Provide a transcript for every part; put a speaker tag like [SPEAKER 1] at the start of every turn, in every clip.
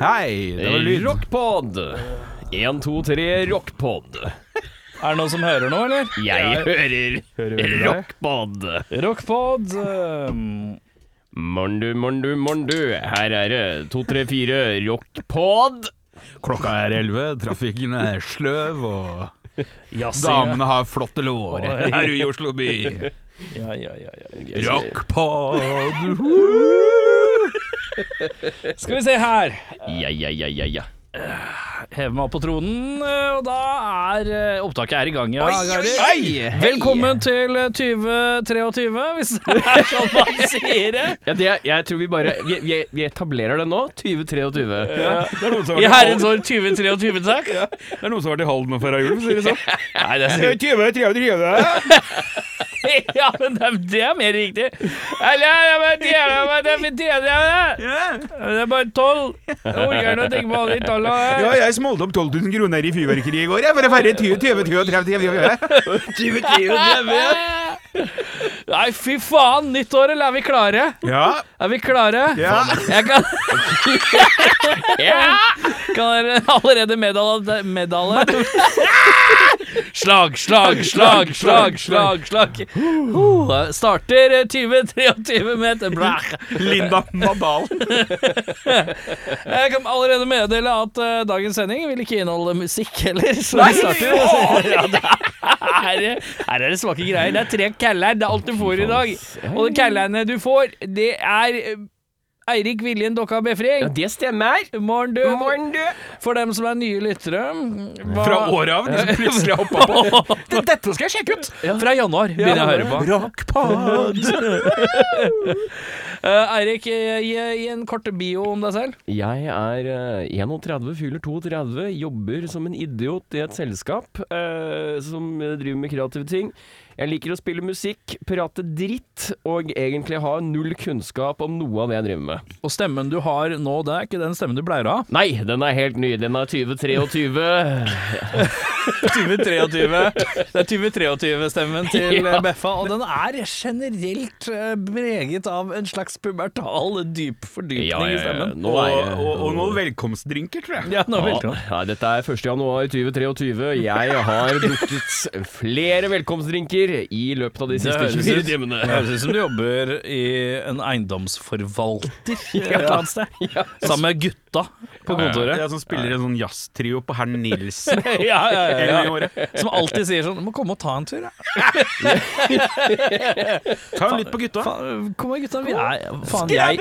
[SPEAKER 1] Hei, det var lyd.
[SPEAKER 2] Rockpod. Én, to, tre, rockpod.
[SPEAKER 3] Er det noen som hører noe, eller?
[SPEAKER 2] Jeg hører
[SPEAKER 1] Hører veldig bra.
[SPEAKER 2] rockpod.
[SPEAKER 3] Rockpod. ehm,
[SPEAKER 2] Morndu, morndu, morndu. Her er det to, tre, fire, rockpod.
[SPEAKER 1] Klokka er elleve, trafikken er sløv, og
[SPEAKER 3] jazzing.
[SPEAKER 1] damene har flotte lår her i Oslo by.
[SPEAKER 3] Ja, ja, ja, ja.
[SPEAKER 1] Rockpod!
[SPEAKER 3] Skal vi se her.
[SPEAKER 2] Ja, ja, ja, ja, ja.
[SPEAKER 3] Heve meg opp på tronen, eh, og da er eh, opptaket er i gang. Ja, Gary.
[SPEAKER 1] Hei!
[SPEAKER 3] Velkommen til eh, 2023, hvis det er sånn man sier det.
[SPEAKER 2] ja det, jeg tror vi bare Vi, vi, vi etablerer det nå. 2023.
[SPEAKER 1] Det er noen som
[SPEAKER 3] I herrens år 2023, takk.
[SPEAKER 1] har vært i Halden før jul, for å si det sånn.
[SPEAKER 3] Nei, det er sikkert
[SPEAKER 1] 20, 30, 30.
[SPEAKER 3] Ja, men det er, det er mer riktig. Eller, jeg bare deler meg, det er for tredje, det. Det er bare tolv. Jeg orker ikke å tenke på alle de tallene. her.
[SPEAKER 1] jeg smolte opp 12 000 kroner i fyrverkeri i går, jeg, for å feire 20, 20, 30, 30.
[SPEAKER 3] Nei, fy faen, nyttåret, er vi klare?
[SPEAKER 1] Ja,
[SPEAKER 3] Er vi klare?
[SPEAKER 1] ja.
[SPEAKER 3] Jeg kan,
[SPEAKER 2] Ja!
[SPEAKER 3] kan dere allerede meddale meddale? Slag, slag, slag, slag, slag, slag. Uh, starter 2023 med et blæh.
[SPEAKER 1] Linda Nadal.
[SPEAKER 3] Jeg kan allerede meddele at eh, dagens sending vil ikke inneholde musikk heller. Så Nei, starter. Ja, det er, her er det svake greier. Det er tre caller. Det er alt du får i dag. Og de callerne du får, det er eh, Eirik Viljen Dokka
[SPEAKER 2] Ja,
[SPEAKER 3] Befring.
[SPEAKER 2] det stemmer.
[SPEAKER 3] Morn, du.
[SPEAKER 2] Morndu.
[SPEAKER 3] For dem som er nye lyttere hva-
[SPEAKER 1] Fra året av, de som plutselig har hoppa på.
[SPEAKER 3] Dette skal jeg sjekke ut! Fra januar begynner jeg å høre på.
[SPEAKER 1] Rockpod!
[SPEAKER 3] Eh, Eirik, eh, gi, gi en kort bio om deg selv.
[SPEAKER 2] Jeg er eh, 31, fyller 32, jobber som en idiot i et selskap eh, som eh, driver med kreative ting. Jeg liker å spille musikk, prate dritt og egentlig ha null kunnskap om noe av det jeg driver med.
[SPEAKER 3] Og stemmen du har nå, det er ikke den stemmen du pleier å ha.
[SPEAKER 2] Nei, den er helt ny. Den er 2023.
[SPEAKER 3] 2023. Det er 2023-stemmen til eh, Beffa, og den er generelt eh, preget av en slags pubertal dyp fordypning
[SPEAKER 2] Ja,
[SPEAKER 3] i
[SPEAKER 2] ja, ja.
[SPEAKER 3] stemmen.
[SPEAKER 2] Nå er jeg
[SPEAKER 1] og noen velkomstdrinker, tror jeg.
[SPEAKER 3] Ja, nå
[SPEAKER 2] ja,
[SPEAKER 3] velter den.
[SPEAKER 2] ja, dette er 1. januar 2023. Jeg har drukket flere velkomstdrinker i løpet av de
[SPEAKER 3] Det
[SPEAKER 2] siste
[SPEAKER 3] høres
[SPEAKER 2] 24
[SPEAKER 3] ut-
[SPEAKER 2] timene.
[SPEAKER 3] det høres ut som du jobber i en eiendomsforvalter et eller annet sted.
[SPEAKER 2] Ja.
[SPEAKER 3] Sammen med gutta på kontoret.
[SPEAKER 1] Jeg som spiller en sånn jazztrio på herr Nilsen.
[SPEAKER 3] Ja, ja,
[SPEAKER 1] en
[SPEAKER 3] ja,
[SPEAKER 1] gang i
[SPEAKER 3] ja.
[SPEAKER 1] året.
[SPEAKER 3] Som alltid sier sånn Du må komme og ta en tur, ja.
[SPEAKER 1] Ta en litt på gutta.
[SPEAKER 3] Faen, Kom da, gutta. Vi er Faen, jeg,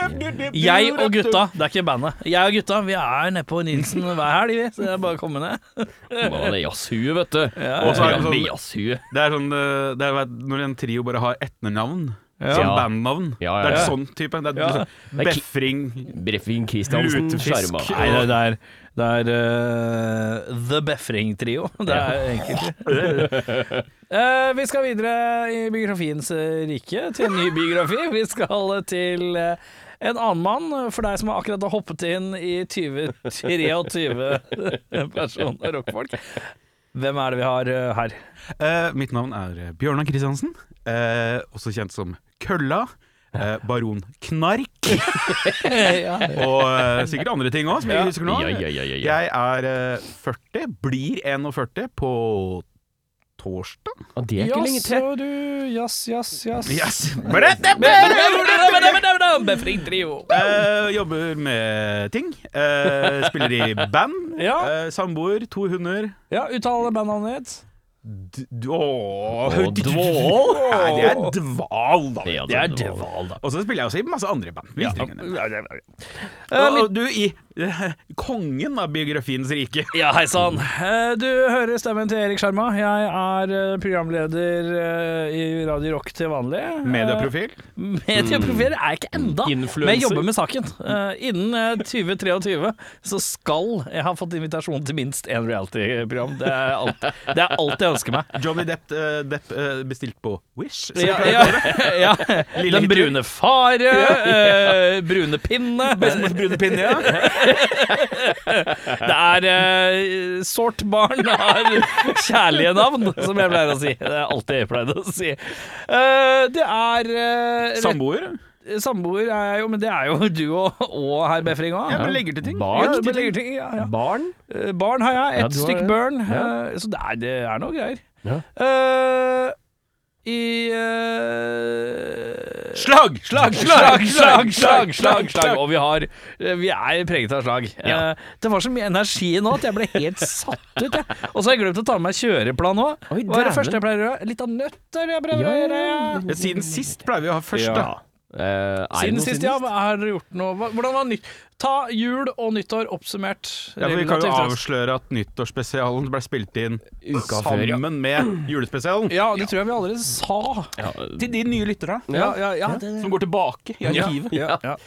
[SPEAKER 3] jeg og gutta, det er ikke bandet. Jeg og gutta, vi er nede på Nilsen hver helg, vi. Så det er bare å komme ned.
[SPEAKER 2] Hva er det jazzhuet, vet du?
[SPEAKER 1] Og så er det
[SPEAKER 2] Programmet
[SPEAKER 1] sånn-
[SPEAKER 2] jazzhuet.
[SPEAKER 1] Det er sånn eh, det er, vet, Når en trio bare har etternavn som
[SPEAKER 2] Ja.
[SPEAKER 1] bandnavn.
[SPEAKER 2] Ja, ja,
[SPEAKER 1] Det
[SPEAKER 2] ja.
[SPEAKER 1] er sånn type. Det er
[SPEAKER 3] Ja.
[SPEAKER 1] liksom Befring
[SPEAKER 2] Breffing Kristiansen
[SPEAKER 1] Lutefisk.
[SPEAKER 2] skjerma.
[SPEAKER 3] Nei, det, det er, det er eh, The Befring Trio. Det er enkelt. Eh, vi skal videre i biografiens eh, rike, til en ny biografi. Vi skal eh, til eh, en annen mann, for deg som akkurat har hoppet inn i 2023 personer rockfolk. Hvem er det vi har eh, her?
[SPEAKER 1] Eh, Mitt navn er eh, Bjørnar Kristiansen, eh, også kjent som Kølla. eh, Baron Knark, og eh, sikkert andre ting òg, som jeg ikke husker nå.
[SPEAKER 2] Ja, ja, ja, ja, ja.
[SPEAKER 1] Jeg er eh, 40, blir 41 på torsdag.
[SPEAKER 2] Og det er ikke lenge til.
[SPEAKER 3] Jaså, du. Jass, jass, jass.
[SPEAKER 1] Yes! Bare det!
[SPEAKER 3] Befring Trio.
[SPEAKER 1] Eh, jobber med ting. Eh, spiller i band.
[SPEAKER 3] Ja.
[SPEAKER 1] Eh, samboer, to hunder.
[SPEAKER 3] Ja, uttale bandnavnet ditt.
[SPEAKER 1] D d åh.
[SPEAKER 2] Og dvål.
[SPEAKER 1] Nei, det er dval, da.
[SPEAKER 2] Ja,
[SPEAKER 1] det er
[SPEAKER 2] det er dval.
[SPEAKER 1] dval, da. Og så spiller jeg også i masse andre band. Vi trenger det.
[SPEAKER 3] Eh,
[SPEAKER 1] og,
[SPEAKER 3] mitt-
[SPEAKER 1] og du i eh, kongen av biografiens rike.
[SPEAKER 3] Ja, hei sann. Eh, Du hører stemmen til Erik Sjarma. Jeg er eh, programleder eh, i Radio Rock til vanlig. Eh,
[SPEAKER 1] Medieprofil.
[SPEAKER 3] Medieprofil er jeg ikke enda,
[SPEAKER 2] Influencer.
[SPEAKER 3] men jeg jobber med saken. Eh, Innen eh, 2023 så skal jeg ha fått invitasjon til minst én reality-program. Det, er alt- det er alt jeg ønsker meg.
[SPEAKER 1] Johnny Depp, eh, Depp eh, bestilt på Wish. Så
[SPEAKER 3] Ja, ja, ja.
[SPEAKER 1] Lille
[SPEAKER 3] Den
[SPEAKER 1] Hitler.
[SPEAKER 3] brune fare, eh, brune pinne
[SPEAKER 1] Bestemors brune pinne, ja.
[SPEAKER 3] Det er eh, Sort barn har kjærlige navn, som jeg pleier å si. Det er alltid jeg pleide å si. Eh, det er eh, rett-
[SPEAKER 1] Samboer.
[SPEAKER 3] samboer er jeg jo, men det er jo du og, og herr Befring òg.
[SPEAKER 1] Ja, men legger til ting.
[SPEAKER 2] Barn?
[SPEAKER 1] Ja,
[SPEAKER 3] Ja,
[SPEAKER 1] men
[SPEAKER 3] men
[SPEAKER 1] legger til ting.
[SPEAKER 3] legger ting, ja, ja.
[SPEAKER 2] Barn?
[SPEAKER 3] Eh, Barn har jeg,
[SPEAKER 2] Ja,
[SPEAKER 3] ett
[SPEAKER 2] du har
[SPEAKER 3] stykk
[SPEAKER 2] det.
[SPEAKER 3] børn.
[SPEAKER 2] Ja.
[SPEAKER 3] eh, Så det er, det er noe greier.
[SPEAKER 2] Ja.
[SPEAKER 3] Eh, I eh,
[SPEAKER 1] Slag!
[SPEAKER 3] Slag, slag, slag, slag, slag, slag. Og vi har eh, Vi er preget av slag.
[SPEAKER 2] Ja.
[SPEAKER 3] Eh, Det var så mye energi nå at jeg ble helt satt ut, jeg. Og så har jeg glemt å ta med meg kjøreplan òg. Hva
[SPEAKER 2] Oi,
[SPEAKER 3] er
[SPEAKER 2] dæven.
[SPEAKER 3] det første jeg pleier å gjøre? Litt av nøtter jeg prøver å gjøre. ja.
[SPEAKER 1] Ja, Siden sist pleier vi å ha først,
[SPEAKER 2] Ja.
[SPEAKER 1] da.
[SPEAKER 2] Eh, er det
[SPEAKER 3] Siden
[SPEAKER 2] noe
[SPEAKER 3] sist, ja. Har dere gjort noe Hva- Hvordan var nytt? Ta jul og nyttår oppsummert.
[SPEAKER 1] Ja, for vi kan jo
[SPEAKER 3] relativt raskt.
[SPEAKER 1] avsløre at nyttårsspesialen ble spilt inn
[SPEAKER 2] Uka før, ja.
[SPEAKER 1] sammen med julespesialen.
[SPEAKER 3] Ja, det tror jeg vi allerede sa.
[SPEAKER 1] Til de nye lytterne
[SPEAKER 3] Ja, ja, ja, det,
[SPEAKER 1] som går tilbake i arkivet.
[SPEAKER 2] Ja.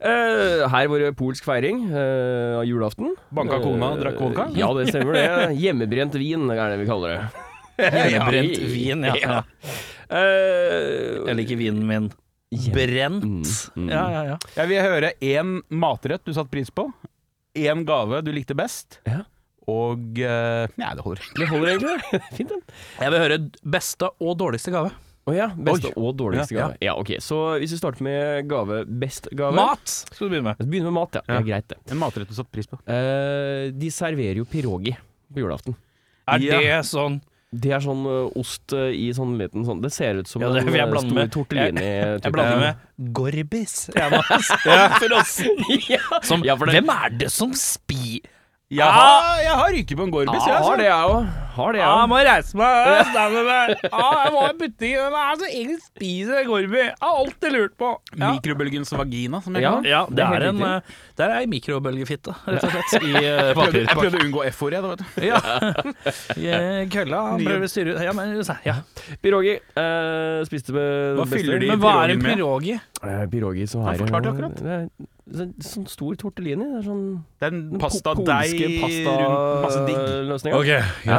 [SPEAKER 2] Eh, her var det polsk feiring eh, av julaften.
[SPEAKER 1] Banka kona og drakk vodka?
[SPEAKER 2] Eh, ja, det stemmer det. Hjemmebrent vin er det vi kaller det.
[SPEAKER 3] Hjemmebrent vin, ja.
[SPEAKER 2] Ja. Eh,
[SPEAKER 3] Jeg liker vinen min. Brent.
[SPEAKER 2] mm.
[SPEAKER 3] Ja, ja, ja.
[SPEAKER 1] Jeg vil høre én matrett du satte pris på, én gave du likte best,
[SPEAKER 2] Ja.
[SPEAKER 1] og eh, Nei, det holder.
[SPEAKER 2] det holder egentlig. Eh, Fint, den.
[SPEAKER 3] Jeg vil høre beste og dårligste gave.
[SPEAKER 2] Å ja. Beste og dårligste
[SPEAKER 1] Ja, ja.
[SPEAKER 2] gave. Ja, ok. Så hvis vi starter med gave, best gave
[SPEAKER 3] Mat skal du begynne med.
[SPEAKER 2] Vi begynner med mat, ja. ja.
[SPEAKER 1] Ja.
[SPEAKER 2] greit, det.
[SPEAKER 1] En matrett du satte pris på.
[SPEAKER 2] Eh, de serverer jo pierogi på julaften.
[SPEAKER 3] Er
[SPEAKER 1] Ja.
[SPEAKER 3] det sånn
[SPEAKER 2] Det er sånn ø, ost ø, i sånn liten sånn Det ser ut som
[SPEAKER 3] Ja, det
[SPEAKER 2] en
[SPEAKER 3] vil jeg
[SPEAKER 2] ø,
[SPEAKER 3] blande
[SPEAKER 2] stor
[SPEAKER 3] med.
[SPEAKER 2] tortellini.
[SPEAKER 3] Jeg blander med gorbis. Jeg må
[SPEAKER 2] ja.
[SPEAKER 3] Som,
[SPEAKER 2] Ja, for det-
[SPEAKER 3] Hvem er det som spi...
[SPEAKER 1] Jeg har, jeg har ryket på en gorbis,
[SPEAKER 2] Ja,
[SPEAKER 1] jeg.
[SPEAKER 2] har det
[SPEAKER 1] Altså.
[SPEAKER 2] jeg òg. Har det jeg òg.
[SPEAKER 3] sånn- må reise meg. jeg må i butikken. Hvem er det som egentlig spiser gorbi? Jeg har alltid lurt på. Ja.
[SPEAKER 1] Mikrobølgens vagina, som jeg
[SPEAKER 2] Ja.
[SPEAKER 1] kaller det.
[SPEAKER 3] Ja, det
[SPEAKER 2] er
[SPEAKER 3] er
[SPEAKER 2] helt
[SPEAKER 3] en
[SPEAKER 2] riktig.
[SPEAKER 3] eh, Der er ei mikrobølgefitte, rett og slett, i eh,
[SPEAKER 1] Jeg prøvde, jeg
[SPEAKER 3] papirpakke.
[SPEAKER 1] prøvde å unngå F-ordet, da, vet du.
[SPEAKER 3] Ja. Eh, Kølla han
[SPEAKER 1] Nye-
[SPEAKER 3] prøver å styre ut Ja, men ja.
[SPEAKER 2] Pierogi. ø, eh, spiste med
[SPEAKER 1] Hva fyller de
[SPEAKER 3] Men hva er
[SPEAKER 1] pirogien
[SPEAKER 3] en
[SPEAKER 1] med?
[SPEAKER 3] pirogi?
[SPEAKER 2] Eh, Pierogi så
[SPEAKER 1] Han
[SPEAKER 2] er det-
[SPEAKER 1] forklarte akkurat.
[SPEAKER 2] Det er sånn- sånn stor tortellini. Det er sånn
[SPEAKER 1] Det er en
[SPEAKER 2] den
[SPEAKER 1] pasta
[SPEAKER 2] po-
[SPEAKER 1] deig
[SPEAKER 2] polske
[SPEAKER 1] rundt masse digg.
[SPEAKER 2] løsninger. Ja.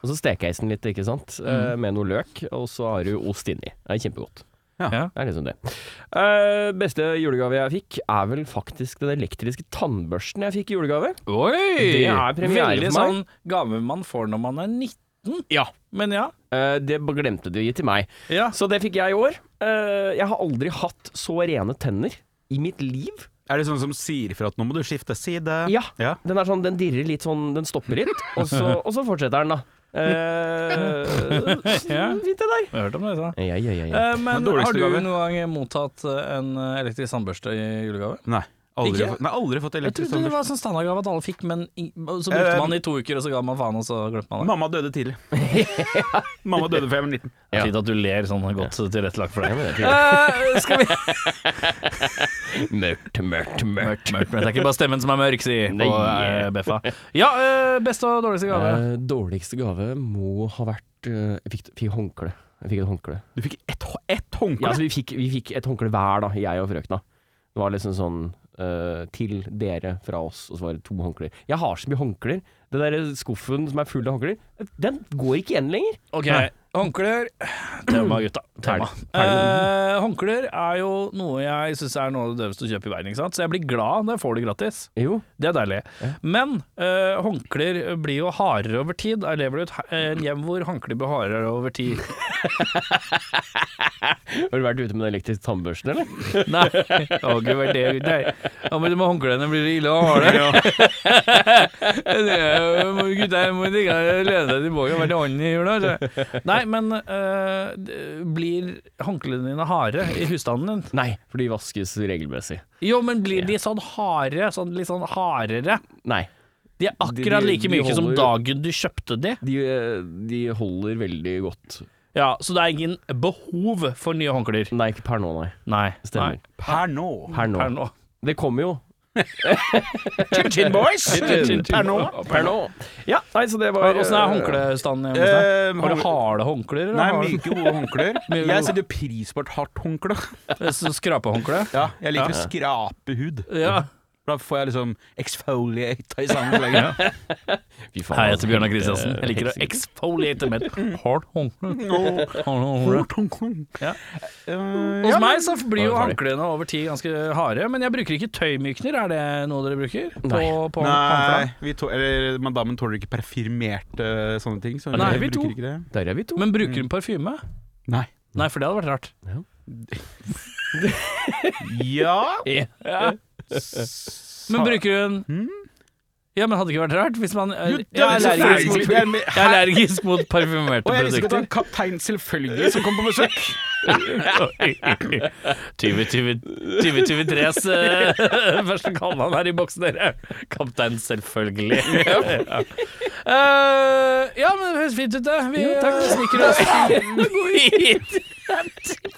[SPEAKER 2] Og så stekeis den litt, ikke sant. Eh, med noe løk, og så har du ost inni. Det er kjempegodt.
[SPEAKER 1] Ja.
[SPEAKER 3] Ja.
[SPEAKER 2] Det er liksom det. Eh, beste julegave jeg fikk, er vel faktisk den elektriske tannbørsten jeg fikk i julegave.
[SPEAKER 3] Oi!
[SPEAKER 2] Det er premiere
[SPEAKER 3] Veldig
[SPEAKER 2] for
[SPEAKER 3] sånn gave man får når man er 19.
[SPEAKER 1] Ja.
[SPEAKER 3] Men ja.
[SPEAKER 2] Eh, det glemte du å gi til meg.
[SPEAKER 3] ja.
[SPEAKER 2] Så det fikk jeg i år. Eh, jeg har aldri hatt så rene tenner i mitt liv.
[SPEAKER 1] Er det sånn som sier fra at nå må du skifte side?
[SPEAKER 2] Ja.
[SPEAKER 1] ja.
[SPEAKER 2] Den er sånn, den dirrer litt sånn, den stopper litt, og så, og så fortsetter den, da. Eh,
[SPEAKER 3] Ja.
[SPEAKER 2] fint det der.
[SPEAKER 3] Jeg har hørt om det, sa.
[SPEAKER 2] Ja, ja, ja, ja.
[SPEAKER 3] Eh, Men
[SPEAKER 1] Den dårligste
[SPEAKER 3] har du
[SPEAKER 1] gave.
[SPEAKER 3] noen gang mottatt eh, en eh, elektrisk sandbørste i julegave?
[SPEAKER 1] Nei. Aldri,
[SPEAKER 3] Ikke?
[SPEAKER 1] fått- nei, aldri fått
[SPEAKER 3] Jeg
[SPEAKER 1] elektrisk
[SPEAKER 3] trodde det
[SPEAKER 1] tannbørste.
[SPEAKER 3] var sånn standardgave at alle fikk, men i- så brukte
[SPEAKER 1] Eh,
[SPEAKER 3] man det i to uker, og så ga man faen, og så glemte man det.
[SPEAKER 1] Mamma døde tidlig. Mamma døde før jeg var 19.
[SPEAKER 2] Ja.
[SPEAKER 3] Fint at du ler sånn godt tilrettelagt for
[SPEAKER 2] Ja,
[SPEAKER 3] det.
[SPEAKER 2] men det er
[SPEAKER 3] Eh, skal vi
[SPEAKER 2] fint. Mørkt, mørkt, mørkt.
[SPEAKER 3] Mørkt, mørkt, men det er ikke bare stemmen som er mørk, si på
[SPEAKER 2] Nei.
[SPEAKER 3] eh, Beffa. Ja, eh, beste og dårligste gave.
[SPEAKER 2] Eh, dårligste gave må ha vært eh, Jeg fikk, fikk håndkle. Jeg fikk et håndkle.
[SPEAKER 1] Du fikk ett hå- ett
[SPEAKER 2] Ja,
[SPEAKER 1] håndkle?
[SPEAKER 2] altså, vi, fikk, vi fikk et håndkle hver, da, jeg og frøkna. Det var liksom sånn eh, til dere fra oss, og så var det to håndklær. Jeg har så mye håndklær. Den der eh, skuffen som er full av håndklær, den går ikke igjen lenger.
[SPEAKER 3] Ok,
[SPEAKER 1] Nei.
[SPEAKER 3] håndklær. Tema, gutta. Tema.
[SPEAKER 2] Ferdig.
[SPEAKER 3] Eh, håndklær er jo noe jeg syns er noe av det døveste å kjøpe i verden, ikke sant? så jeg blir glad når jeg får det gratis.
[SPEAKER 2] Jo.
[SPEAKER 3] Det er deilig. Men eh, håndklær blir jo hardere over tid. Jeg lever i et he- en hjem hvor håndklær blir hardere over tid.
[SPEAKER 2] Har du vært ute med den elektriske tannbørsten, eller?
[SPEAKER 3] Nei, det har ikke vært det. Nei. Ja, men de håndklærne blir ille og harde. Det er jo- må- Gutta, jeg må ikke lede deg tilbake og være til ånden i jula. altså. Nei, men eh, det- blir håndklærne dine harde i husstanden din?
[SPEAKER 2] Nei, for de vaskes regelmessig.
[SPEAKER 3] Jo, men blir de sånn harde, sånn litt sånn hardere?
[SPEAKER 2] Nei.
[SPEAKER 3] De er akkurat
[SPEAKER 2] De- de-
[SPEAKER 3] like
[SPEAKER 2] de
[SPEAKER 3] myke som
[SPEAKER 2] holder-
[SPEAKER 3] dagen du kjøpte de.
[SPEAKER 2] De, eh, de holder veldig godt.
[SPEAKER 3] Ja, så det er ingen behov for nye håndklær.
[SPEAKER 2] Nei, ikke per nå, nei.
[SPEAKER 3] Nei,
[SPEAKER 2] Stemmer.
[SPEAKER 1] Per nå.
[SPEAKER 2] Per nå.
[SPEAKER 3] Per nå.
[SPEAKER 2] Det kommer jo.
[SPEAKER 1] Chin-chin, boys!
[SPEAKER 3] Per nå.
[SPEAKER 2] Per nå. Ja, nei, så det var
[SPEAKER 3] Åssen er håndklestanden hjemme hos deg?
[SPEAKER 1] Eh,
[SPEAKER 3] Har du
[SPEAKER 1] hånd-
[SPEAKER 3] harde håndklær? eller
[SPEAKER 1] Nei,
[SPEAKER 3] har du-
[SPEAKER 1] myke, gode håndklær.
[SPEAKER 3] Myke,
[SPEAKER 1] Jeg
[SPEAKER 3] gode.
[SPEAKER 1] setter pris på et hardt håndkle.
[SPEAKER 3] Så Skrapehåndkle?
[SPEAKER 1] Ja, jeg liker å skrape hud.
[SPEAKER 3] Ja.
[SPEAKER 1] Da får jeg liksom exfoliata i sammen lenger.
[SPEAKER 2] Fy faen,
[SPEAKER 3] Hei, jeg
[SPEAKER 2] altså,
[SPEAKER 3] heter Bjørnar
[SPEAKER 2] helt,
[SPEAKER 3] Kristiansen.
[SPEAKER 2] eh,
[SPEAKER 3] Jeg liker å
[SPEAKER 2] helt sykt.
[SPEAKER 3] exfoliate med et hardt håndkle. Hos Ja.
[SPEAKER 1] Eh,
[SPEAKER 3] meg så blir jo
[SPEAKER 2] Da er vi
[SPEAKER 3] håndklærne over tid ganske harde, men jeg bruker ikke tøymykner. Er det noe dere bruker? På,
[SPEAKER 2] Nei.
[SPEAKER 3] på
[SPEAKER 1] Nei,
[SPEAKER 3] håndklærne?
[SPEAKER 1] vi tå- eller, madammen tåler ikke parfymerte sånne ting. Så
[SPEAKER 3] Nei,
[SPEAKER 1] jeg
[SPEAKER 3] vi to.
[SPEAKER 1] bruker ikke det.
[SPEAKER 3] Mm.
[SPEAKER 2] Der er vi to.
[SPEAKER 3] Men bruker hun parfyme?
[SPEAKER 1] Nei.
[SPEAKER 3] Nei, for det hadde vært rart.
[SPEAKER 1] Ja
[SPEAKER 3] Ja. Men bruker hun Ja, men hadde det ikke vært rart hvis man
[SPEAKER 1] Hmm? Jo,
[SPEAKER 3] Jeg
[SPEAKER 1] det
[SPEAKER 3] er
[SPEAKER 1] er så
[SPEAKER 3] allergisk mot,
[SPEAKER 1] feil. Det er med-
[SPEAKER 3] jeg er allergisk mot parfymerte
[SPEAKER 1] Og jeg elsker at det er
[SPEAKER 3] produkter.
[SPEAKER 1] en kaptein selvfølgelig som kommer på besøk.
[SPEAKER 3] 2023s første kallenavn her i boksen, dere. Kaptein, selvfølgelig. Ja, Eh, ja men det høres fint ut, det. Vi
[SPEAKER 2] Jo, takk.
[SPEAKER 3] eh, sniker oss hit.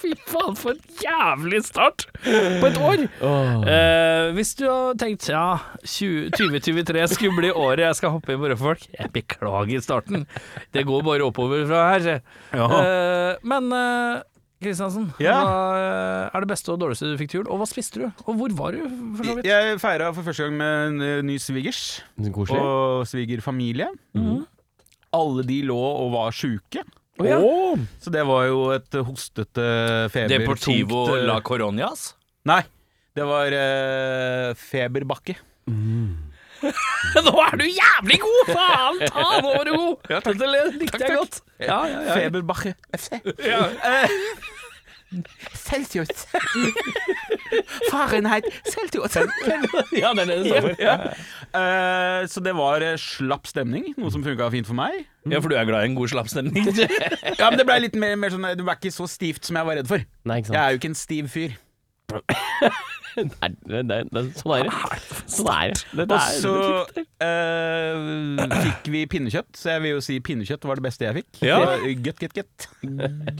[SPEAKER 3] Fy faen, for en jævlig start på et år. Eh, hvis du har tenkt ja, 20 2023 skulle bli året jeg skal hoppe inn på Rødfolk Jeg beklager starten. Det går bare oppover fra her. Eh, men eh, Kristiansen,
[SPEAKER 1] Ja.
[SPEAKER 3] hva eh, er det beste og dårligste du fikk til jul? Og hva spiste du? Og hvor var du, for så vidt?
[SPEAKER 1] Eh, Jeg feira for første gang med en eh, ny svigers
[SPEAKER 2] Mm, Koselig.
[SPEAKER 1] og svigerfamilie.
[SPEAKER 3] Mhm.
[SPEAKER 1] Alle de lå og var sjuke.
[SPEAKER 2] Å, ja.
[SPEAKER 1] Så det var jo et hostete feber tungt, eh,
[SPEAKER 3] Coronias?
[SPEAKER 1] Nei, det var eh, feberbakke.
[SPEAKER 3] Nå er du jævlig god! Faen ta, nå var du god! Dette le- likte jeg godt. Ja, ja, ja.
[SPEAKER 1] Feberbakke FC.
[SPEAKER 3] Eh,
[SPEAKER 1] Celsius. Fahrenheit Celsius.
[SPEAKER 3] ja det er det det står for. Ja.
[SPEAKER 1] Eh, så det var eh, slapp stemning, noe som funka fint for meg.
[SPEAKER 3] for du er glad i en god slappstemning.
[SPEAKER 1] Ja, men Det ble litt mer, mer sånn Det var ikke så stivt som jeg var redd for.
[SPEAKER 2] Nei, ikke
[SPEAKER 1] Jeg
[SPEAKER 2] sant.
[SPEAKER 1] er jo ikke en stiv fyr.
[SPEAKER 2] Nei, det, det, det, sånn er det. Sånn er det.
[SPEAKER 1] Og
[SPEAKER 2] Dette er-
[SPEAKER 1] så eh, fikk vi pinnekjøtt, så jeg vil jo si pinnekjøtt var det beste jeg fikk.
[SPEAKER 3] Ja.
[SPEAKER 1] Gøtt, gøtt, gøtt.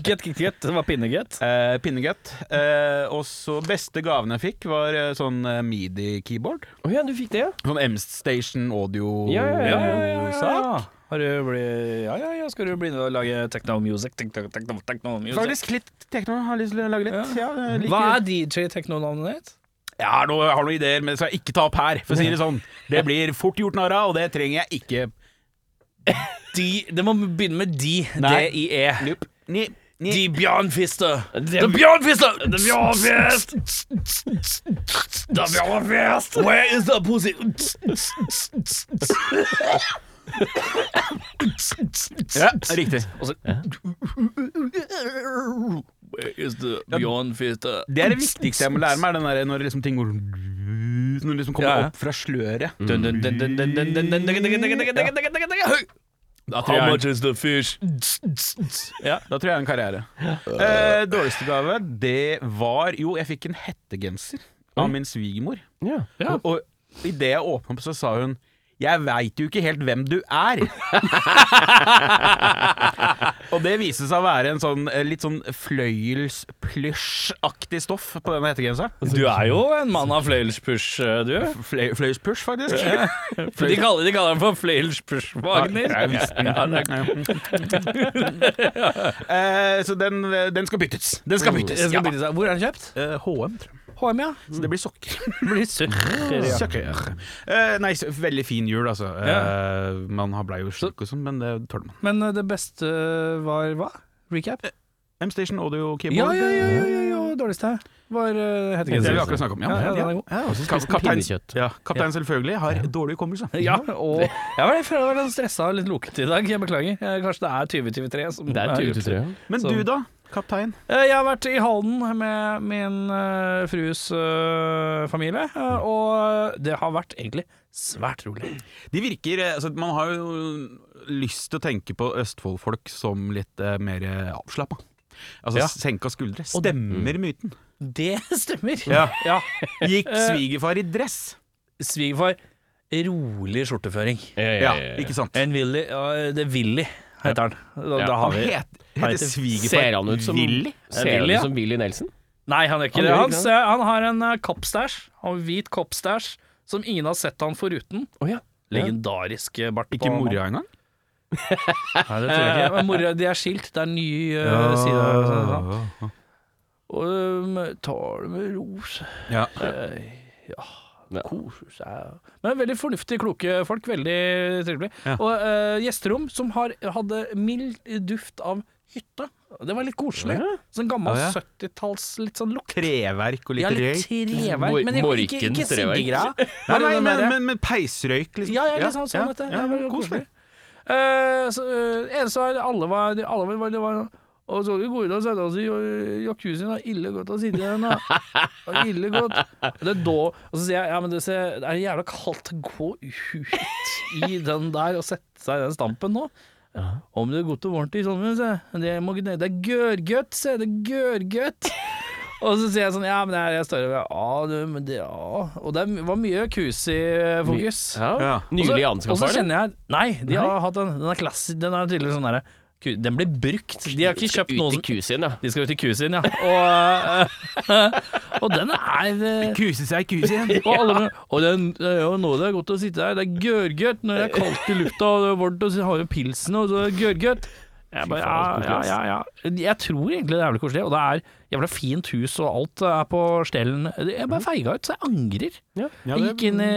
[SPEAKER 3] Get, get, get. Det var pinnegett.
[SPEAKER 1] Eh, pinnekjøtt. Eh, og så beste gaven jeg fikk, var eh, sånn eh, medie-keyboard.
[SPEAKER 2] Å ja, du fikk det, ja.
[SPEAKER 1] Sånn M-Station audio-sak.
[SPEAKER 2] Ja, ja, ja,
[SPEAKER 3] Oh, Har du blitt Ja, ja, ja, skal du begynne å lage techno music? Techno, techno, techno music.
[SPEAKER 1] Faktisk litt tekno. Har lyst til å lage litt. Ja. jeg liker
[SPEAKER 3] Hva
[SPEAKER 1] det.
[SPEAKER 3] er DJ-tekno-navnet ditt?
[SPEAKER 1] Jeg har noe- jeg har noen ideer, men det skal jeg ikke ta opp her. For å si det sånn Det blir fort gjort narr av, og det trenger jeg ikke.
[SPEAKER 3] De, det må begynne med de,
[SPEAKER 1] Nei.
[SPEAKER 3] D-I-E.
[SPEAKER 1] Nope. Ni, ni.
[SPEAKER 3] De Bjørnfister.
[SPEAKER 2] Det-
[SPEAKER 3] The Bjørnfister. The Bjørnfist. The Bjørnfist. Where is the pussy?
[SPEAKER 1] Ja, riktig.
[SPEAKER 3] Where is the Bjørnfister?
[SPEAKER 1] Det er det viktigste jeg må lære meg, den der, når det liksom ting går sånn- Når det liksom kommer
[SPEAKER 3] Ja, ja.
[SPEAKER 1] opp fra sløret.
[SPEAKER 3] How much is the fish? Ja.
[SPEAKER 1] Da tror jeg en karriere. Eh, dårligste gave, det var Jo, jeg fikk en hettegenser av min svigermor.
[SPEAKER 2] ja.
[SPEAKER 3] Ja.
[SPEAKER 1] Og, og idet jeg åpna opp, så sa hun jeg veit jo ikke helt hvem du er. og det viste seg å være en sånn eh, litt sånn fløyelsplysj-aktig stoff på denne hettegenseren.
[SPEAKER 3] Du er jo en mann av fløyelspush, du.
[SPEAKER 1] Fløy, fløyelspysj, faktisk.
[SPEAKER 3] De kaller, de kaller den for fløyelspush, Wagner.
[SPEAKER 1] Ja, jeg visste den. Eh, Så den, den skal byttes. Den skal byttes. Mm.
[SPEAKER 3] Jeg skal begynne seg- Hvor er Mm. den kjøpt?
[SPEAKER 1] Eh, HM, tror jeg.
[SPEAKER 3] HM, ja.
[SPEAKER 1] Så det blir sokker.
[SPEAKER 3] Blir surr. ja.
[SPEAKER 1] Søkker. Eh, nei, så- veldig fin jul, altså. Eh, man har blei jo sjuk og sånn, men det tåler man.
[SPEAKER 3] Men eh, det beste var hva? Recap?
[SPEAKER 1] M-Station Audio
[SPEAKER 3] Ja,
[SPEAKER 1] Keyboard.
[SPEAKER 3] ja, ja, ja, ja, ja. Dårligste var
[SPEAKER 1] Det
[SPEAKER 3] uh,
[SPEAKER 1] har vi
[SPEAKER 3] hettegenser.
[SPEAKER 1] akkurat snakket om.
[SPEAKER 3] Ja, ja, den er god.
[SPEAKER 1] ja.
[SPEAKER 2] Og så spiste
[SPEAKER 1] Kap- kaptein-
[SPEAKER 2] pinnekjøtt.
[SPEAKER 1] ja, Kaptein selvfølgelig har dårlig hukommelse.
[SPEAKER 3] Ja, og jeg var jeg føler jeg var litt stressa og litt lukket i dag. Jeg beklager. Eh, Kanskje det er 2023 som
[SPEAKER 2] Det er
[SPEAKER 3] er
[SPEAKER 2] 2023. ja.
[SPEAKER 1] Men
[SPEAKER 3] Som-
[SPEAKER 1] du da, kaptein?
[SPEAKER 3] Eh, Jeg har vært i Halden med min eh, frus eh, familie, eh, og det har vært egentlig svært rolig.
[SPEAKER 1] De virker eh, altså, Man har jo lyst til å tenke på østfoldfolk som litt eh, mer eh, avslappa. Altså
[SPEAKER 3] Ja.
[SPEAKER 1] senka skuldre. Stemmer
[SPEAKER 3] Mm.
[SPEAKER 1] myten.
[SPEAKER 3] Det stemmer.
[SPEAKER 1] Ja.
[SPEAKER 3] Ja.
[SPEAKER 1] Gikk
[SPEAKER 3] Eh,
[SPEAKER 1] svigerfar i dress?
[SPEAKER 3] Svigerfar, rolig skjorteføring.
[SPEAKER 1] Ja, ikke sant?
[SPEAKER 3] En Willy ja, Det er Willy, heter han. Da, da Eh, har
[SPEAKER 1] Han
[SPEAKER 3] vi
[SPEAKER 1] het, heter
[SPEAKER 2] Ser han
[SPEAKER 1] svigerfar
[SPEAKER 2] ut som
[SPEAKER 1] Willy?
[SPEAKER 2] Ser han
[SPEAKER 3] Willy, ja.
[SPEAKER 2] ut som Willy Nelson?
[SPEAKER 3] Nei, han er ikke
[SPEAKER 2] Han
[SPEAKER 3] det.
[SPEAKER 2] gjør
[SPEAKER 3] Han,
[SPEAKER 2] ikke det.
[SPEAKER 3] ser, han har en eh, koppstæsj. Han har hvit koppstæsj som ingen har sett han foruten.
[SPEAKER 2] Å ja.
[SPEAKER 3] Legendarisk eh, bart.
[SPEAKER 1] Ikke mora engang?
[SPEAKER 3] Nei, det tror jeg ikke. Eh, Men mora, de er skilt. Det er en ny eh, side. sånn, sånn. Og um, tar det med ros.
[SPEAKER 1] Ja.
[SPEAKER 2] Ja.
[SPEAKER 3] Koser seg. Men veldig fornuftige, kloke folk. Veldig trivelig.
[SPEAKER 1] Ja.
[SPEAKER 3] Og eh, gjesterom som har, hadde mild duft av hytte. Det var litt koselig. Sånn gammel
[SPEAKER 1] Ja, ja.
[SPEAKER 3] 70-talls litt sånn lukt.
[SPEAKER 1] Treverk og litt
[SPEAKER 3] Ja, litt
[SPEAKER 1] røyk.
[SPEAKER 3] treverk, men ikke, ikke, ikke
[SPEAKER 2] Morkens treverk.
[SPEAKER 3] siggegreia.
[SPEAKER 1] Nei,
[SPEAKER 3] Bare
[SPEAKER 1] nei,
[SPEAKER 3] den
[SPEAKER 1] men,
[SPEAKER 3] derre-
[SPEAKER 1] men, men peisrøyk, liksom.
[SPEAKER 3] Ja, ja, litt sånn, sånn
[SPEAKER 1] ja,
[SPEAKER 3] dette.
[SPEAKER 1] ja,
[SPEAKER 3] Ja, det var
[SPEAKER 1] koselig.
[SPEAKER 3] koselig. Eh, så, eh, eneste var alle var, alle var, det var Og så skal vi gå ut og sette oss i øh, jacuzzien. Det er ille godt å sitte i den. da. Det er ille godt. Det er da, og så sier jeg ja, men det, ser, det er jævla kaldt. Gå ut i den der og sette seg i den stampen nå. Om det er godt og varmt i sommer, sier jeg. Det, må, ikke- det er gørrgøtt, sier jeg. Det er gørrgøtt. Og så sier jeg sånn, ja, men det er jeg står over. Ja, du, men det, ja. Og det var mye eh, Kusi-fokus.
[SPEAKER 2] Ja.
[SPEAKER 1] Ja.
[SPEAKER 2] Nylig
[SPEAKER 3] Og så
[SPEAKER 2] anskaffa, eller?
[SPEAKER 3] kjenner jeg Nei, de
[SPEAKER 2] Nei?
[SPEAKER 3] har hatt den. Den er klassisk. Den er tydeligvis sånn derre ku- Den blir brukt. De har ikke kjøpt noe
[SPEAKER 2] Ut i
[SPEAKER 3] som
[SPEAKER 2] kusien, ja.
[SPEAKER 3] De skal ut i kusin, ja. Og, eh, og den er eh,
[SPEAKER 1] Kuse seg, kuse igjen.
[SPEAKER 3] og, alle, og den, det er jo noe det er godt å sitte her. Det er gørrgøtt når det er kaldt i lufta og det er varmt, og så har vi pilsen, og så er det gørrgøtt. Jeg bare,
[SPEAKER 2] faen,
[SPEAKER 3] ja, ja, ja, ja. Jeg tror egentlig det er jævlig koselig, og det er jævla fint hus, og alt er på stellen. Jeg bare feiga ut, så jeg angrer.
[SPEAKER 1] Mhm. Ja,
[SPEAKER 3] jeg
[SPEAKER 1] det-
[SPEAKER 3] gikk inn i,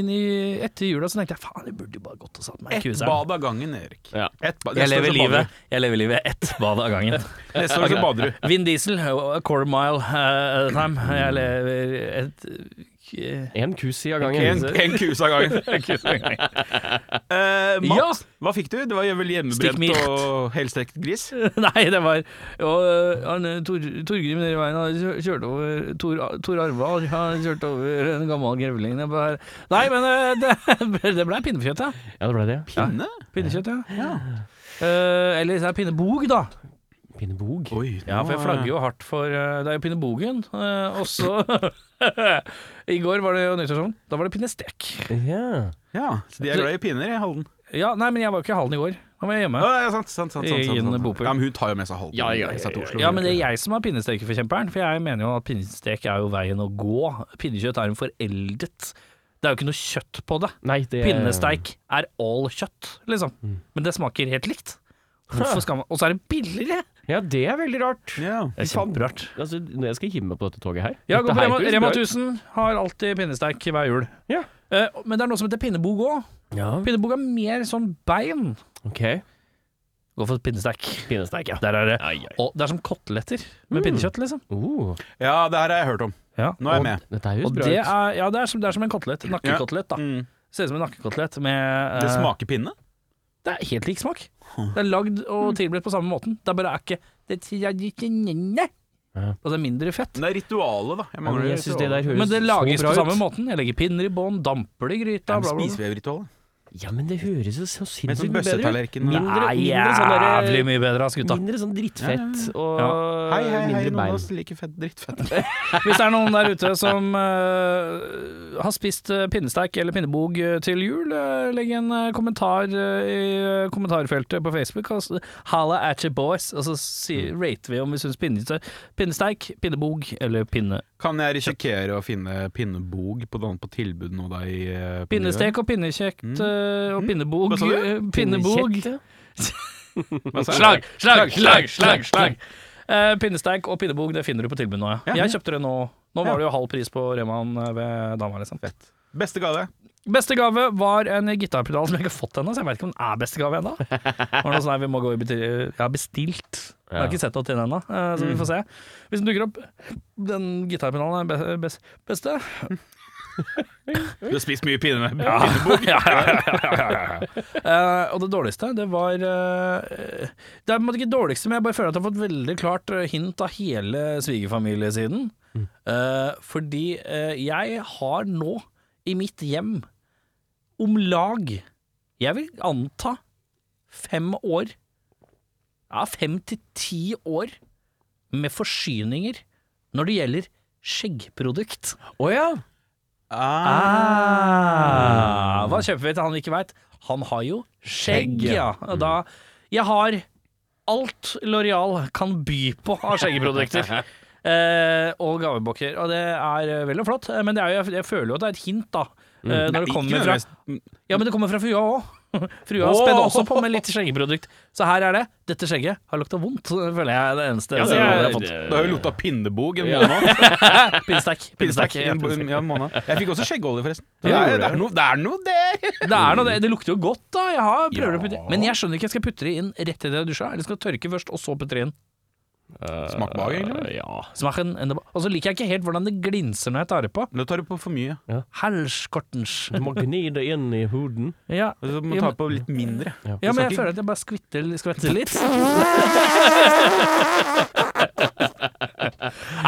[SPEAKER 3] inn i etter jula, så tenkte jeg faen, jeg burde jo bare gått og satt meg i
[SPEAKER 1] Ett
[SPEAKER 3] kuseren.
[SPEAKER 1] bad av gangen, Erik.
[SPEAKER 2] Ja.
[SPEAKER 1] Ett ba- Neste
[SPEAKER 3] Jeg
[SPEAKER 1] år
[SPEAKER 3] lever
[SPEAKER 1] så bader
[SPEAKER 3] livet. Jeg lever livet ett bad av gangen.
[SPEAKER 1] du. Neste år så bader du.
[SPEAKER 3] Vin Diesel, a quarter mile uh, at a time. Jeg lever et eh,
[SPEAKER 2] En kusi av gangen.
[SPEAKER 1] En, en kuse av gangen. Eh, mat,
[SPEAKER 3] Ja.
[SPEAKER 1] hva fikk du? Det var vel
[SPEAKER 3] Stikk mirt.
[SPEAKER 1] hjemmebrent og helstekt gris?
[SPEAKER 3] Nei, det var og, eh, han, eh, Tor, Torgrim nede i veien han kjør- kjørte over Tor, Tor Arvar han kjørte over en gammel grevling. Det bare- Nei, men eh, det, det ble pinnekjøtt, ja.
[SPEAKER 2] Ja, det ble det.
[SPEAKER 1] Pinne?
[SPEAKER 3] Pinnekjøtt, ja. Eh, eller så er det pinnebog, da.
[SPEAKER 2] Pinnebog.
[SPEAKER 1] Oi, nå
[SPEAKER 3] Ja, for jeg
[SPEAKER 1] er-
[SPEAKER 3] flagger jo hardt for eh, Det er jo pinnebogen. Uh, og så I går var det jo nyttårsaften. Da var det pinnestek.
[SPEAKER 2] Ja.
[SPEAKER 1] Ja, så de er glad i pinner i Halden.
[SPEAKER 3] Ja, nei, men jeg var jo ikke i hallen i går. Da var jeg hjemme.
[SPEAKER 1] Ja, ja, sant, sant, sant, sant, sant,
[SPEAKER 3] I en
[SPEAKER 1] sant, sant.
[SPEAKER 3] bopel.
[SPEAKER 1] Ja, men hun tar jo med seg Halden.
[SPEAKER 2] Ja, ja, ja,
[SPEAKER 1] seg til
[SPEAKER 2] ja,
[SPEAKER 1] Oslo.
[SPEAKER 3] Ja, men det er jeg som er pinnestekeforkjemperen, for jeg mener jo at pinnestek er jo veien å gå. Pinnekjøtt er en foreldet Det er jo ikke noe kjøtt på det.
[SPEAKER 2] Nei, det
[SPEAKER 3] Pinnesteik er all kjøtt, liksom. Men det smaker helt likt. Hvorfor skal man Og så er det billigere!
[SPEAKER 2] Ja, det er veldig rart.
[SPEAKER 1] Ja.
[SPEAKER 3] Det er
[SPEAKER 2] Faen.
[SPEAKER 3] kjemperart.
[SPEAKER 2] Altså, når jeg skal himme meg på dette toget her
[SPEAKER 3] Ja, gå
[SPEAKER 2] Dette
[SPEAKER 3] på
[SPEAKER 2] her
[SPEAKER 3] Rema,
[SPEAKER 2] høres
[SPEAKER 3] Rema
[SPEAKER 2] bra ut.
[SPEAKER 3] 1000 har alltid pinnesteik hver jul.
[SPEAKER 2] Ja.
[SPEAKER 3] Eh, men det er noe som heter pinnebog òg.
[SPEAKER 2] Ja,
[SPEAKER 3] Pinnebog er mer sånn bein.
[SPEAKER 2] ok.
[SPEAKER 3] Gå for pinnesteik.
[SPEAKER 2] Pinnesteik, ja.
[SPEAKER 3] Der er det.
[SPEAKER 2] Ai, ai.
[SPEAKER 3] Og det er som koteletter med
[SPEAKER 2] Mm.
[SPEAKER 3] pinnekjøtt, liksom.
[SPEAKER 2] Oh,
[SPEAKER 1] ja, det her har jeg hørt om.
[SPEAKER 3] Ja.
[SPEAKER 1] Nå er jeg
[SPEAKER 3] og,
[SPEAKER 1] med.
[SPEAKER 2] dette her høres
[SPEAKER 3] Og
[SPEAKER 2] bra
[SPEAKER 3] det
[SPEAKER 2] ut.
[SPEAKER 3] er, ja, det er som, det er som en kotelett. Nakkekotelett, da.
[SPEAKER 1] Mm.
[SPEAKER 3] Ser ut som en nakkekotelett med eh,
[SPEAKER 1] Det smaker pinne?
[SPEAKER 3] Det er helt lik smak. Det er lagd og tilberedt på samme måten. Det er bare er ikke Det er tradisjonelle.
[SPEAKER 2] Ja.
[SPEAKER 3] Altså mindre fett.
[SPEAKER 1] Det er ritualet, da. Jeg
[SPEAKER 2] Ja,
[SPEAKER 1] mangler
[SPEAKER 2] men jeg syns det der høres
[SPEAKER 3] Men det lages
[SPEAKER 2] så bra
[SPEAKER 3] på samme
[SPEAKER 2] ut.
[SPEAKER 3] måten. Jeg legger pinner i bånn, damper det i gryta, bla, bla, bla.
[SPEAKER 1] Spisevevritualet.
[SPEAKER 2] Ja, men det høres jo så
[SPEAKER 1] Med
[SPEAKER 2] sinnssykt
[SPEAKER 1] sånn
[SPEAKER 2] bedre ut.
[SPEAKER 1] bøssetallerken. og-
[SPEAKER 2] Min-
[SPEAKER 3] Det er
[SPEAKER 2] mindre sånn der-
[SPEAKER 3] jævlig mye bedre, ass, gutta.
[SPEAKER 2] Mindre sånn drittfett og
[SPEAKER 1] Hei, hei, hei,
[SPEAKER 2] mindre
[SPEAKER 1] noen av
[SPEAKER 2] bein.
[SPEAKER 1] oss liker fett, drittfett.
[SPEAKER 3] Hvis det er noen der ute som eh, har spist eh, pinnesteik eller pinnebog eh, til jul, eh, legg en eh, kommentar eh, i eh, kommentarfeltet på Facebook. og så- Halla at your boys. Og så si, rater vi om vi syns pinnesteik, pinnebog eller pinne.
[SPEAKER 1] Kan jeg risikere å finne pinnebog på, den- på tilbud nå da i eh, på
[SPEAKER 3] Pinnestek og pinnekjekt
[SPEAKER 1] Mm.
[SPEAKER 3] eh, og pinnebog.
[SPEAKER 1] Hva sa du?
[SPEAKER 3] eh, Pinnebog.
[SPEAKER 2] Kjekt, ja.
[SPEAKER 1] Nyø? Hva sa jeg?
[SPEAKER 3] Slag, slag, slag, slag, slag. Eh, pinnesteik og pinnebog, det finner du på tilbud nå, ja.
[SPEAKER 1] Ja.
[SPEAKER 3] Jeg kjøpte det nå.
[SPEAKER 1] Ja.
[SPEAKER 3] Nå var det jo halv pris på Remaen eh, ved dama, liksom.
[SPEAKER 1] Fett. Beste gave?
[SPEAKER 3] Beste gave var en gitarpedal som jeg ikke har fått ennå, så jeg vet ikke om den er beste gave ennå. Det var noe sånn her, vi må gå i buti- Jeg har bestilt. Jeg har
[SPEAKER 2] Ja.
[SPEAKER 3] ikke sett noe til den ennå, eh, så vi får se. Hvis den dukker opp Den gitarpedalen er be- bes- beste.
[SPEAKER 1] Du har spist mye pinne med
[SPEAKER 3] Ja. ja, ja, ja, ja, ja. Eh, og det dårligste, det var eh, Det er på en måte ikke det dårligste, men jeg bare føler at jeg har fått veldig klart eh, hint av hele svigerfamiliesiden. Eh, fordi eh, jeg har nå i mitt hjem om lag, jeg vil anta fem år Ja, fem til ti år med forsyninger når det gjelder skjeggprodukt.
[SPEAKER 2] Å ja!
[SPEAKER 3] Ah, hva kjøper vi til han vi ikke veit? Han har jo skjegg,
[SPEAKER 2] Skjegg,
[SPEAKER 3] ja.
[SPEAKER 2] ja.
[SPEAKER 3] Og Da, jeg har alt Loreal kan by på av skjeggeprodukter. Eh, og gavebukker. Og det er eh, vel og flott, eh, men det er jo, jeg, jeg føler jo at det er et hint, da. eh, når det kommer fra
[SPEAKER 1] Mm.
[SPEAKER 3] Ja, men det kommer fra frua òg. Frua
[SPEAKER 1] Åh!
[SPEAKER 3] spenner også på med litt skjeggeprodukt. Så her er det. Dette skjegget har lukta vondt, føler jeg er det eneste
[SPEAKER 2] Ja,
[SPEAKER 3] Altså, jeg har fått.
[SPEAKER 1] Du har jo lota pinnebog en måned.
[SPEAKER 3] Pinnstek.
[SPEAKER 1] Pinnestek
[SPEAKER 3] Pinnstek, ja,
[SPEAKER 1] en-
[SPEAKER 3] pinnstek.
[SPEAKER 1] ja, en måned. Jeg fikk også skjeggolje, forresten.
[SPEAKER 3] Ja,
[SPEAKER 1] Det er,
[SPEAKER 3] gjorde
[SPEAKER 1] det er, noe, det er noe der!
[SPEAKER 3] Det er noe, det, det lukter jo godt, da. Jeg har prøver å putte
[SPEAKER 1] Ja.
[SPEAKER 3] Men jeg skjønner ikke, jeg skal putte det inn rett idet jeg dusja, eller skal jeg tørke først, og så putte det inn?
[SPEAKER 1] Smak behag, egentlig, vel?
[SPEAKER 2] Ja.
[SPEAKER 3] Smaken enda ba- Og så liker jeg ikke helt hvordan det glinser når jeg tar det på.
[SPEAKER 1] Da tar du på for mye.
[SPEAKER 3] Helskortens.
[SPEAKER 2] Du må gni det inn i huden.
[SPEAKER 3] Ja,
[SPEAKER 1] Og så må
[SPEAKER 3] Ja,
[SPEAKER 1] du ta
[SPEAKER 3] men-
[SPEAKER 1] på litt mindre.
[SPEAKER 3] ja, men
[SPEAKER 1] skal
[SPEAKER 3] jeg
[SPEAKER 1] ikke-
[SPEAKER 3] føler at jeg bare skvitter, skvetter litt.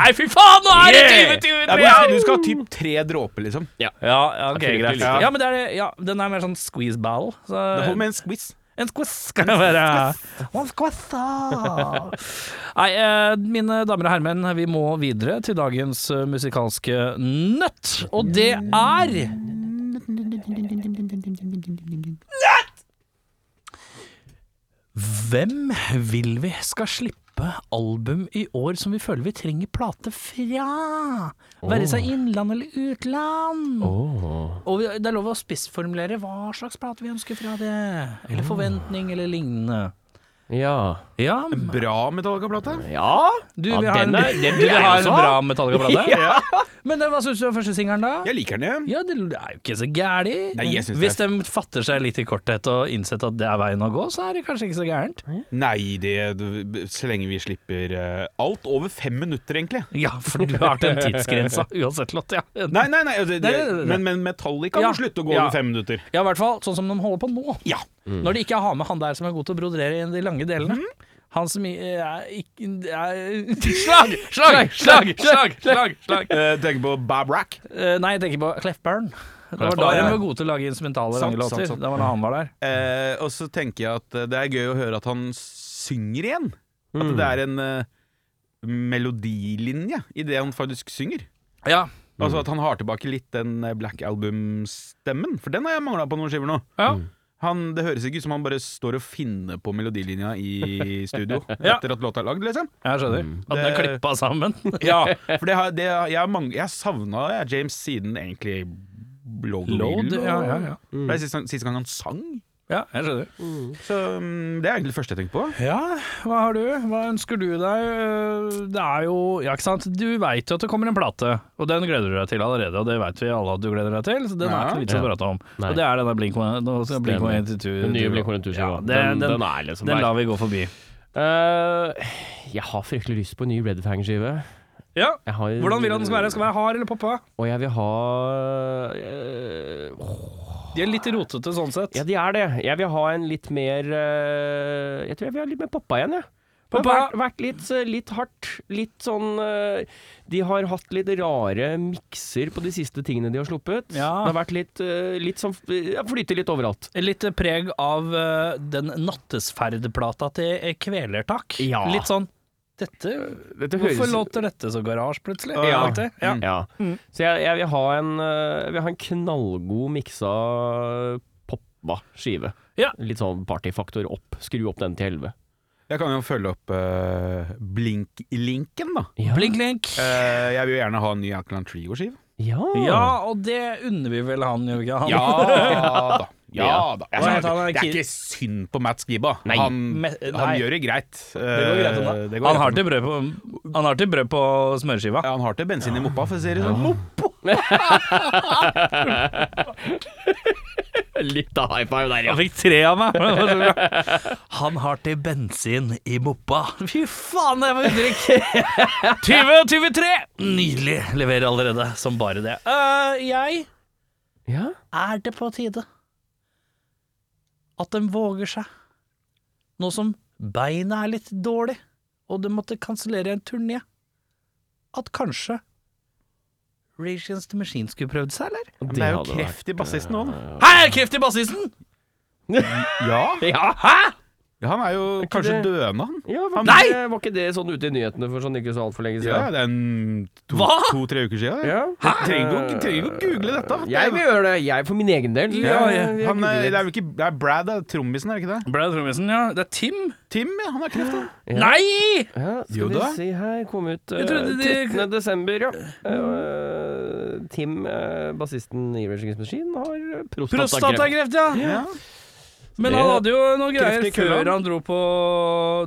[SPEAKER 3] Nei, fy faen, nå er det
[SPEAKER 2] Yeah!
[SPEAKER 3] 2023!
[SPEAKER 1] Ja, men du skal ha typ tre dråper, liksom.
[SPEAKER 3] Ja, ja, ok,
[SPEAKER 2] fryktelig
[SPEAKER 3] greit.
[SPEAKER 2] lite.
[SPEAKER 3] Ja, men det er, ja, den er mer sånn squeeze battle. Så
[SPEAKER 1] Det holder med en squiz.
[SPEAKER 3] en squeeze skal det være. One squeeze, da. Nei, eh, mine damer og herremenn, vi må videre til dagens eh, musikalske nøtt, og det er Hvem vil vi skal slippe album i år som vi føler vi trenger plate fra? Være seg innland eller utland. Og vi- det er lov å spissformulere hva slags plate vi ønsker fra det. Eller forventning, eller lignende.
[SPEAKER 2] Ja.
[SPEAKER 3] Ja, m-
[SPEAKER 1] Bra Metallica-plate.
[SPEAKER 2] Ja,
[SPEAKER 3] du
[SPEAKER 2] Um, ja
[SPEAKER 3] vil ha en,
[SPEAKER 2] den, er, den
[SPEAKER 3] du vil ha en
[SPEAKER 2] også ha.
[SPEAKER 3] bra Metallica-plate? Men eh, hva syns du om første singelen, da?
[SPEAKER 1] Jeg liker den, jeg.
[SPEAKER 3] Ja, det er jo ikke så gærent.
[SPEAKER 1] Nei, jeg synes
[SPEAKER 3] Hvis de fatter seg litt i korthet og innsett at det er veien å gå, så er det kanskje ikke så gærent.
[SPEAKER 1] Nei, det du- Så lenge vi slipper eh, alt over fem minutter, egentlig.
[SPEAKER 3] Ja, for du har den tidsgrensa uansett, Lotte. Ja.
[SPEAKER 1] Nei, nei, nei. Det, det,
[SPEAKER 3] Nei, nei, nei.
[SPEAKER 1] men, men Metallica
[SPEAKER 3] Ja.
[SPEAKER 1] må slutte å gå
[SPEAKER 3] Ja.
[SPEAKER 1] over fem minutter.
[SPEAKER 3] ja, i hvert fall sånn som de holder på nå.
[SPEAKER 1] Ja.
[SPEAKER 3] Når de ikke har med han der som er god til å brodere i de lange delene.
[SPEAKER 1] Mhm.
[SPEAKER 3] Han som i- er ikke er, Slag! Slag! Slag! Slag! slag, slag.
[SPEAKER 1] Eh, tenker på Bab Rack.
[SPEAKER 3] Eh, nei, jeg tenker på Clef Burn. Det var
[SPEAKER 2] Clef
[SPEAKER 3] da
[SPEAKER 1] Burn,
[SPEAKER 3] de
[SPEAKER 1] ja.
[SPEAKER 3] var gode til å lage instrumentale
[SPEAKER 1] Sant,
[SPEAKER 3] lange låter.
[SPEAKER 1] sant, sant.
[SPEAKER 3] Det var da han var der.
[SPEAKER 1] Eh, og så tenker jeg at eh, det er gøy å høre at han synger igjen. At
[SPEAKER 3] Mm.
[SPEAKER 1] det er en eh, melodilinje i det han faktisk synger.
[SPEAKER 3] Ja.
[SPEAKER 1] Altså At han har tilbake litt den eh, Black Album-stemmen, for den har jeg mangla på noen skiver nå.
[SPEAKER 3] Ja.
[SPEAKER 1] Han, det høres ikke ut som han bare står og finner på melodilinja i studio
[SPEAKER 3] Ja.
[SPEAKER 1] etter at låta er lagd, liksom.
[SPEAKER 3] Jeg skjønner. At den er
[SPEAKER 1] Det-
[SPEAKER 3] klippa sammen.
[SPEAKER 1] Ja, for det har, det, har- jeg, har mang- jeg savna James siden egentlig Load.
[SPEAKER 3] Load, ja, ja, ja. Mm.
[SPEAKER 1] Det er siste, siste gang han sang.
[SPEAKER 3] Ja, jeg skjønner.
[SPEAKER 1] Så mm, det er egentlig det første jeg tenker på.
[SPEAKER 3] Ja, hva har du? Hva ønsker du deg? Eh, Det er jo Ja, ikke sant. Du veit jo at det kommer en plate, og den gleder du deg til allerede. Og det veit vi alle at du gleder deg til, så den er
[SPEAKER 1] Ja.
[SPEAKER 3] ikke noe vits å
[SPEAKER 2] Ja.
[SPEAKER 3] prate om.
[SPEAKER 2] Nei.
[SPEAKER 3] Og det er denne Blink
[SPEAKER 2] Stemmer. Den nye Blink 182.
[SPEAKER 3] Ja, den,
[SPEAKER 2] den,
[SPEAKER 3] den,
[SPEAKER 2] den
[SPEAKER 3] den,
[SPEAKER 2] er liksom der.
[SPEAKER 3] lar vi gå forbi.
[SPEAKER 2] Eh, jeg har fryktelig lyst på en ny Red Fang-skive.
[SPEAKER 3] Ja.
[SPEAKER 2] Jeg har-
[SPEAKER 3] Hvordan vil han den skal være? Skal den være hard eller poppa?
[SPEAKER 2] Og jeg vil ha eh,
[SPEAKER 3] De er litt rotete sånn sett.
[SPEAKER 2] Ja, de er det. Jeg vil ha en litt mer eh, Jeg tror jeg vil ha litt mer poppa igjen, jeg. Det har
[SPEAKER 3] Poppa!
[SPEAKER 2] Vært, vært litt, eh, litt hardt. Litt sånn eh, De har hatt litt rare mikser på de siste tingene de har sluppet.
[SPEAKER 3] Ja.
[SPEAKER 2] Det har vært litt, eh, litt sånn ja, Flyter litt overalt.
[SPEAKER 3] Litt preg av eh, den nattesferdplata til eh, Kvelertak.
[SPEAKER 2] Ja.
[SPEAKER 3] Litt sånn Dette Mm.
[SPEAKER 2] Dette
[SPEAKER 3] Hvorfor låter dette så garasje, plutselig?
[SPEAKER 2] Ja.
[SPEAKER 3] Aktig. ja.
[SPEAKER 1] Mm.
[SPEAKER 2] Ja. Så jeg, jeg vil ha en eh, Jeg vil ha en knallgod miksa poppa skive.
[SPEAKER 3] Ja.
[SPEAKER 2] Litt sånn partyfaktor opp. Skru opp den til elleve.
[SPEAKER 1] Jeg kan jo følge opp eh, Blink-linken, da.
[SPEAKER 2] Ja.
[SPEAKER 3] Blink, blink.
[SPEAKER 1] Eh, jeg vil jo gjerne ha en ny Ackland Trio-skive.
[SPEAKER 2] Ja.
[SPEAKER 3] Ja, og det unner vi vel han, gjør vi ikke? Han.
[SPEAKER 1] da.
[SPEAKER 2] Ja.
[SPEAKER 1] da.
[SPEAKER 3] Hva heter han?
[SPEAKER 1] det er ikke synd på Matt Skiba.
[SPEAKER 2] Nei.
[SPEAKER 1] Han,
[SPEAKER 3] Me-
[SPEAKER 1] han
[SPEAKER 3] nei.
[SPEAKER 1] gjør det greit.
[SPEAKER 3] går greit, han da.
[SPEAKER 1] Eh, det går
[SPEAKER 3] Han
[SPEAKER 1] greit,
[SPEAKER 3] har til brød på, han har til brød på smørskiva.
[SPEAKER 1] ja, han har til bensin i moppa, for å si det sånn.
[SPEAKER 2] Litt av high five der,
[SPEAKER 3] Han fikk tre av meg. men det var så bra. Han har til bensin i moppa. Fy faen, det var uttrykk! 2023! Nydelig. Leverer allerede som bare det. Eh, jeg
[SPEAKER 2] Ja.
[SPEAKER 3] er det på tide at de våger seg. Nå som beina er litt dårlig, og de måtte kansellere en turné, at kanskje Rage Against the Machine skulle prøvd seg, eller?
[SPEAKER 1] Men det er jo kreft i bassisten òg, da.
[SPEAKER 3] Hæ, er det kreft i bassisten?!
[SPEAKER 1] Ja.
[SPEAKER 2] Ja.
[SPEAKER 1] Han er jo kanskje
[SPEAKER 2] det-
[SPEAKER 1] døende, han.
[SPEAKER 2] Ja, var,
[SPEAKER 3] Nei!
[SPEAKER 2] Ikke det, var ikke det sånn ute i nyhetene for sånn ikke så altfor lenge
[SPEAKER 1] Ja,
[SPEAKER 2] siden?
[SPEAKER 1] det er en to-
[SPEAKER 3] Hva?
[SPEAKER 1] to-tre uker siden. det.
[SPEAKER 2] Ja.
[SPEAKER 1] Trenger ikke å- trenger ikke å google dette. Det er-
[SPEAKER 2] Jeg vil gjøre det, jeg for min egen del.
[SPEAKER 1] Ja,
[SPEAKER 2] Jeg- jeg
[SPEAKER 1] han,
[SPEAKER 2] googler
[SPEAKER 1] er-
[SPEAKER 2] litt.
[SPEAKER 1] det er jo ikke det er Brad, det er trommisen, er det ikke det?
[SPEAKER 3] Ble det trommisen, ja? Det er Tim?
[SPEAKER 1] Tim, ja. Han har kreft, han.
[SPEAKER 2] Ja.
[SPEAKER 3] Nei!
[SPEAKER 2] ja, skal
[SPEAKER 1] Jo da.
[SPEAKER 2] vi se her, kom ut eh,
[SPEAKER 3] Jeg trodde de-
[SPEAKER 2] 13. desember, ja. Eh, Tim, eh, bassisten i Rage Against the Machine, har eh, prostatakreft.
[SPEAKER 3] Prostatakreft, ja.
[SPEAKER 1] Ja.
[SPEAKER 3] Men han hadde jo noe greier
[SPEAKER 1] Kreft i kølla.
[SPEAKER 3] før han dro på,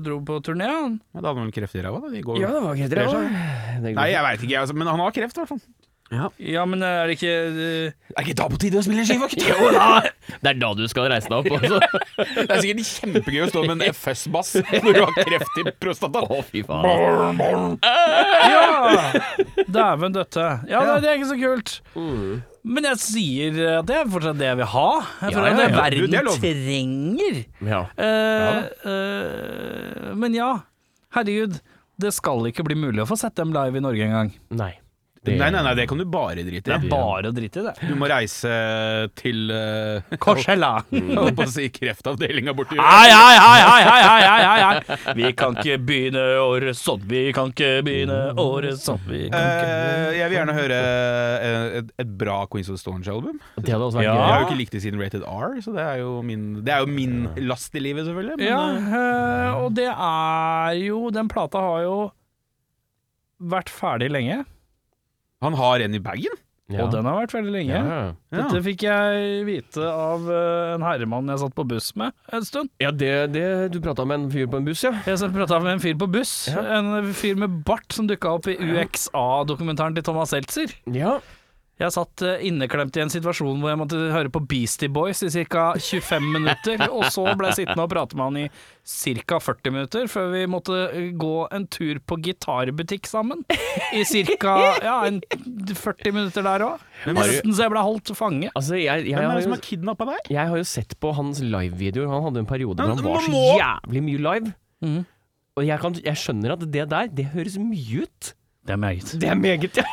[SPEAKER 3] dro på turné, han.
[SPEAKER 1] Ja, Da hadde han vel kreft i ræva, da. De går
[SPEAKER 2] Ja, det var kreft
[SPEAKER 1] Det
[SPEAKER 2] i altså. ræva.
[SPEAKER 1] skjer.
[SPEAKER 2] Det går
[SPEAKER 1] Nei,
[SPEAKER 2] fint.
[SPEAKER 1] jeg veit ikke, jeg, altså, men han har kreft i hvert fall. Ja.
[SPEAKER 3] Ja, men er det ikke eh,
[SPEAKER 1] Er ikke da på tide å spille en skivakt?
[SPEAKER 2] Jo da! Det er da du skal reise deg opp, altså.
[SPEAKER 1] Det er sikkert kjempegøy å stå med en FS-bass når du har kreft i prostata.
[SPEAKER 2] Å, fy faen.
[SPEAKER 3] Ja! Dæven døtte. Ja, det, det er ikke så kult. Men jeg sier at det er fortsatt det jeg vil ha. Jeg
[SPEAKER 2] Ja,
[SPEAKER 3] føler
[SPEAKER 2] ja,
[SPEAKER 3] at
[SPEAKER 2] ja.
[SPEAKER 3] det
[SPEAKER 1] Du,
[SPEAKER 3] er
[SPEAKER 1] det er lov.
[SPEAKER 3] verden trenger.
[SPEAKER 2] Ja.
[SPEAKER 3] Eh, eh, men ja, herregud. Det skal ikke bli mulig å få sett dem live i Norge engang.
[SPEAKER 2] Nei. Det-
[SPEAKER 1] Nei, nei, nei, det kan du bare drite
[SPEAKER 3] Det er
[SPEAKER 1] i.
[SPEAKER 3] bare å drite i det.
[SPEAKER 1] Du må reise til eh,
[SPEAKER 3] Korsella!
[SPEAKER 1] Jeg holdt på å si kreftavdelinga borti
[SPEAKER 3] Hei, hei, hei, hei, hei, hei, hei, hei, hei. Vi kan ikke begynne året sånn, vi kan ikke begynne året sånn, vi kan ikke
[SPEAKER 1] Eh, jeg vil gjerne høre eh, et, et bra Queens of the Stones-album.
[SPEAKER 2] Det hadde også vært
[SPEAKER 1] Jeg
[SPEAKER 3] Ja.
[SPEAKER 1] har jo ikke likt det siden Rated R, så det er jo min, det er jo min last i livet, selvfølgelig. Men,
[SPEAKER 3] Ja,
[SPEAKER 1] eh,
[SPEAKER 3] eh, og det er jo Den plata har jo vært ferdig lenge,
[SPEAKER 1] eh, han har en i bagen.
[SPEAKER 2] gøy.
[SPEAKER 3] og den har vært veldig lenge.
[SPEAKER 2] Ja. Ja.
[SPEAKER 1] Ja.
[SPEAKER 3] Dette fikk jeg vite av eh, en herremann jeg satt på buss med en stund.
[SPEAKER 2] Ja, det, det Du prata med en fyr på en buss, ja?
[SPEAKER 3] Jeg prata med en fyr på buss, en fyr med bart som dukka opp i UXA-dokumentaren til Thomas Seltzer.
[SPEAKER 2] Ja.
[SPEAKER 3] Jeg satt eh, inneklemt i en situasjon hvor jeg måtte høre på Beastie Boys i ca. 25 minutter, og så ble jeg sittende og prate med han i ca. 40 minutter, før vi måtte eh, gå en tur på gitarbutikk sammen. I ca. Ja, en 40 minutter der òg. Nesten så jeg ble holdt fange.
[SPEAKER 2] Altså, jeg, jeg,
[SPEAKER 1] Hvem er
[SPEAKER 2] har
[SPEAKER 1] det som
[SPEAKER 2] jo,
[SPEAKER 1] har kidnappa deg?
[SPEAKER 2] jeg har jo sett på hans livevideoer. Han hadde en periode hvor
[SPEAKER 1] Men
[SPEAKER 2] han var
[SPEAKER 1] man
[SPEAKER 2] så
[SPEAKER 1] må-
[SPEAKER 2] jævlig mye live.
[SPEAKER 3] Mhm.
[SPEAKER 2] Og jeg, kan, jeg skjønner at det der, det høres mye ut.
[SPEAKER 3] Det er meget. Eh,
[SPEAKER 2] Det er meget, ja.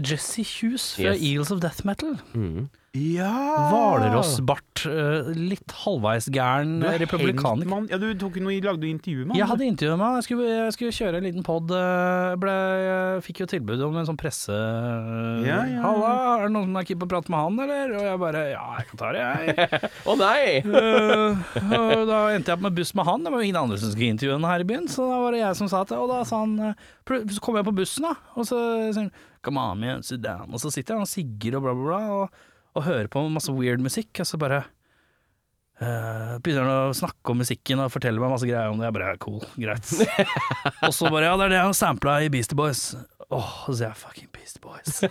[SPEAKER 3] Jesse Hughes fra
[SPEAKER 2] Yes.
[SPEAKER 3] Eels of Death Metal.
[SPEAKER 1] Ja
[SPEAKER 3] Hvalerosbart, eh, litt halvveisgæren
[SPEAKER 1] Du er hengt,
[SPEAKER 3] republikaner.
[SPEAKER 1] mann. Ja, du tok noe, lagde noe intervju med
[SPEAKER 3] Jeg
[SPEAKER 1] han.
[SPEAKER 3] hadde intervjuet meg, jeg skulle, jeg skulle kjøre en liten pod. eh, Fikk jo tilbud om en sånn presse... eh,
[SPEAKER 1] Ja, ja.
[SPEAKER 3] Halla, er det noen som er keen på å prate med han, eller? Og jeg bare ja, jeg kan ta det, jeg.
[SPEAKER 2] Å nei!
[SPEAKER 3] Eh, og da endte jeg opp med buss med han. Det var jo ingen andre som skulle intervjue han her i byen, så da var det jeg som sa det. Og da sa han eh, pl- Så kom jeg på bussen, da, og så sier han Come on, man, sit down. Og så sitter han og sigger og bla, bla, bla, og, og hører på masse weird musikk, og så bare eh, begynner han å snakke om musikken og fortelle meg masse greier om det. Jeg bare cool, greit. og så bare ja, det er det han sampla i Beastie Boys. Åh, så sier jeg fucking Beastie Boys.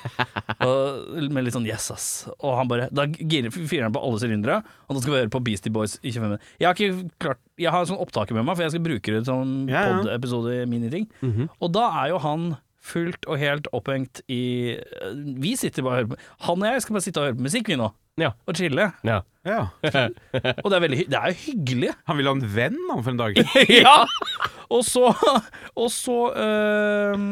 [SPEAKER 3] og, med litt sånn yes, ass. Og han bare Da girer fyrer han på alle sylindere, og nå skal vi høre på Beastie Boys i 25 minutter. Jeg har ikke klart Jeg har sånn opptaker med meg, for jeg skal bruke det som
[SPEAKER 1] Ja, ja.
[SPEAKER 3] pod-episode i miniting.
[SPEAKER 2] Mhm.
[SPEAKER 3] Og da er jo han fullt og helt opphengt i Vi sitter bare og hører på Han og jeg skal bare sitte og høre på musikk, vi nå.
[SPEAKER 2] Ja.
[SPEAKER 3] Og chille.
[SPEAKER 2] Ja.
[SPEAKER 1] Ja.
[SPEAKER 3] Og det er, veldig, hy- det er jo hyggelig.
[SPEAKER 1] Han ville ha en venn han for en dag.
[SPEAKER 3] ja! Og så Og så øhm,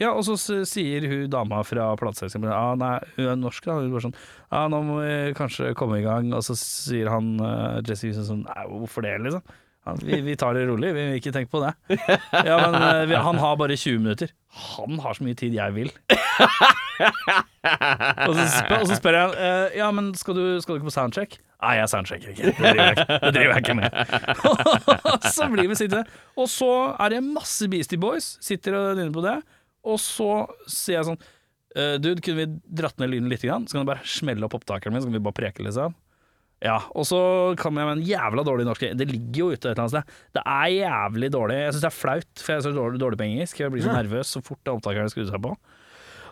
[SPEAKER 3] Ja, og så s- sier hun dama fra plateselskapet Ja, nei, hun er norsk, da. Hun bare sånn Ja, nå må vi kanskje komme i gang. Og så sier han uh, Jesse Houston sånn Nei, hvorfor det, liksom? Ja, vi, vi tar det rolig, vi vil ikke tenke på det. Ja, men eh, vi, han har bare 20 minutter. Han har så mye tid jeg vil. og, så spør, og så spør jeg eh, Ja, men skal du, skal du ikke på soundcheck? Nei, jeg soundchecker ikke. Det driver jeg ikke, det driver jeg ikke med. så blir vi sittende. Og så er det masse Beastie Boys. Sitter og nynner på det. Og så sier jeg sånn eh, Dude, kunne vi dratt ned lyden litt? Grann? Så kan du bare smelle opp opptakeren min, så kan vi bare preke, liksom. Ja, og så kan jeg med en jævla dårlig norsk Det ligger jo ute et eller annet sted. Det er jævlig dårlig. Jeg syns det er flaut, for jeg er så dårlig, dårlig på engelsk. Jeg blir så nervøs så fort opptakerne skrur seg på.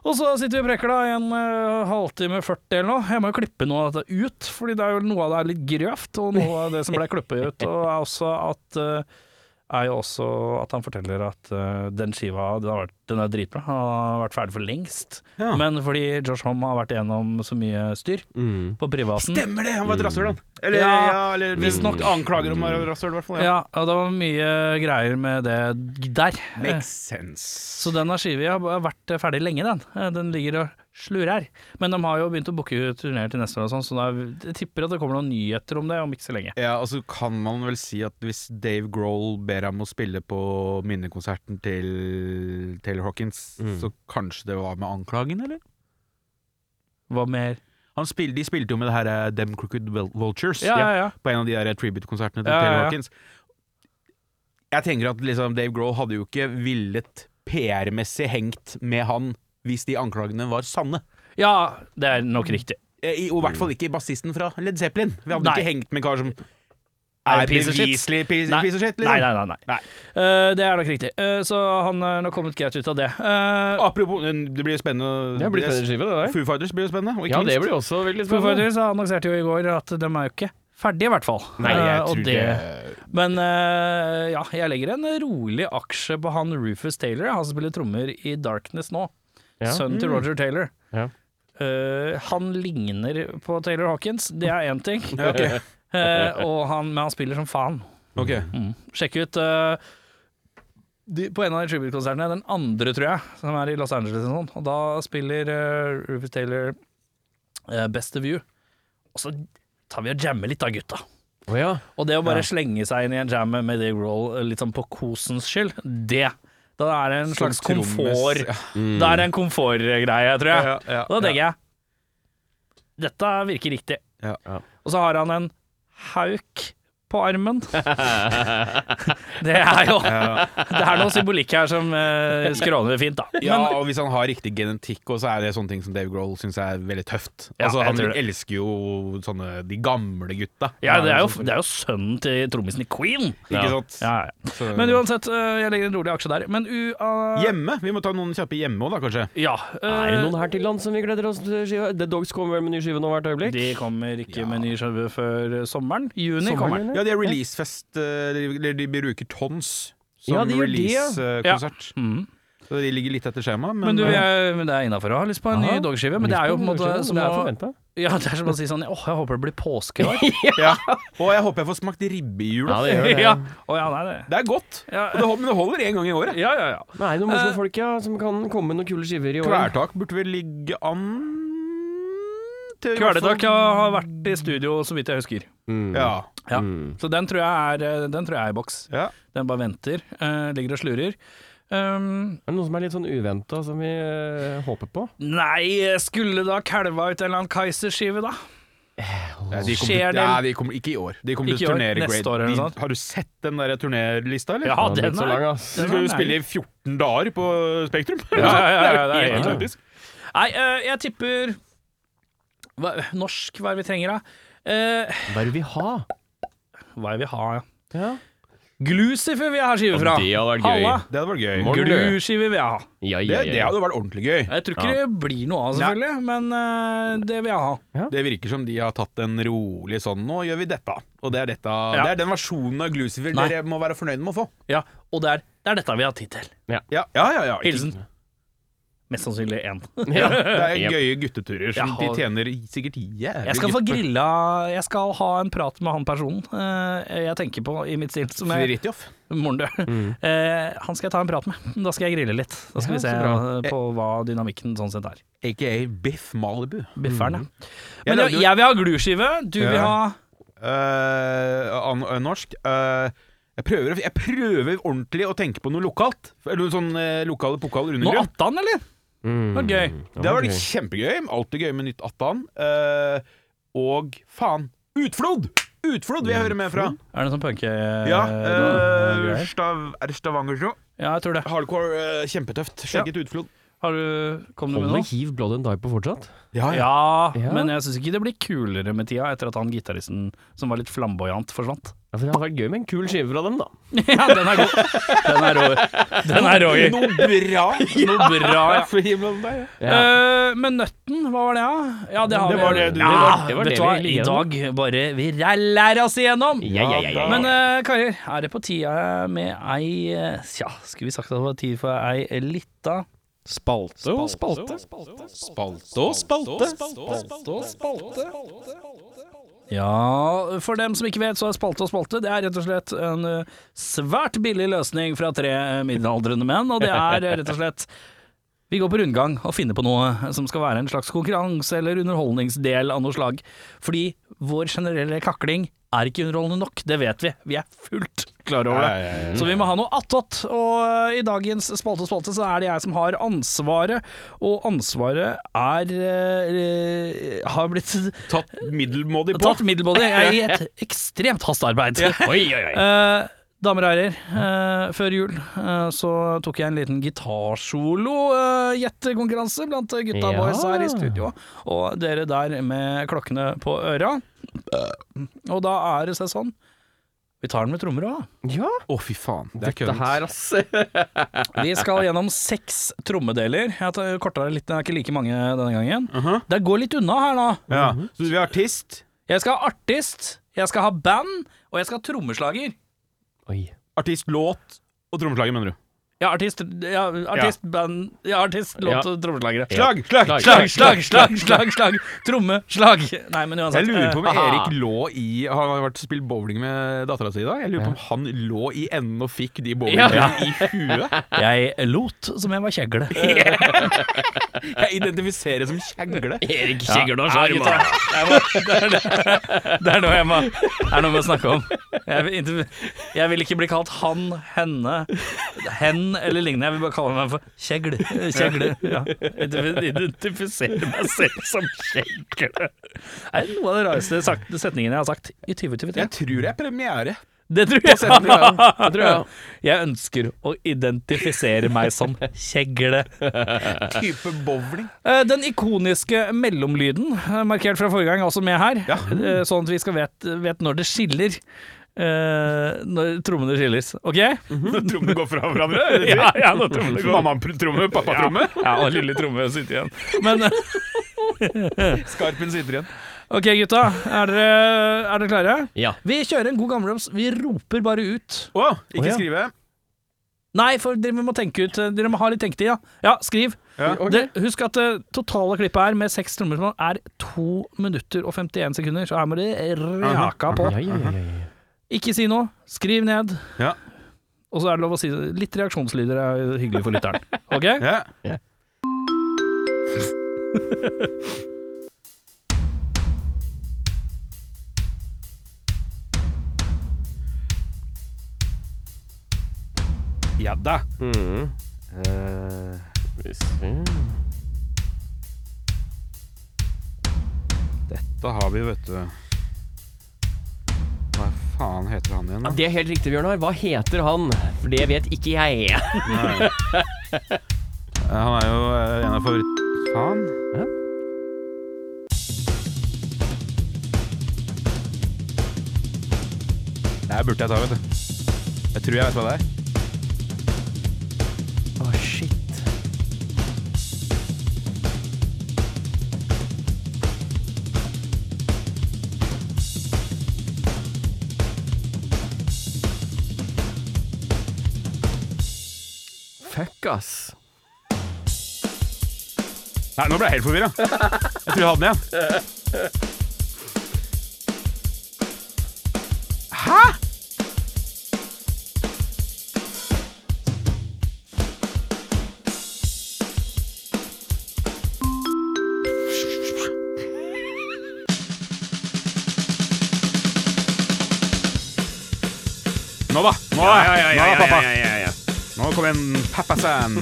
[SPEAKER 3] Og så sitter vi og preker da i en eh, halvtime, 40 eller noe. Jeg må jo klippe noe av dette ut, fordi det er jo noe av det er litt grøvt, og noe av det som ble klippet ut, og er også at eh, er jo også at han forteller at eh, den skiva den, har vært, den er dritbra. Han har vært ferdig for lengst.
[SPEAKER 1] Ja.
[SPEAKER 3] Men fordi Josh Homme har vært igjennom så mye styr
[SPEAKER 2] Mm.
[SPEAKER 3] på privaten
[SPEAKER 1] Stemmer det! Han var et rasshøl, han. Eller, ja,
[SPEAKER 3] Ja.
[SPEAKER 1] eller Mm. visstnok Mm. anklager om å være rasshøl, i hvert fall. Ja.
[SPEAKER 3] Ja, og det var mye greier med det der.
[SPEAKER 1] Makes sense.
[SPEAKER 3] Så den har skiva har vært ferdig lenge, den. Den ligger og slurer. Men de har jo begynt å booke turneer til neste år og sånn, så da, jeg tipper at det kommer noen nyheter om det om ikke så lenge.
[SPEAKER 1] Ja, og så kan man vel si at hvis Dave Grohl ber ham å spille på minnekonserten til Taylor Hawkins,
[SPEAKER 3] Mm.
[SPEAKER 1] så kanskje det var med anklagen, eller?
[SPEAKER 3] Hva mer?
[SPEAKER 1] Han spil, de spilte jo med det her eh, Dem Crooked Vul- Vultures
[SPEAKER 3] Ja, ja, ja.
[SPEAKER 1] på en av de der tribute-konsertene til
[SPEAKER 3] Ja, ja,
[SPEAKER 1] Taylor
[SPEAKER 3] ja.
[SPEAKER 1] Hawkins. Jeg tenker at liksom Dave Grohl hadde jo ikke villet PR-messig hengt med han hvis de anklagene var sanne.
[SPEAKER 3] Ja, det er nok riktig.
[SPEAKER 1] Eh, I, og i hvert fall ikke bassisten fra Led Zeppelin. Vi hadde
[SPEAKER 3] Mm. Nei.
[SPEAKER 1] ikke hengt med en kar som Er
[SPEAKER 3] piece of shit.
[SPEAKER 1] beviselig piece,
[SPEAKER 3] Nei.
[SPEAKER 1] piece of shit,
[SPEAKER 3] Nei,
[SPEAKER 1] liksom.
[SPEAKER 3] nei, nei. nei. Eh, det er nok riktig. Eh, så han er nok kommet greit ut av det. Eh,
[SPEAKER 1] Apropos, det blir spennende.
[SPEAKER 2] Det blir spennende skive, det der.
[SPEAKER 1] Foo Fighters blir jo spennende. Og ikke
[SPEAKER 2] Ja, det
[SPEAKER 1] minst-
[SPEAKER 2] blir også veldig
[SPEAKER 3] Foo
[SPEAKER 2] spennende.
[SPEAKER 3] Fighters annonserte jo i går at de er jo ikke ferdige, i hvert fall.
[SPEAKER 1] Nei, jeg
[SPEAKER 3] Eh, og
[SPEAKER 1] tror
[SPEAKER 3] det- Men eh, ja, jeg legger en rolig aksje på han Rufus Taylor, han som spiller trommer i Darkness nå.
[SPEAKER 2] Ja.
[SPEAKER 1] Mm.
[SPEAKER 3] Sønnen til Roger Taylor.
[SPEAKER 2] Ja.
[SPEAKER 3] Eh, han ligner på Taylor Hawkins, det er én ting.
[SPEAKER 1] Ja, ok.
[SPEAKER 3] Eh, og han, men han spiller som faen.
[SPEAKER 1] Ok.
[SPEAKER 3] Mm. Sjekk ut eh, de, På en av de tribute-konsertene, den andre, tror jeg, som er i Los Angeles og sånn, og da spiller eh, Rufus Taylor eh, Best of You. Og så tar vi og jammer litt, da, gutta.
[SPEAKER 2] Å ja.
[SPEAKER 3] Og det å bare slenge seg inn i en jam med Dave Grohl eh, litt sånn på kosens skyld, det Da er det en
[SPEAKER 1] Som
[SPEAKER 3] slags
[SPEAKER 1] trommes,
[SPEAKER 3] komfort.
[SPEAKER 1] ja.
[SPEAKER 3] Da er det en komfortgreie, tror jeg.
[SPEAKER 1] Ja, ja,
[SPEAKER 3] Og da tenker jeg Dette virker riktig.
[SPEAKER 1] Ja.
[SPEAKER 2] Ja.
[SPEAKER 3] Og så har han en hauk på armen. det er jo Det er noe symbolikk her som uh, skråner fint, da.
[SPEAKER 1] Ja,
[SPEAKER 3] Men
[SPEAKER 1] og hvis han har riktig genetikk, også, så er det sånne ting som Dave Grohl syns er veldig tøft.
[SPEAKER 3] Ja,
[SPEAKER 1] altså,
[SPEAKER 3] jeg
[SPEAKER 1] han
[SPEAKER 3] tror det.
[SPEAKER 1] elsker jo sånne de gamle gutta.
[SPEAKER 3] ja, det, er jo, det er jo sønnen til trommisen i Queen.
[SPEAKER 1] Ikke sant?
[SPEAKER 3] Ja, ja.
[SPEAKER 1] Så-
[SPEAKER 3] Men uansett, eh, jeg legger en rolig aksje der. Men u... ah,
[SPEAKER 1] Hjemme? Vi må ta noen kjappe hjemme òg, da, kanskje.
[SPEAKER 3] ja, eh,
[SPEAKER 2] Er det noen her til land som vi gleder oss til skiva? The Dogs kommer vel med ny skive nå hvert øyeblikk?
[SPEAKER 3] De kommer ikke med ny skive før eh, sommeren. Juni
[SPEAKER 2] Sommeren,
[SPEAKER 3] kommer den.
[SPEAKER 2] eller?
[SPEAKER 1] Ja, de har releasefest. eh, De, eller de bruker Tons som
[SPEAKER 2] Ja, de gjør det, ja.
[SPEAKER 1] releasekonsert.
[SPEAKER 3] Mhm.
[SPEAKER 1] Så de ligger litt etter skjema, men,
[SPEAKER 3] Men, du,
[SPEAKER 1] eh,
[SPEAKER 3] jeg, men det er innafor å ha lyst på en
[SPEAKER 2] Aha.
[SPEAKER 3] ny dogskive. Men det er jo på en måte som
[SPEAKER 2] Det er
[SPEAKER 3] å,
[SPEAKER 2] forventet.
[SPEAKER 3] ja, det er som å si sånn Åh, jeg håper det blir påske i år.
[SPEAKER 1] ja. Og jeg håper jeg får smakt ribbe i jula.
[SPEAKER 2] det gjør det.
[SPEAKER 3] ja. Å, ja, nei, det.
[SPEAKER 1] Det er godt,
[SPEAKER 3] Ja.
[SPEAKER 1] Og det hold- men det holder én gang i året.
[SPEAKER 3] ja, ja, ja.
[SPEAKER 2] Men er det noen
[SPEAKER 3] Eh,
[SPEAKER 2] morsomme folk ja, som kan komme med noen kule skiver i år?
[SPEAKER 1] Kvelertak burde vel ligge an til i hvert fall-
[SPEAKER 3] Kvelertak har vært i studio, så vidt jeg husker.
[SPEAKER 2] Mm.
[SPEAKER 1] Ja.
[SPEAKER 3] Ja.
[SPEAKER 2] Mm.
[SPEAKER 3] Så den tror jeg er, eh, den tror jeg er i boks.
[SPEAKER 1] ja.
[SPEAKER 3] Den bare venter. eh, ligger og slurer. Um,
[SPEAKER 2] Er det noen som er litt sånn uventa, som vi eh, håper på?
[SPEAKER 3] nei, skulle da kalva ut en eller annen Kaiserskive, da?
[SPEAKER 1] Nei, de kommer, til-
[SPEAKER 3] Skjer det-
[SPEAKER 1] ja, de kommer, ikke i år. De kommer
[SPEAKER 3] Ikke
[SPEAKER 1] til
[SPEAKER 3] i
[SPEAKER 1] å
[SPEAKER 3] år,
[SPEAKER 1] turnere
[SPEAKER 3] neste
[SPEAKER 1] Great.
[SPEAKER 3] år eller
[SPEAKER 1] de,
[SPEAKER 3] noe sånt.
[SPEAKER 1] har du sett den der turnélista, eller?
[SPEAKER 3] Ja,
[SPEAKER 2] Den har blitt
[SPEAKER 3] den
[SPEAKER 2] så
[SPEAKER 3] er-
[SPEAKER 2] lang, ass.
[SPEAKER 1] De
[SPEAKER 3] den
[SPEAKER 1] skal
[SPEAKER 3] er
[SPEAKER 1] jo spille
[SPEAKER 3] nærlig.
[SPEAKER 1] i 14 dager på Spektrum.
[SPEAKER 3] ja, ja,
[SPEAKER 1] det er
[SPEAKER 3] ja,
[SPEAKER 1] jo
[SPEAKER 3] det er
[SPEAKER 1] helt
[SPEAKER 3] helt-
[SPEAKER 1] idiotisk.
[SPEAKER 3] Nei, eh, jeg tipper hva, Norsk, hva er det vi trenger, da? Eh,
[SPEAKER 2] Hva er det vi har?
[SPEAKER 3] hva er det vi har, ja?
[SPEAKER 2] Ja.
[SPEAKER 3] Glucifer vil jeg ha skive fra.
[SPEAKER 2] hadde
[SPEAKER 3] Halla!
[SPEAKER 1] Det hadde vært gøy.
[SPEAKER 2] Morgen.
[SPEAKER 3] Gluskive vil jeg ha.
[SPEAKER 2] Ja,
[SPEAKER 1] Det,
[SPEAKER 2] ja, ja,
[SPEAKER 1] det
[SPEAKER 2] ja.
[SPEAKER 1] hadde vært ordentlig gøy.
[SPEAKER 3] Jeg tror ikke det blir noe av, selvfølgelig, men eh, det vil jeg ha.
[SPEAKER 1] Det virker som de har tatt en rolig sånn Nå gjør vi dette. Og det er, dette,
[SPEAKER 3] Ja.
[SPEAKER 1] det er den versjonen av Glucifer
[SPEAKER 3] Nei.
[SPEAKER 1] dere må være fornøyd med å få.
[SPEAKER 3] Ja, Og det er, det er dette vi har tid til.
[SPEAKER 1] Ja, ja, ja. ja.
[SPEAKER 3] Hilsen mest sannsynlig én.
[SPEAKER 1] Det er
[SPEAKER 2] Jep.
[SPEAKER 1] gøye gutteturer som
[SPEAKER 3] Ja,
[SPEAKER 1] de
[SPEAKER 3] og-
[SPEAKER 1] tjener sikkert jævlig
[SPEAKER 3] Jeg skal få
[SPEAKER 1] gutt-
[SPEAKER 3] grilla Jeg skal ha en prat med han personen eh, jeg tenker på i mitt sinn, som er
[SPEAKER 1] Fridtjof.
[SPEAKER 3] Morn, du. Eh, han skal jeg ta en prat med. Da skal jeg grille litt. Da skal
[SPEAKER 2] Ja,
[SPEAKER 3] vi se
[SPEAKER 2] så
[SPEAKER 3] eh, på hva dynamikken sånn sett er.
[SPEAKER 1] Aka Biff Malibu.
[SPEAKER 3] Bifferen, ja.
[SPEAKER 1] Jeg
[SPEAKER 3] Men
[SPEAKER 1] lagde
[SPEAKER 3] jeg,
[SPEAKER 1] jo-
[SPEAKER 3] jeg vil ha gluskive. Du vil
[SPEAKER 1] Ja.
[SPEAKER 3] ha
[SPEAKER 1] Eh, an, eh, norsk. Eh, jeg, prøver, å- jeg prøver ordentlig å tenke på noe lokalt. Eller Noe sånn eh, lokale pokal
[SPEAKER 3] noe
[SPEAKER 1] undergrunn.
[SPEAKER 3] attan, eller?
[SPEAKER 2] Mm.
[SPEAKER 3] var gøy.
[SPEAKER 1] Det var vært kjempegøy. Alltid gøy med nytt attan. Eh, og faen Utflod! Utflod vil jeg høre mer fra.
[SPEAKER 3] Er det sånn punke...
[SPEAKER 1] Ja,
[SPEAKER 3] eh,
[SPEAKER 1] eh,
[SPEAKER 3] greier?
[SPEAKER 1] Stav, er det Stavanger show?
[SPEAKER 3] ja, jeg tror det.
[SPEAKER 1] Hardcore, eh, kjempetøft. Skjegget utflod.
[SPEAKER 3] Har du Kom du med
[SPEAKER 2] Holder
[SPEAKER 3] noe?
[SPEAKER 2] Hiv Blood and Die på fortsatt?
[SPEAKER 3] Ja,
[SPEAKER 2] Ja.
[SPEAKER 3] men jeg syns ikke det blir kulere med tida, etter at han gitaristen som var litt flamboyant, forsvant.
[SPEAKER 2] Ja, for Det hadde vært gøy med en kul skive fra dem, da.
[SPEAKER 3] Ja, den er god. Den er rå. Den er rå.
[SPEAKER 1] Noe bra!
[SPEAKER 3] Noe bra, ja.
[SPEAKER 1] For himmelen der, ja.
[SPEAKER 3] Eh, men nøtten, hva var det, da? Ja, det, har
[SPEAKER 1] Det
[SPEAKER 3] vi-
[SPEAKER 1] var det du-
[SPEAKER 3] ja,
[SPEAKER 1] det
[SPEAKER 2] var- det var
[SPEAKER 3] vet
[SPEAKER 2] det
[SPEAKER 3] du hva,
[SPEAKER 2] vi
[SPEAKER 3] i
[SPEAKER 2] gikk
[SPEAKER 3] dag bare Vi lærer oss igjennom!
[SPEAKER 2] Ja, ja, ja, ja, ja.
[SPEAKER 3] Men eh, karer, er det på tide med ei eh, Tja, skulle vi sagt at det var tid for ei lita spalte?
[SPEAKER 2] spalte.
[SPEAKER 1] Spalte og spalte.
[SPEAKER 3] Ja, for dem som ikke vet, så er spalte og spalte Det er rett og slett en eh, svært billig løsning fra tre eh, middelaldrende menn, og det er eh, rett og slett vi går på rundgang og finner på noe som skal være en slags konkurranse eller underholdningsdel av noe slag. Fordi vår generelle kakling er ikke underholdende nok, det vet vi. Vi er fullt klar over det.
[SPEAKER 1] Ja, ja, ja.
[SPEAKER 3] Så vi må ha noe attåt. Og eh, i dagens Spalte og spalte så er det jeg som har ansvaret, og ansvaret er eh, eh, har blitt
[SPEAKER 1] Tatt middelmådig på.
[SPEAKER 3] Tatt middelmådig. Jeg er i et ekstremt hastearbeid.
[SPEAKER 2] Oi, oi, oi.
[SPEAKER 3] Eh, damer og herrer, eh, før jul eh, så tok jeg en liten gitarsolo-gjettekonkurranse blant gutta
[SPEAKER 2] Ja.
[SPEAKER 3] boys her i studio. Og Eh, dere der med klokkene på øra. Og da er det seg sånn Vi tar den med trommer òg.
[SPEAKER 2] Ja,
[SPEAKER 1] Å, fy faen. Det er
[SPEAKER 2] det
[SPEAKER 1] køddent.
[SPEAKER 2] her, ass.
[SPEAKER 3] Vi skal gjennom seks trommedeler. Jeg tar korta det litt, det er ikke like mange denne gangen.
[SPEAKER 1] Aha.
[SPEAKER 3] Det går litt unna her nå.
[SPEAKER 1] Ja. Mhm. Så vi er artist.
[SPEAKER 3] Jeg skal ha artist, jeg skal ha band, og jeg skal ha trommeslager.
[SPEAKER 2] Oi.
[SPEAKER 1] Artist, låt og trommeslager, mener du?
[SPEAKER 3] Ja, artist, ja, artist, band Ja, artist, låt og trommeslagere.
[SPEAKER 1] Slag, slag,
[SPEAKER 2] Slag,
[SPEAKER 1] slag!
[SPEAKER 3] Slag, slag, slag, slag, slag. Tromme, slag. Nei, men uansett.
[SPEAKER 1] Jeg lurer på om
[SPEAKER 2] Eh, haha.
[SPEAKER 1] Erik lå i Han har vært spilt bowling med dattera si i dag. Jeg lurer på om han lå i enden og fikk de bowlingene i huet.
[SPEAKER 3] eh, Jeg lot som jeg var kjegle.
[SPEAKER 1] Jeg identifiserer som kjegle.
[SPEAKER 3] Erik
[SPEAKER 2] Kjegle og sjarm,
[SPEAKER 3] Det er det- det er noe jeg må Det er noe vi må snakke om. Jeg vil, ikke- jeg vil ikke bli kalt han, henne, hen eller lignende. Jeg vil bare kalle meg for kjegle. Kjegle. Ja. Identif- Identifisere meg selv som kjegle. Det er noe av det rareste sagt- setningen jeg har sagt i 2023.
[SPEAKER 1] Jeg tror det er premiere.
[SPEAKER 3] Det tror jeg. Det tror jeg.
[SPEAKER 2] jeg.
[SPEAKER 3] Jeg ønsker å identifisere meg som kjegle.
[SPEAKER 1] Type bowling.
[SPEAKER 3] Eh, Den ikoniske mellomlyden, eh, markert fra forrige gang, er også med her.
[SPEAKER 1] Ja.
[SPEAKER 3] Eh, Sånn at vi skal vet, vet når det skiller. Eh, når trommene skilles, OK?
[SPEAKER 1] Mhm. Trommene går fra hverandre.
[SPEAKER 3] Ja, ja, når trommene går
[SPEAKER 1] Mamma-tromme, pappa-tromme.
[SPEAKER 3] Ja, og lille tromme sitter igjen. Men eh,
[SPEAKER 1] Skarpen sitter igjen.
[SPEAKER 3] OK, gutta. Er dere, er dere klare?
[SPEAKER 2] Ja.
[SPEAKER 3] Vi kjører en god gammeldags Vi roper bare ut.
[SPEAKER 1] Å, ikke
[SPEAKER 3] Å, ja.
[SPEAKER 1] skrive.
[SPEAKER 3] Nei, for dere må tenke ut eh, Dere må ha litt tenketid, ja. Ja, skriv.
[SPEAKER 1] Ja.
[SPEAKER 3] Det, husk at det totale klippet her med seks trommer som er 2 minutter og 51 sekunder, så her må dere raka på.
[SPEAKER 2] Ja, ja, ja, ja, ja.
[SPEAKER 3] Ikke si noe, skriv ned.
[SPEAKER 1] Ja.
[SPEAKER 3] Og så er det lov å si litt reaksjonslyder er hyggelig for lytteren. Ok?
[SPEAKER 1] Ja. Ja da.
[SPEAKER 2] Mhm. Eh, skal vi se.
[SPEAKER 1] Da har vi, vet du Hva faen heter han igjen?
[SPEAKER 2] Ja,
[SPEAKER 1] da?
[SPEAKER 2] det er helt riktig, Bjørnar. Hva heter han? For det vet ikke jeg.
[SPEAKER 1] Nei. Eh, Han er jo eh, en av favoritt... Faen.
[SPEAKER 2] Ja.
[SPEAKER 1] Det her burde jeg ta, vet du. Jeg tror jeg vet hva det er.
[SPEAKER 2] Å, shit. Fuck, ass.
[SPEAKER 1] Nei, nå ble jeg helt forvirra. Jeg tror jeg hadde den igjen. Hæ?! Nå, da. Nå, nå da, pappa. Nå kom en pappasan.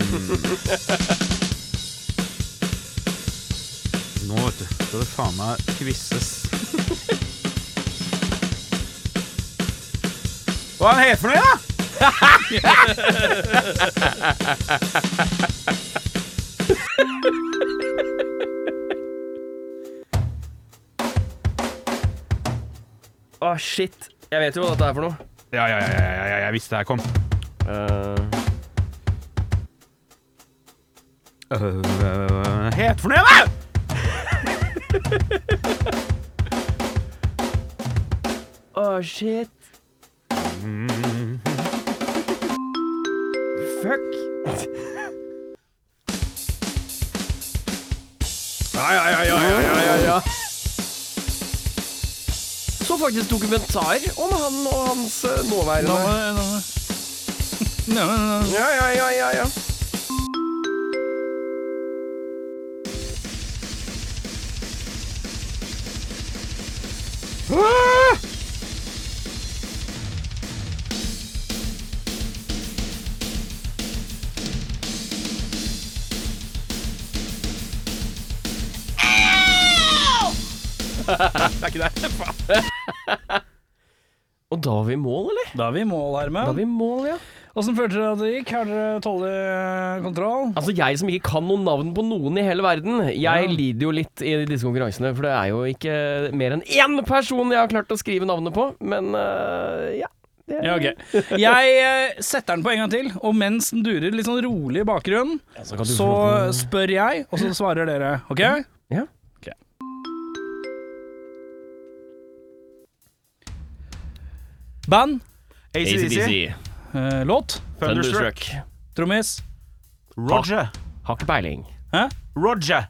[SPEAKER 1] Nå, vet du, skal det faen meg kvisses. Hva er det han heter for noe, da?
[SPEAKER 2] Å, shit. Jeg vet jo hva dette er for noe.
[SPEAKER 1] Ja, ja, ja, ja, ja, ja, jeg visste det her kom.
[SPEAKER 3] Øh,
[SPEAKER 2] Eh,
[SPEAKER 3] øh,
[SPEAKER 1] Uh, het for noe, da?
[SPEAKER 2] Å, shit.
[SPEAKER 1] Mm.
[SPEAKER 2] Fuck.
[SPEAKER 1] Ja, ja, ja, ja, ja, ja, ja, ja.
[SPEAKER 2] så faktisk dokumentar om han og hans eh, nåværende
[SPEAKER 3] Nå, nå, nå.
[SPEAKER 2] Ja, ja, ja, ja, ja.
[SPEAKER 1] Ah! Det er ikke det. Faen.
[SPEAKER 2] Og da er vi i mål, eller?
[SPEAKER 3] Da er vi i mål,
[SPEAKER 2] Da er
[SPEAKER 3] Herman.
[SPEAKER 2] vi i mål, ja.
[SPEAKER 3] Åssen følte dere at det gikk? Har dere tålelig kontroll?
[SPEAKER 2] Altså, jeg som ikke kan noen navn på noen i hele verden, jeg lider jo litt i disse konkurransene, for det er jo ikke mer enn én person jeg har klart å skrive navnet på, men eh, ja. det
[SPEAKER 3] Ja, ok. Jeg eh, setter den på en gang til, og mens den durer litt sånn rolig i bakgrunnen,
[SPEAKER 2] så kan du
[SPEAKER 3] så spør jeg, og så svarer dere. OK?
[SPEAKER 2] Ja.
[SPEAKER 3] Ok. Band,
[SPEAKER 1] ACDC,
[SPEAKER 3] eh, låt,
[SPEAKER 1] Thunderstruck,
[SPEAKER 3] trommis
[SPEAKER 1] Roger.
[SPEAKER 2] Har ikke peiling.
[SPEAKER 3] Hæ?
[SPEAKER 1] Roger.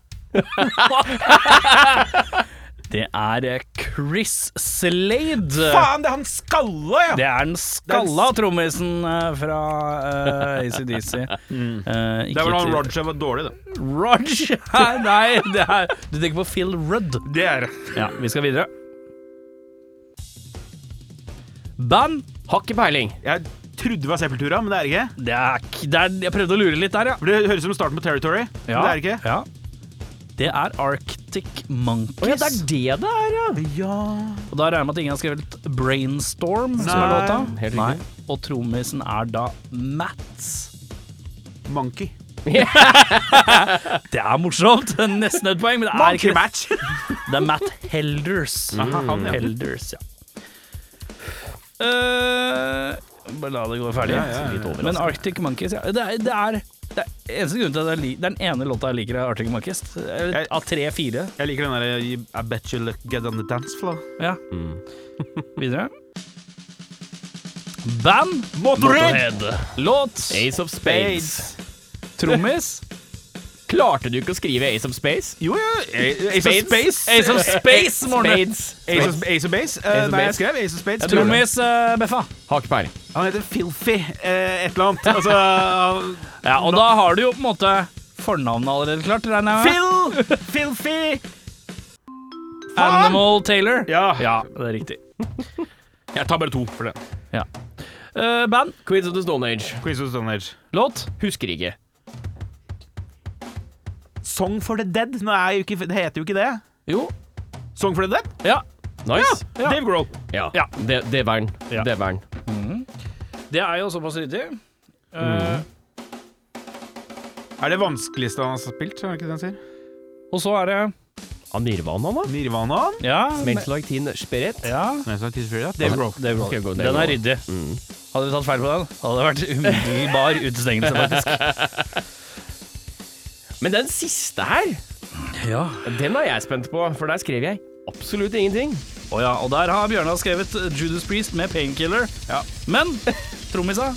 [SPEAKER 3] Det er eh, Chris Slade.
[SPEAKER 1] Faen, det er han skalla, ja!
[SPEAKER 3] Øh. Det er den skalla trommisen eh, fra eh, ACDC. Eh, ikke
[SPEAKER 1] Det var da
[SPEAKER 3] til-
[SPEAKER 1] Roger var dårlig, det.
[SPEAKER 3] Roger Nei, det er Du tenker på Phil Rudd.
[SPEAKER 1] Det er det.
[SPEAKER 3] Ja, vi skal videre. Band.
[SPEAKER 2] Har ikke peiling.
[SPEAKER 1] Jeg trodde det var Sepultura, men det er det ikke.
[SPEAKER 3] Det er, k- det er, jeg prøvde å lure litt der, ja.
[SPEAKER 1] For Det høres ut som starten på Territory, men det er det ikke.
[SPEAKER 3] Ja. Det er Arctic Monkeys.
[SPEAKER 2] Å ja, det er det det er, ja.
[SPEAKER 1] Ja
[SPEAKER 3] Og da regner jeg med at ingen har skrevet Brainstorm, som er
[SPEAKER 1] Nei.
[SPEAKER 3] låta.
[SPEAKER 2] Helt riktig.
[SPEAKER 3] Og trommisen er da Mats.
[SPEAKER 1] Monkey.
[SPEAKER 3] Det er morsomt. Nesten et poeng, men det er ikke det.
[SPEAKER 1] match!
[SPEAKER 3] Det er Matt Helders.
[SPEAKER 1] Aha, han, ja.
[SPEAKER 3] Helders, ja. Eh, bare la det gå ferdig.
[SPEAKER 1] Ja, ja, ja.
[SPEAKER 3] Litt overraskende. Men Arctic Monkeys, ja. Det er, det er, det er eneste grunnen til at jeg liker Det er den ene låta jeg liker av Arctic Monkeys. Eller
[SPEAKER 1] Jeg-
[SPEAKER 3] Av tre-fire.
[SPEAKER 1] Jeg liker den der I bet you look good on the dance floor.
[SPEAKER 3] Ja.
[SPEAKER 1] Mm.
[SPEAKER 3] Videre. Band Låt.
[SPEAKER 2] Ace of Spades.
[SPEAKER 1] Spades.
[SPEAKER 3] Trommis.
[SPEAKER 2] Klarte du ikke å skrive Ace of Space?
[SPEAKER 1] Jo, jo. A- Ace of
[SPEAKER 2] Spades.
[SPEAKER 1] Space.
[SPEAKER 3] Ace of Space, Morne.
[SPEAKER 2] Spades.
[SPEAKER 1] Eh, Ace of, Ace of Base? Eh,
[SPEAKER 2] Ace of
[SPEAKER 1] nei, jeg
[SPEAKER 2] Base.
[SPEAKER 1] skrev Ace of Spades.
[SPEAKER 2] tror det.
[SPEAKER 3] Trommis eh, Beffa.
[SPEAKER 2] Har ikke peiling.
[SPEAKER 1] Han heter Filthy eh, et eller annet. Altså han-
[SPEAKER 3] Ja, og da har du jo på en måte fornavnet allerede klart, regner jeg med.
[SPEAKER 1] Phil! Filthy!
[SPEAKER 3] Animal Taylor.
[SPEAKER 1] Ja.
[SPEAKER 3] det er riktig.
[SPEAKER 1] Jeg tar bare to for det.
[SPEAKER 3] Ja. Eh, band.
[SPEAKER 2] Queens of the Stone Age.
[SPEAKER 1] Quiz of Stone Age.
[SPEAKER 3] Låt.
[SPEAKER 2] Husker ikke.
[SPEAKER 1] Song for the Dead? Nå er jo ikke, det heter jo ikke det.
[SPEAKER 3] Jo.
[SPEAKER 1] Song for the Dead?
[SPEAKER 3] Ja.
[SPEAKER 2] Nice.
[SPEAKER 3] Ja.
[SPEAKER 1] Dave Grohl.
[SPEAKER 2] Ja.
[SPEAKER 3] Ja.
[SPEAKER 2] Det, det var den.
[SPEAKER 3] Ja.
[SPEAKER 2] Det var den.
[SPEAKER 3] Det er jo såpass ryddig. Eh,
[SPEAKER 1] Er det vanskeligste han har spilt? Er det ikke det han sier?
[SPEAKER 3] og så er det
[SPEAKER 2] Av Nirvana, da?
[SPEAKER 1] Nirvana?
[SPEAKER 3] Ja.
[SPEAKER 2] Smells like teen spirit.
[SPEAKER 3] ja.
[SPEAKER 1] Nei, så er det Tears of Fear, ja. Dave Grohl.
[SPEAKER 2] Dave Grohl. Skal gå
[SPEAKER 3] Den
[SPEAKER 2] Dave
[SPEAKER 3] er
[SPEAKER 2] Grohl.
[SPEAKER 3] ryddig. Hadde vi tatt feil på den, hadde det vært umiddelbar utestengelse, faktisk.
[SPEAKER 2] Men den siste her,
[SPEAKER 3] Ja.
[SPEAKER 2] den er jeg spent på, for der skrev jeg absolutt ingenting.
[SPEAKER 3] Å ja. Og der har Bjørnar skrevet Judas Priest med Painkiller.
[SPEAKER 1] Ja.
[SPEAKER 3] Men trommisa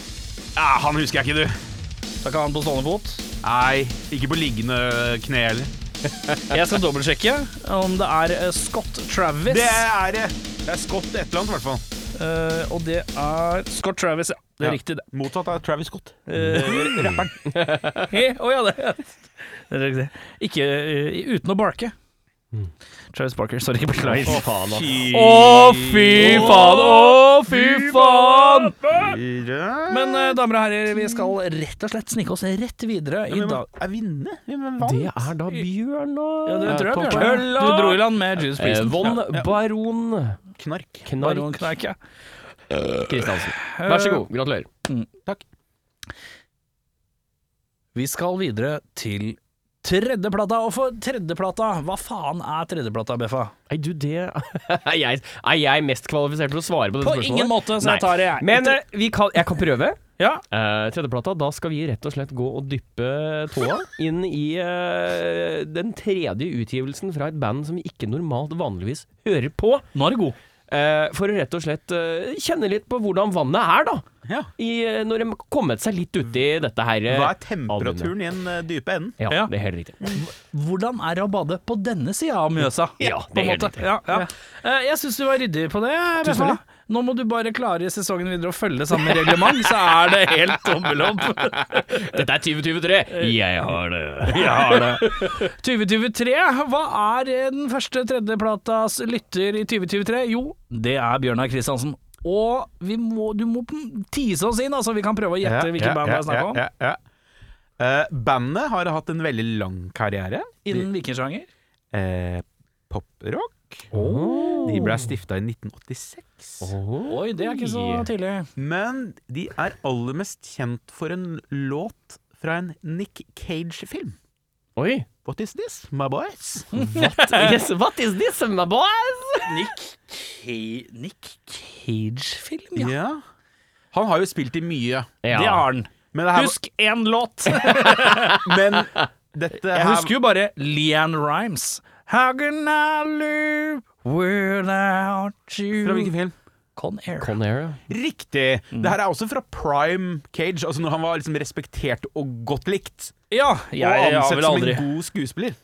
[SPEAKER 1] Ah, han husker jeg ikke, du.
[SPEAKER 3] Da kan han på stående fot.
[SPEAKER 1] Nei, ikke på liggende kne heller.
[SPEAKER 3] Jeg skal dobbeltsjekke om det er eh, Scott Travis.
[SPEAKER 1] Det er det. Det er Scott et eller annet, i hvert fall.
[SPEAKER 3] Eh, og det er Scott Travis, ja. Det er
[SPEAKER 1] Ja.
[SPEAKER 3] riktig, det.
[SPEAKER 1] Mottatt av Travis Scott.
[SPEAKER 3] Eh, rapperen. Å ja, det. det er riktig. Ikke eh, uten å barke. Travis Barker, sorry. Beklager.
[SPEAKER 2] Å, faen, ass.
[SPEAKER 3] Å, fy faen! Å, fy faen!
[SPEAKER 1] Fire
[SPEAKER 3] Men eh, damer og herrer, vi skal rett og slett snike oss rett videre i
[SPEAKER 1] Hvem
[SPEAKER 3] dag.
[SPEAKER 1] er vinne? Hvem er
[SPEAKER 2] Det er da Bjørnar.
[SPEAKER 3] Ja, det tror jeg,
[SPEAKER 2] Topp-
[SPEAKER 3] Bjørnar.
[SPEAKER 2] Kølla.
[SPEAKER 3] Du dro i land med Judas
[SPEAKER 2] Eh,
[SPEAKER 3] Priest.
[SPEAKER 2] Von Baron
[SPEAKER 1] Knark.
[SPEAKER 2] Knarr
[SPEAKER 3] Baron Eh, Knark, ja.
[SPEAKER 2] Kristiansen. Vær så god. Gratulerer.
[SPEAKER 1] Takk.
[SPEAKER 3] Vi skal videre til tredjeplata. Og for tredjeplata, hva faen er tredjeplata, Beffa?
[SPEAKER 2] Nei, du, det er jeg, er jeg mest kvalifisert til å svare på dette
[SPEAKER 3] På
[SPEAKER 2] spørsmålet?
[SPEAKER 3] ingen måte, så
[SPEAKER 2] Nei.
[SPEAKER 3] jeg tar det, jeg.
[SPEAKER 2] Men eh, vi kan, jeg kan prøve.
[SPEAKER 3] Ja.
[SPEAKER 2] Eh, tredjeplata, da skal vi rett og slett gå og dyppe tåa inn i eh, den tredje utgivelsen fra et band som vi ikke normalt vanligvis hører på.
[SPEAKER 3] Nå er det god.
[SPEAKER 2] eh, for å rett og slett eh, kjenne litt på hvordan vannet er, da.
[SPEAKER 1] Ja.
[SPEAKER 2] I, eh, når de har kommet seg litt uti dette her. eh,
[SPEAKER 1] Hva er temperaturen i den eh, dype enden?
[SPEAKER 2] Ja,
[SPEAKER 3] Ja.
[SPEAKER 2] det er helt riktig.
[SPEAKER 3] Hvordan er det å bade på denne sida av Mjøsa?
[SPEAKER 2] Ja,
[SPEAKER 3] på en
[SPEAKER 2] det er helt
[SPEAKER 3] måte.
[SPEAKER 2] riktig.
[SPEAKER 3] Ja, ja. Eh, Jeg syns du var ryddig på det. Tusen
[SPEAKER 1] takk.
[SPEAKER 3] Nå må du bare klare sesongen videre og følge samme reglement, så er det helt tommel opp.
[SPEAKER 2] Dette er 2023! Jeg har det.
[SPEAKER 3] Jeg har det. 2023. Hva er eh, den første tredjeplatas lytter i 2023? Jo, det er Bjørnar Kristiansen. Og vi må, du må tise oss inn, altså. Vi kan prøve å gjette hvilket band det er snakk om.
[SPEAKER 1] ja, ja. Eh, bandet har hatt en veldig lang karriere.
[SPEAKER 3] Innen hvilken sjanger?
[SPEAKER 1] Eh, Poprock. De ble stifta i 1986.
[SPEAKER 3] Oi, det er ikke så tidlig.
[SPEAKER 1] Men de er aller mest kjent for en låt fra en Nick Cage-film.
[SPEAKER 2] Oi.
[SPEAKER 1] What is this, my boys?
[SPEAKER 2] Yes, what is this, my boys?
[SPEAKER 3] Nick Cage-film,
[SPEAKER 1] Ja. Han har jo spilt i mye.
[SPEAKER 2] Ja.
[SPEAKER 1] Det har han. Men, det her,
[SPEAKER 3] Husk én låt!
[SPEAKER 1] men dette
[SPEAKER 3] Jeg
[SPEAKER 1] her-
[SPEAKER 3] husker jo bare Leanne Rhymes. How can I live without you?
[SPEAKER 1] Fra hvilken film?
[SPEAKER 3] Con Air.
[SPEAKER 2] Con Air, ja.
[SPEAKER 1] Riktig! Det her er også fra prime Cage, altså når han var liksom respektert og godt likt.
[SPEAKER 3] Ja,
[SPEAKER 1] og
[SPEAKER 3] jeg, jeg har
[SPEAKER 1] ansett
[SPEAKER 3] vel
[SPEAKER 1] som
[SPEAKER 3] aldri
[SPEAKER 1] en god skuespiller.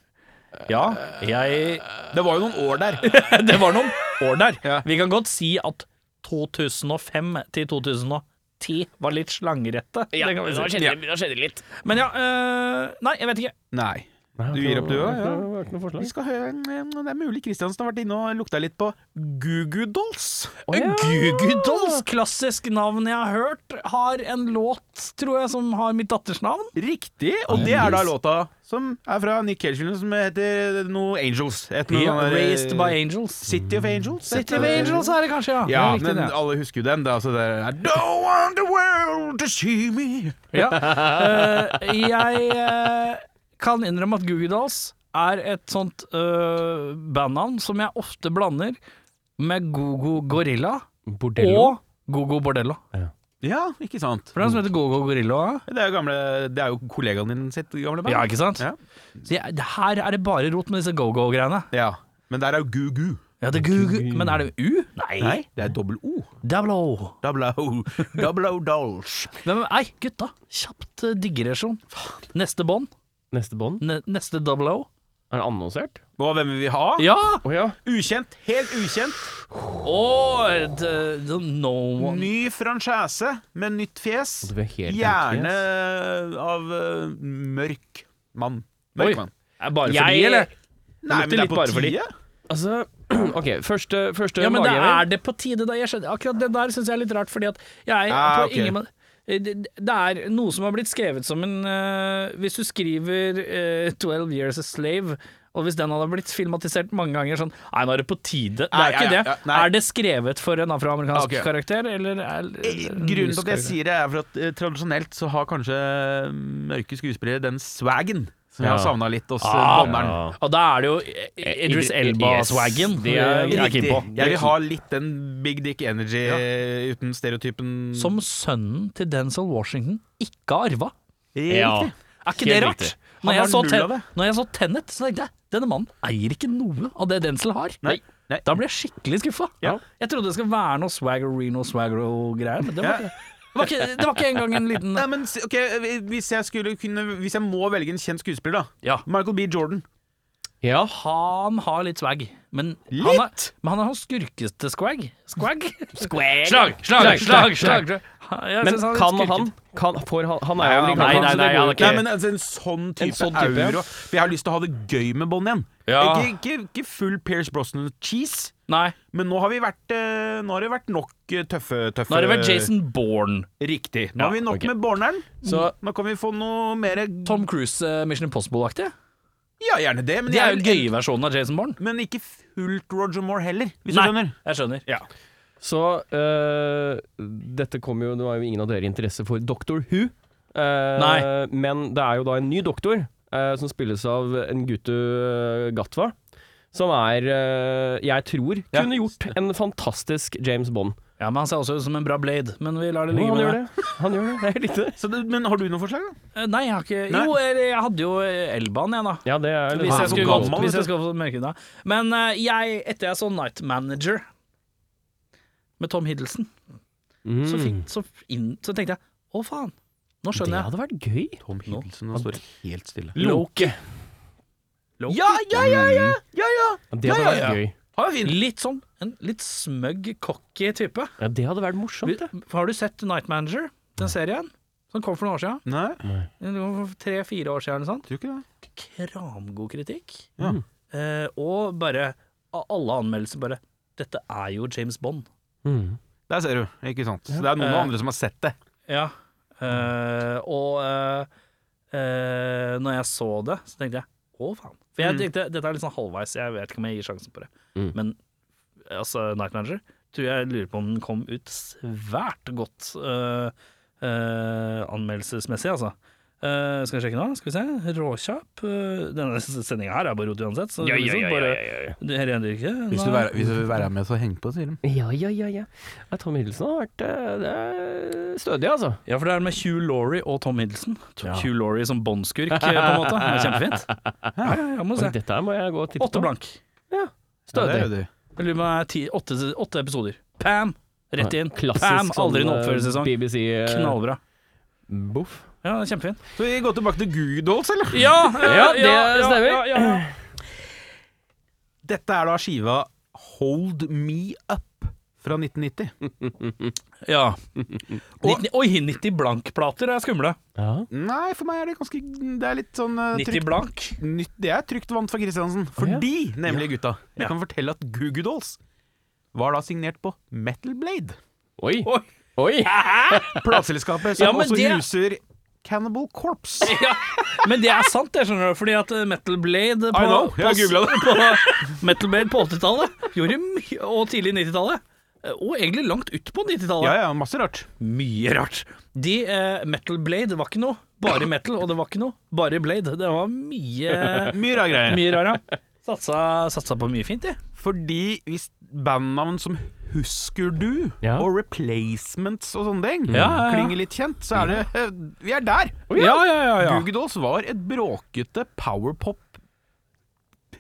[SPEAKER 1] Ja,
[SPEAKER 3] jeg,
[SPEAKER 1] det var jo noen år der.
[SPEAKER 3] Det var noen år der.
[SPEAKER 1] Ja.
[SPEAKER 3] Vi kan godt si at 2005 til 2010 var litt slangerette. det kan vi si.
[SPEAKER 1] skjedde-
[SPEAKER 2] det litt.
[SPEAKER 3] Men ja øh, Nei, jeg vet ikke.
[SPEAKER 1] Nei. Du gir opp, du òg? Ja.
[SPEAKER 2] Det var ikke noe
[SPEAKER 1] Vi
[SPEAKER 2] forslag.
[SPEAKER 1] skal høre, Det er mulig Kristiansen har vært inne og lukta litt på Gugu Dolls.
[SPEAKER 2] ja.
[SPEAKER 3] Gugu Dolls, klassisk navn jeg har hørt, har en låt, tror jeg, som har mitt datters navn.
[SPEAKER 1] Riktig, og det er da låta som er fra Nick Cage-filmen som heter noe Angels. Et noe sånn der-
[SPEAKER 3] Raised by Angels.
[SPEAKER 1] City of Angels.
[SPEAKER 3] City of Angels er det kanskje, ja.
[SPEAKER 1] Ja,
[SPEAKER 3] Det er riktig
[SPEAKER 1] men
[SPEAKER 3] det.
[SPEAKER 1] alle husker jo den. Da, så det er I don't want the world to see me.
[SPEAKER 3] Ja. Eh, jeg eh, kan innrømme at Googie Dolls er et sånt eh, bandnavn som jeg ofte blander med Gogo Gorilla
[SPEAKER 2] Bordello.
[SPEAKER 3] og Gogo Bordello.
[SPEAKER 1] Ja, ikke sant.
[SPEAKER 3] For det er en som heter Gogo Gorilla.
[SPEAKER 1] Det er jo, gamle, det er jo kollegaen din sitt gamle band.
[SPEAKER 3] Ja, ikke sant?
[SPEAKER 1] Ja.
[SPEAKER 3] Så jeg, det her er det bare rot med disse go-go-greiene.
[SPEAKER 1] Ja, Men der er jo Gugu.
[SPEAKER 3] Ja, det er Gugu, men er det U?
[SPEAKER 1] Nei, det er dobbel O.
[SPEAKER 3] Double O.
[SPEAKER 1] Double O. Double O Dolls.
[SPEAKER 3] Hvem, nei, gutta. Kjapt eh, digresjon. Neste bånd.
[SPEAKER 2] Neste bånd.
[SPEAKER 3] Ne, neste double O.
[SPEAKER 2] Er det annonsert?
[SPEAKER 1] Og hvem vil vi ha?
[SPEAKER 3] Ja!
[SPEAKER 2] Å ja.
[SPEAKER 1] Ukjent. Helt ukjent.
[SPEAKER 3] Og the, the no one.
[SPEAKER 1] Ny franchise med nytt fjes.
[SPEAKER 2] Det blir helt
[SPEAKER 1] Gjerne
[SPEAKER 2] annerledes.
[SPEAKER 1] av eh, mørk mann. Mørk
[SPEAKER 2] Oi.
[SPEAKER 1] mann.
[SPEAKER 2] Er bare
[SPEAKER 3] Jeg-
[SPEAKER 2] fordi, eller?
[SPEAKER 1] Nei,
[SPEAKER 2] lukter litt bare for litt. Altså, OK, første, første
[SPEAKER 3] Ja, men det
[SPEAKER 2] dagen-
[SPEAKER 3] er det på tide, da. Jeg skjønner. Akkurat det der syns jeg er litt rart, fordi at jeg er
[SPEAKER 1] Ah,
[SPEAKER 3] på
[SPEAKER 1] ok.
[SPEAKER 3] ingen måte eh, det, det er noe som har blitt skrevet som en eh, Hvis du skriver eh, 12 Years a Slave, og hvis den hadde blitt filmatisert mange ganger sånn Nei, nå er det på tide. Det
[SPEAKER 1] Nei,
[SPEAKER 3] er ikke
[SPEAKER 1] ja, ja,
[SPEAKER 3] det.
[SPEAKER 1] ja, nei.
[SPEAKER 3] Er det skrevet for en afroamerikansk
[SPEAKER 1] Ok. Eh,
[SPEAKER 3] karakter, eller er,
[SPEAKER 1] Grunnen til at jeg sier det, er for at eh, tradisjonelt så har kanskje mm, mørke skuespillere den swagen som jeg
[SPEAKER 2] Ja.
[SPEAKER 1] har savna litt hos
[SPEAKER 3] Ah,
[SPEAKER 1] ah, banneren.
[SPEAKER 2] ja.
[SPEAKER 3] Og da er det jo Idris Eh,
[SPEAKER 2] Idris-
[SPEAKER 3] Elba-swagen.
[SPEAKER 2] Yes, det er-
[SPEAKER 3] jeg er keen på.
[SPEAKER 1] Jeg vil ha litt den big dick energy eh, uten stereotypen
[SPEAKER 3] Som sønnen til Denzil Washington ikke har arva.
[SPEAKER 1] Riktig.
[SPEAKER 2] Ja.
[SPEAKER 3] Er ikke det
[SPEAKER 2] Helt
[SPEAKER 3] rart?
[SPEAKER 2] riktig.
[SPEAKER 1] Han
[SPEAKER 3] Når jeg,
[SPEAKER 1] har
[SPEAKER 3] så
[SPEAKER 1] null
[SPEAKER 3] ten,
[SPEAKER 1] av det.
[SPEAKER 3] når jeg så Tenet, så tenkte jeg denne mannen eier ikke noe av det Denzil har.
[SPEAKER 1] Nei. Nei.
[SPEAKER 3] Da ble jeg skikkelig skuffa.
[SPEAKER 1] Ja.
[SPEAKER 3] Jeg trodde det skulle være noe Swaggerino Swaggero-greier, men det var, ikke, det, var ikke, det var ikke engang en liten
[SPEAKER 1] Nei, men s- ok, hvis jeg, skulle kunne, hvis jeg må velge en kjent skuespiller, da.
[SPEAKER 3] Ja.
[SPEAKER 1] Michael B. Jordan.
[SPEAKER 2] Ja.
[SPEAKER 3] Han har litt swag, men han har,
[SPEAKER 1] Litt?
[SPEAKER 3] men han har skurkete swag. Swag?
[SPEAKER 2] Square.
[SPEAKER 3] Jeg
[SPEAKER 2] Men
[SPEAKER 3] synes er litt
[SPEAKER 2] kan
[SPEAKER 3] skurkete.
[SPEAKER 2] han, kan, får han Han er jo
[SPEAKER 1] Ja,
[SPEAKER 2] amerikaner.
[SPEAKER 3] nei,
[SPEAKER 2] så
[SPEAKER 3] nei,
[SPEAKER 2] det
[SPEAKER 3] nei,
[SPEAKER 2] går jo
[SPEAKER 3] han
[SPEAKER 1] Nei,
[SPEAKER 3] er
[SPEAKER 2] ikke.
[SPEAKER 1] men altså, en sånn type,
[SPEAKER 2] sånn type, ja.
[SPEAKER 1] euro. For jeg har lyst til å ha det gøy med Bond igjen.
[SPEAKER 3] Ja.
[SPEAKER 1] Ikke, ikke, ikke full Pierce Brosnan-cheese,
[SPEAKER 3] Nei.
[SPEAKER 1] men nå har, vi vært, eh, nå har det vært nok eh, tøffe, tøffe
[SPEAKER 3] Nå har det vært Jason Bourne.
[SPEAKER 1] Riktig. Nå
[SPEAKER 3] Ja,
[SPEAKER 1] har vi nok
[SPEAKER 2] ok.
[SPEAKER 1] med Borneren.
[SPEAKER 3] Så-
[SPEAKER 1] Nå kan vi få noe mer
[SPEAKER 3] Tom Cruise, eh, Mission Impossible-aktig.
[SPEAKER 1] Ja, gjerne det, men,
[SPEAKER 3] Det er
[SPEAKER 1] jeg
[SPEAKER 3] jo
[SPEAKER 1] vil-
[SPEAKER 3] gøye versjonen av Jason Bourne.
[SPEAKER 1] men ikke fullt Roger Moore heller, hvis
[SPEAKER 3] Nei,
[SPEAKER 1] du skjønner.
[SPEAKER 3] jeg skjønner.
[SPEAKER 1] Ja.
[SPEAKER 2] Så øh, dette kom jo Det var jo ingen av dere interesse for Doctor Who. Eh,
[SPEAKER 3] Nei.
[SPEAKER 2] Men det er jo da en ny doktor, eh, som spilles av en guttu eh, Gatva. Som er, eh, jeg tror,
[SPEAKER 1] Ja.
[SPEAKER 2] kunne gjort en fantastisk James Bond.
[SPEAKER 3] Ja, men Han ser også ut som en bra blade, men vi lar det ligge.
[SPEAKER 2] han
[SPEAKER 3] med
[SPEAKER 2] gjør det. Han gjør det. Det er litt det.
[SPEAKER 1] Så det, men har du noe forslag, da?
[SPEAKER 3] Eh, Nei, jeg har ikke
[SPEAKER 1] Nei.
[SPEAKER 3] Jo, eller jeg hadde jo eh, Elbaen, jeg, da.
[SPEAKER 2] Ja, det er litt
[SPEAKER 3] Hvis
[SPEAKER 1] Han er
[SPEAKER 3] jeg
[SPEAKER 1] så
[SPEAKER 3] skulle
[SPEAKER 1] gammel, vet
[SPEAKER 3] gått, hvis
[SPEAKER 1] du.
[SPEAKER 3] jeg skulle fått merke det. Men eh, jeg, etter jeg så Night Manager med Tom Hiddleston,
[SPEAKER 2] Mm.
[SPEAKER 3] så, fikk, så, inn, så tenkte jeg å faen, nå
[SPEAKER 2] Det
[SPEAKER 3] skjønner jeg.
[SPEAKER 2] hadde vært gøy.
[SPEAKER 1] Tom Hiddleston nå står det helt stille.
[SPEAKER 2] Loke.
[SPEAKER 1] Ja, ja, ja, ja! ja, ja.
[SPEAKER 2] Det hadde
[SPEAKER 1] Ja, ja,
[SPEAKER 2] vært gøy.
[SPEAKER 1] Han er fin.
[SPEAKER 3] Litt sånn en litt smøgg, cocky type.
[SPEAKER 2] Ja, det hadde vært morsomt. det.
[SPEAKER 3] Har du sett Night Manager, den serien? Som kom for noen år siden?
[SPEAKER 1] Nei,
[SPEAKER 3] Tre-fire år siden, eller sånn. noe sånt?
[SPEAKER 1] tror ikke det.
[SPEAKER 3] Kramgod kritikk.
[SPEAKER 1] Ja.
[SPEAKER 3] Eh, og bare a- alle anmeldelser bare Dette er jo James Bond.
[SPEAKER 2] Mm.
[SPEAKER 1] Der ser du, ikke sant. Så det er noen
[SPEAKER 3] Eh.
[SPEAKER 1] andre som har sett det.
[SPEAKER 3] Ja. Eh, og eh, eh, når jeg så det, så tenkte jeg å, faen. For jeg
[SPEAKER 1] Mm.
[SPEAKER 3] tenkte dette er litt sånn halvveis, jeg vet ikke om jeg gir sjansen på det.
[SPEAKER 2] Mm.
[SPEAKER 3] Men altså, Night Manager tror jeg lurer på om den kom ut svært godt eh, eh, anmeldelsesmessig, altså. Eh, skal jeg sjekke nå? Skal vi se. Råkjapp. Eh, denne sendinga her er bare rot uansett. Så
[SPEAKER 2] Ja,
[SPEAKER 3] det blir
[SPEAKER 2] ja, ja,
[SPEAKER 3] sånn
[SPEAKER 2] ja,
[SPEAKER 3] bare,
[SPEAKER 2] ja, ja.
[SPEAKER 3] Det her ender ikke.
[SPEAKER 1] Hvis du,
[SPEAKER 3] Nei.
[SPEAKER 1] være, hvis du vil være med, så heng på, sier de.
[SPEAKER 2] Ja, ja, ja, ja. ja Tom Hiddleston har vært eh, det er stødig, altså.
[SPEAKER 3] Ja, for det er med Hugh Laurie og Tom Hiddleston. To- Hugh Laurie som båndskurk, eh, på en måte. Det er kjempefint. Ja, ja, ja, må
[SPEAKER 2] Oi,
[SPEAKER 3] se.
[SPEAKER 2] dette her må jeg gå og
[SPEAKER 3] Altså,
[SPEAKER 2] titte
[SPEAKER 3] Åtte
[SPEAKER 2] på.
[SPEAKER 3] blank.
[SPEAKER 1] Ja, det
[SPEAKER 2] Stødig.
[SPEAKER 1] er jo de.
[SPEAKER 3] Jeg lurer på om det er ti, åtte, åtte episoder. Pam! Rett inn.
[SPEAKER 2] Klassisk
[SPEAKER 3] Pam! Aldri en
[SPEAKER 2] sånn, eh,
[SPEAKER 3] oppførelsessesong.
[SPEAKER 2] BBC eh,
[SPEAKER 3] Knallbra.
[SPEAKER 2] Boff.
[SPEAKER 3] Ja, det er kjempefint.
[SPEAKER 1] Så vi går tilbake til Goo Goo Dolls, eller?
[SPEAKER 3] Ja, eh,
[SPEAKER 2] Ja, det stemmer.
[SPEAKER 3] Ja, ja, ja.
[SPEAKER 1] Dette er da skiva Hold Me Up fra 1990.
[SPEAKER 3] ja. Nittni- oi, 90 blank-plater er skumle.
[SPEAKER 2] Ja.
[SPEAKER 1] Nei, for meg er det ganske Det er litt sånn eh,
[SPEAKER 3] 90
[SPEAKER 1] trygt-
[SPEAKER 3] blank.
[SPEAKER 1] nytt, Det er trygt vant for Kristiansen.
[SPEAKER 2] ja.
[SPEAKER 1] Fordi, nemlig gutta,
[SPEAKER 3] Ja.
[SPEAKER 1] jeg kan fortelle at Goo Goo Dolls var da signert på Metal Blade.
[SPEAKER 2] Oi.
[SPEAKER 3] Oi.
[SPEAKER 2] Oi.
[SPEAKER 1] Plateselskapet
[SPEAKER 3] Ja,
[SPEAKER 1] som
[SPEAKER 3] men
[SPEAKER 1] også
[SPEAKER 3] det-
[SPEAKER 1] huser Cannibal Corps.
[SPEAKER 3] Men det er sant, jeg skjønner du. Fordi at eh, Metal Blade på,
[SPEAKER 1] I know, jeg har
[SPEAKER 3] på-
[SPEAKER 1] googlet
[SPEAKER 3] på- Metal Blade på 80-tallet gjorde mye, og tidlig 90-tallet. eh, Og egentlig langt ut på 90-tallet.
[SPEAKER 1] Ja, ja, masse rart.
[SPEAKER 3] Mye rart. De, eh, Metal Blade var ikke noe. Bare metal, og det var ikke noe. Bare Blade. Det var mye
[SPEAKER 1] Mye rare greier.
[SPEAKER 3] Mye rart, ja. Satsa, satsa på mye fint, de.
[SPEAKER 1] Fordi hvis bandnavn som Husker du
[SPEAKER 2] Ja.
[SPEAKER 1] og Replacements og sånne ting
[SPEAKER 3] Ja, ja, ja.
[SPEAKER 1] klinger litt kjent, så er det eh, Vi er der!
[SPEAKER 3] Ja, ja, ja. ja.
[SPEAKER 1] Google Dolls var et bråkete powerpop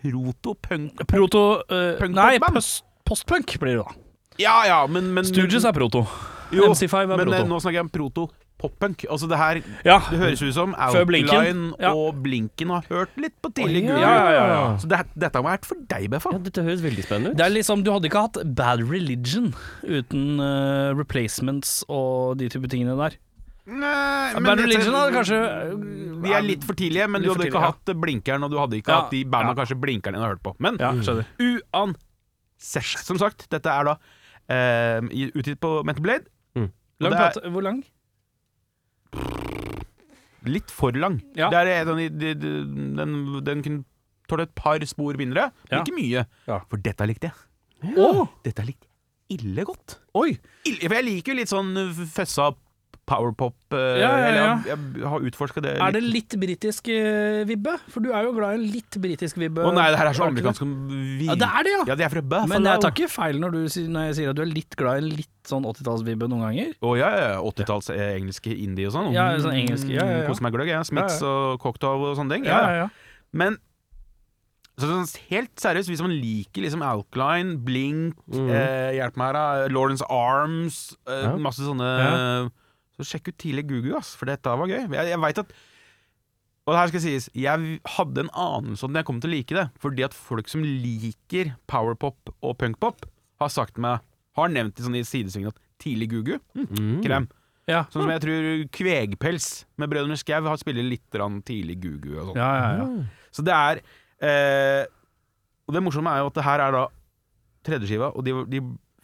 [SPEAKER 1] Proto-punk
[SPEAKER 3] Proto eh,
[SPEAKER 1] Punk
[SPEAKER 3] Nei,
[SPEAKER 1] rockband.
[SPEAKER 3] post, postpunk blir det da.
[SPEAKER 1] Ja ja, men, men
[SPEAKER 3] Stooges er proto.
[SPEAKER 1] Mm. jo,
[SPEAKER 3] MC5 er
[SPEAKER 1] Men eh,
[SPEAKER 3] proto.
[SPEAKER 1] nå snakker jeg om proto-pop-punk. Altså det her
[SPEAKER 3] Ja.
[SPEAKER 1] Det høres ut som
[SPEAKER 3] Før Blinken.
[SPEAKER 1] Outline
[SPEAKER 3] Ja.
[SPEAKER 1] og Blinken har hørt litt på tidlig
[SPEAKER 2] Å, ja.
[SPEAKER 1] Google.
[SPEAKER 3] Ja, ja, ja, ja.
[SPEAKER 1] Så det, dette må ha vært for deg, Beffa.
[SPEAKER 2] Ja, dette høres veldig spennende ut.
[SPEAKER 3] Det er liksom, Du hadde ikke hatt Bad Religion uten eh, replacements og de type tingene der.
[SPEAKER 1] Nei, men
[SPEAKER 3] Bad
[SPEAKER 1] dette-
[SPEAKER 3] Religion hadde kanskje
[SPEAKER 1] De er litt for tidlige, men
[SPEAKER 3] Litt
[SPEAKER 1] du
[SPEAKER 3] for
[SPEAKER 1] hadde ikke
[SPEAKER 3] tidlige,
[SPEAKER 1] hatt blinkeren, og du hadde ikke
[SPEAKER 3] Ja,
[SPEAKER 1] hatt de banda
[SPEAKER 3] ja.
[SPEAKER 1] kanskje blinkeren din har hørt på. Men
[SPEAKER 3] Ja, skjønner.
[SPEAKER 1] uansett, som sagt, dette er da eh, i- utgitt på Metal Blade.
[SPEAKER 2] Mm.
[SPEAKER 1] Og
[SPEAKER 3] Lang
[SPEAKER 1] det er
[SPEAKER 3] plate, hvor lang?
[SPEAKER 1] litt for lang.
[SPEAKER 3] Ja.
[SPEAKER 1] Det er en av de, de, de, den, den kunne tåle et par spor mindre, men
[SPEAKER 3] Ja.
[SPEAKER 1] ikke mye.
[SPEAKER 3] Ja.
[SPEAKER 1] For dette likte jeg.
[SPEAKER 3] Åh!
[SPEAKER 1] Dette likte jeg ille godt.
[SPEAKER 3] Oi!
[SPEAKER 1] Ille, for jeg liker jo litt sånn fessa powerpop. eh,
[SPEAKER 3] Ja, ja,
[SPEAKER 1] eller
[SPEAKER 3] ja.
[SPEAKER 1] Jeg, jeg har utforska det
[SPEAKER 3] Er det litt britisk eh, vibbe? For du er jo glad i en litt britisk vibbe.
[SPEAKER 1] Å nei, det her er så
[SPEAKER 3] Er det ikke
[SPEAKER 1] amerikansk
[SPEAKER 3] det?
[SPEAKER 1] som vi
[SPEAKER 3] Ja, det er det, ja!
[SPEAKER 1] Ja, de er fra Buffalo.
[SPEAKER 3] Men eh, jeg tar ikke feil når, du, sier- når jeg sier at du er litt glad i en litt sånn 80-tallsvibbe noen ganger.
[SPEAKER 1] Å ja, ja, ja. 80-talls eh, engelske indie og sånn.
[SPEAKER 3] Ja, sånn engelske, ja, ja, ja.
[SPEAKER 1] Koser meg gløgg, jeg. Smiths
[SPEAKER 3] Ja,
[SPEAKER 1] og cocktail og sånne ting. Ja, ja.
[SPEAKER 3] ja.
[SPEAKER 1] Men så, sånn, helt seriøst, hvis man liker liksom Outline, Blink,
[SPEAKER 2] Mhm.
[SPEAKER 1] eh, hjelp meg her, da, Lawrence Arms, eh,
[SPEAKER 2] Ja.
[SPEAKER 1] masse sånne Så sjekk ut tidlig Gugu, ass, for dette var gøy. Jeg, jeg veit at og det her skal sies, jeg hadde en anelse om at jeg kom til å like det, fordi at folk som liker powerpop og punkpop, har sagt meg Har nevnt sånn i sånne sidesvingene at tidlig Gugu
[SPEAKER 2] Mm.
[SPEAKER 1] krem.
[SPEAKER 3] Ja.
[SPEAKER 1] Sånn som jeg tror Kvegpels med Brødrene Skau har spiller litt grann tidlig Gugu og sånn.
[SPEAKER 3] Ja, ja, ja.
[SPEAKER 1] Så det er eh, Og det morsomme er jo at det her er da tredjeskiva, og de, de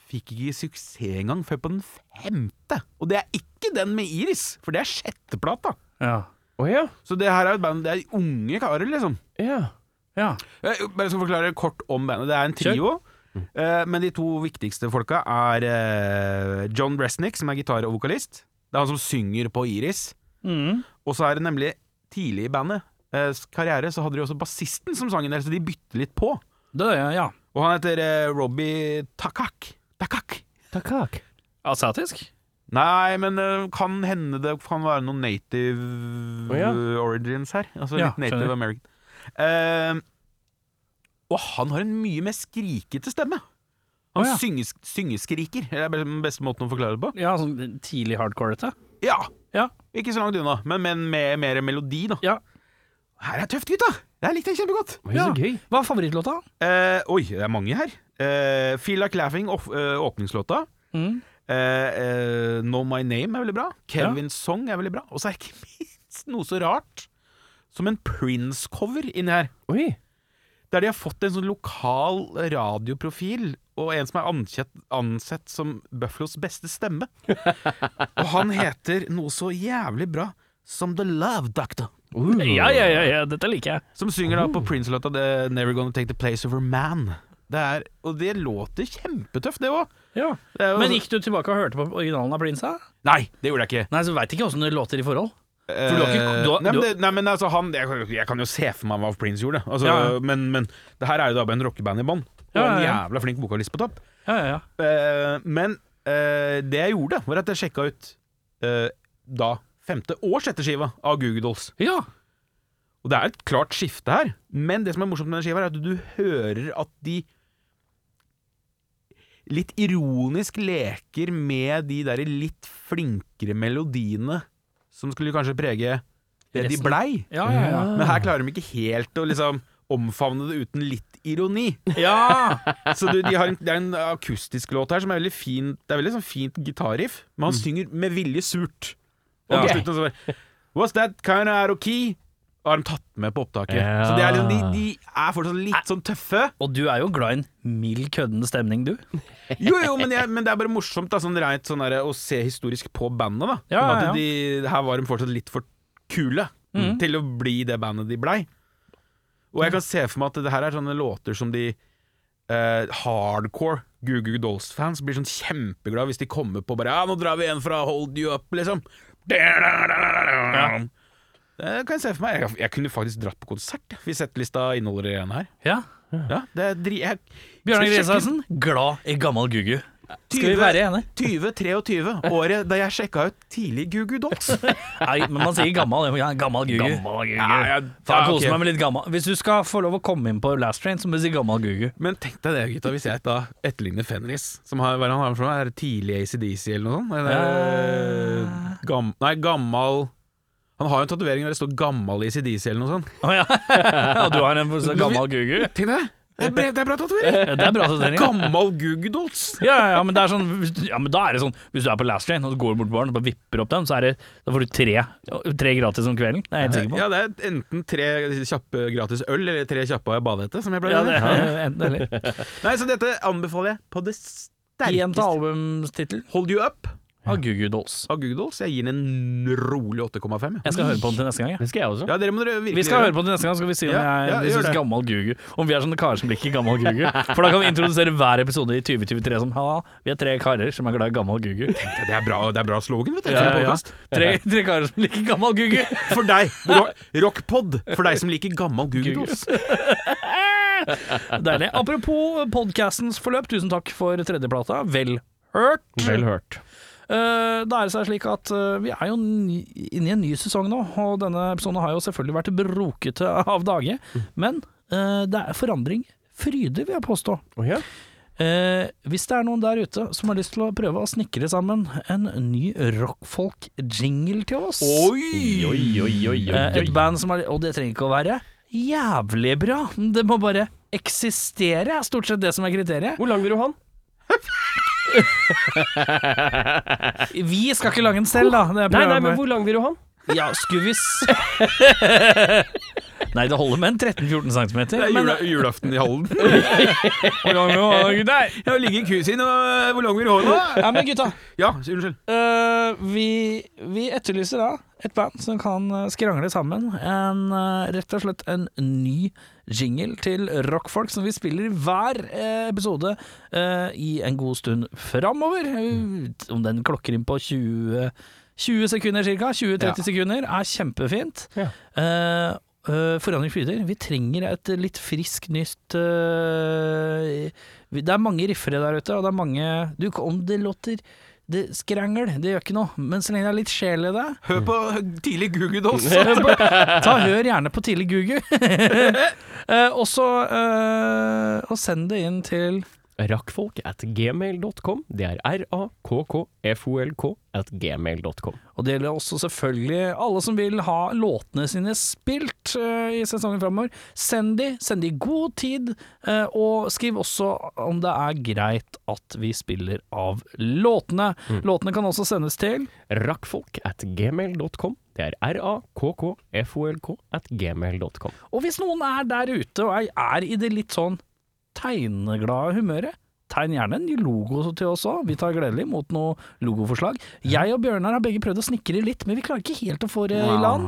[SPEAKER 1] fikk ikke suksess engang før på den femte. Og det er ikke den med Iris, for det er sjetteplata.
[SPEAKER 3] ja.
[SPEAKER 2] Å ja.
[SPEAKER 1] Så det her er jo et band Det er unge karer, liksom.
[SPEAKER 2] ja.
[SPEAKER 3] ja.
[SPEAKER 1] Jeg bare skal forklare kort om bandet. Det er en trio. eh, Men de to viktigste folka er eh, John Bresnick, som er gitar og vokalist. Det er han som synger på Iris.
[SPEAKER 3] Mm.
[SPEAKER 1] Og så er det nemlig tidlig i bandets karriere så hadde de også bassisten som sang en del, så de bytter litt på.
[SPEAKER 3] Det er jeg, ja.
[SPEAKER 1] Og han heter eh, Robbie Takak. Takak.
[SPEAKER 2] Takak.
[SPEAKER 3] Asiatisk?
[SPEAKER 1] Nei, men eh, kan hende det kan være noen native
[SPEAKER 2] Å, ja.
[SPEAKER 1] eh, origins her. Altså
[SPEAKER 3] Ja,
[SPEAKER 1] litt native
[SPEAKER 3] skjønner.
[SPEAKER 1] American. Eh, og han har en mye mer skrikete stemme. Han
[SPEAKER 3] Å, ja.
[SPEAKER 1] synges, syngeskriker. Det er den beste måten å forklare det på.
[SPEAKER 3] Ja, sånn tidlig hardcore-ete.
[SPEAKER 1] Ja,
[SPEAKER 3] Ja.
[SPEAKER 1] Ikke så langt unna, men med, med mer melodi, da.
[SPEAKER 3] Ja.
[SPEAKER 1] Her er tøft, gutta! Det her likte jeg kjempegodt.
[SPEAKER 2] Oi, så
[SPEAKER 3] Ja.
[SPEAKER 2] gøy.
[SPEAKER 3] Hva er favorittlåta?
[SPEAKER 1] Eh, oi, det er mange her. Eh, Feel Like Laughing, off, eh, åpningslåta.
[SPEAKER 3] Mm.
[SPEAKER 1] Eh, eh, know My Name er veldig bra. Kevin's Song er veldig bra. Og så er ikke minst noe så rart som en Prince-cover inni her.
[SPEAKER 2] Oi.
[SPEAKER 1] Der de har fått en sånn lokal radioprofil, og en som er ansett, ansett som Buffalos beste stemme. og han heter noe så jævlig bra som The Love Doctor.
[SPEAKER 2] Uh.
[SPEAKER 3] Ja, ja, ja, ja, dette liker jeg.
[SPEAKER 1] Som synger da på Prince-låta The 'Never Gonna Take The Place of a Man'. Det er, og det låter kjempetøft, det òg.
[SPEAKER 3] Men gikk du tilbake og hørte på originalen av Prince? da?
[SPEAKER 1] Nei, det gjorde jeg ikke.
[SPEAKER 3] Nei, så veit ikke åssen det låter i forhold.
[SPEAKER 1] For
[SPEAKER 3] du har ikke- du har-
[SPEAKER 1] nei, men
[SPEAKER 3] du-
[SPEAKER 1] det, nei, men altså, han jeg, jeg kan jo se for meg hva Prince gjorde. Altså,
[SPEAKER 3] Ja, ja.
[SPEAKER 1] Men, men det her er jo da med en rockeband i bånn. Og
[SPEAKER 3] Ja, ja,
[SPEAKER 1] en
[SPEAKER 3] ja.
[SPEAKER 1] jævla flink vokalist på topp.
[SPEAKER 3] Ja, ja, ja.
[SPEAKER 1] Eh, men eh, det jeg gjorde, var at jeg sjekka ut eh, da femte og sjette skiva av Google Dolls.
[SPEAKER 3] ja.
[SPEAKER 1] Og det er et klart skifte her, men det som er morsomt med den skiva, er at du hører at de litt ironisk leker med de der litt flinkere melodiene som skulle kanskje prege det de
[SPEAKER 3] Resten.
[SPEAKER 1] blei.
[SPEAKER 3] Ja, ja, ja.
[SPEAKER 1] Men her klarer de ikke helt å liksom omfavne det uten litt ironi.
[SPEAKER 3] ja.
[SPEAKER 1] Så du, de har en, Det er en akustisk låt her som er veldig fin Det er veldig sånn fint gitarriff, men han synger med vilje surt. Og
[SPEAKER 3] Ok.
[SPEAKER 1] på slutten så bare Was that kind of out of key? Og har de tatt med på opptaket.
[SPEAKER 2] Ja.
[SPEAKER 1] Så de er, liksom, de, de er fortsatt litt sånn tøffe.
[SPEAKER 3] Og du er jo glad i en mild, køddende stemning, du.
[SPEAKER 1] Jo, jo, men, jeg, men det er bare morsomt da, sånn rent sånn derre å se historisk på bandet. da
[SPEAKER 3] Ja, ja, Mm. ja.
[SPEAKER 1] At de, Her var de fortsatt litt for kule til å bli det bandet de blei. Og
[SPEAKER 3] Mm.
[SPEAKER 1] jeg kan se for meg at det her er sånne låter som de eh, hardcore Goo Goo Dolls-fans blir sånn kjempeglad hvis de kommer på bare Ja, nå drar vi en fra Hold You Up, liksom. Det kan jeg se for meg. Jeg, jeg kunne faktisk dratt på konsert jeg, hvis settelista inneholder det igjen her.
[SPEAKER 3] Ja.
[SPEAKER 1] Ja, det er dri... Jeg,
[SPEAKER 3] Bjørnar
[SPEAKER 1] Skal vi sjekke-
[SPEAKER 3] Grisaisen, glad i gammel Gugu. Skal vi
[SPEAKER 1] 20
[SPEAKER 3] være enige?
[SPEAKER 1] 2023, året da jeg sjekka ut tidlig Gugu Dolls.
[SPEAKER 3] Nei, men man sier gammal. Ja, gammal Gugu.
[SPEAKER 1] Ja, ja,
[SPEAKER 3] Faen,
[SPEAKER 1] ja, ok.
[SPEAKER 3] koser meg med litt gammal. Hvis du skal få lov å komme inn på Last Train, så må du si gammal Gugu.
[SPEAKER 1] Men tenk deg det, gutta, hvis jeg da etterligner Fenris, som har, hva er det han har for noe, er det tidlig ACDC eller noe sånt? Eller,
[SPEAKER 3] Ah.
[SPEAKER 1] gam, nei, gammal Han har jo en tatovering der det står 'gammal ACDC' eller noe sånn.
[SPEAKER 3] Å ja. Og du har en for- så gammal Gugu?
[SPEAKER 1] Tenk deg det! Det er bra, det er bra tatovering!
[SPEAKER 3] Ja, Det er bra sortering. ja.
[SPEAKER 1] Gammal Gugu Dolls!
[SPEAKER 3] Ja, ja, ja, men det er sånn, hvis- ja, men da er det sånn Hvis du er på Last Train og så går du bort på baren og bare vipper opp den, så er det, da får du tre, tre gratis om kvelden. Det er jeg helt sikker på.
[SPEAKER 1] Ja, det er enten tre kjappe gratis øl eller tre kjappe badehette, som jeg pleier
[SPEAKER 3] Ja,
[SPEAKER 1] å si.
[SPEAKER 3] det er enten eller.
[SPEAKER 1] Nei, så dette anbefaler jeg på det
[SPEAKER 3] Gjenta
[SPEAKER 1] sterkeste.
[SPEAKER 3] albumstittel
[SPEAKER 1] Hold you up
[SPEAKER 3] av Ah, Gugu Dolls.
[SPEAKER 1] av Google Dolls. Jeg gir den en rolig 8,5.
[SPEAKER 3] Jeg
[SPEAKER 1] Ja.
[SPEAKER 3] skal høre på den til neste gang. Ja.
[SPEAKER 2] Det skal jeg også.
[SPEAKER 1] ja, dere må dere virkelig
[SPEAKER 3] Vi skal høre på det neste gang, så skal vi si om
[SPEAKER 1] Ja,
[SPEAKER 3] jeg
[SPEAKER 1] ja,
[SPEAKER 3] vi
[SPEAKER 1] gjør
[SPEAKER 3] synes
[SPEAKER 1] det.
[SPEAKER 3] gammel Gugu. Om vi er sånn sånne karer som liker gammel Gugu. For da kan vi introdusere hver episode i 2023 som ha, vi er tre karer som er glad i gammel Gugu.
[SPEAKER 1] Ja, det, er bra, det er bra slogan, vet du.
[SPEAKER 3] Ja,
[SPEAKER 1] for en
[SPEAKER 3] ja, ja.
[SPEAKER 1] podcast.
[SPEAKER 3] Tre, tre karer som liker gammel Gugu.
[SPEAKER 1] For deg, ro- rockpod, for deg som liker gammel Google
[SPEAKER 3] Google.
[SPEAKER 1] Dolls.
[SPEAKER 3] Deilig. Apropos podkastens forløp, tusen takk for tredjeplata. Vel hørt.
[SPEAKER 2] Vel hørt.
[SPEAKER 3] Eh, da er det seg slik at eh, vi er jo ny, inne i en ny sesong nå, og denne episoden har jo selvfølgelig vært brokete av dage. Men eh, det er forandring fryder, vil jeg påstå.
[SPEAKER 2] Å ja.
[SPEAKER 3] Eh, hvis det er noen der ute som har lyst til å prøve å snikre sammen en ny rockfolk-jingle til oss
[SPEAKER 2] Oi, oi, oi, oi,
[SPEAKER 3] Eh, Et
[SPEAKER 2] oi.
[SPEAKER 3] band som er Og det trenger ikke å være jævlig bra. Det må bare eksistere, er stort sett det som er kriteriet.
[SPEAKER 2] Hvor lang vil du ha den?
[SPEAKER 3] Vi skal ikke lage den selv, da. Det er
[SPEAKER 2] Nei, nei,
[SPEAKER 3] programmet.
[SPEAKER 2] men hvor lang vil du ha den?
[SPEAKER 3] Ja, skulle vi s... Nei, det holder med en 13-14 cm. Men
[SPEAKER 1] julaften i Halden.
[SPEAKER 3] Hvor lang vil du ha, gutter?
[SPEAKER 1] Jeg ligger i kusin, og hvor lang vil du ha nå?
[SPEAKER 3] Ja, men gutta,
[SPEAKER 1] Ja, unnskyld.
[SPEAKER 3] eh, vi, vi etterlyser da et band som kan eh, skrangle sammen en, eh, rett og slett en ny jingle til rockfolk som vi spiller i hver eh, episode eh, i en god stund framover. Eh, Om den klokker inn på 20, 20 sekunder ca. 20-30 sekunder er kjempefint.
[SPEAKER 2] Ja.
[SPEAKER 3] Eh, eh, forandring flyter. Vi trenger et litt frisk, nytt eh, vi- Det er mange riffere der ute, og det er mange du, Om det låter det skrangel, det gjør ikke noe, men så lenge det er litt sjel i det
[SPEAKER 1] Hør på tidlig Google Dolls.
[SPEAKER 3] Ta Hør gjerne på tidlig Gugu. Eh, og så eh, Og send det inn til
[SPEAKER 2] Rakkfolk at gmail.com. Det er r-a-k-k-f-o-l-k at gmail.com.
[SPEAKER 3] Og det gjelder også selvfølgelig alle som vil ha låtene sine spilt eh, i sesongen framover. Send de, send de i god tid, eh, og skriv også om det er greit at vi spiller av låtene. Låtene kan også sendes til
[SPEAKER 2] Rakkfolk at gmail.com. Det er r-a-k-k-f-o-l-k at gmail.com.
[SPEAKER 3] Og hvis noen er der ute og er- er i det litt sånn tegneglade humøret, tegn gjerne en ny logo til oss òg. Vi tar gledelig imot noe logoforslag. Jeg og Bjørnar har begge prøvd å snikre litt, men vi klarer ikke helt å få det i land.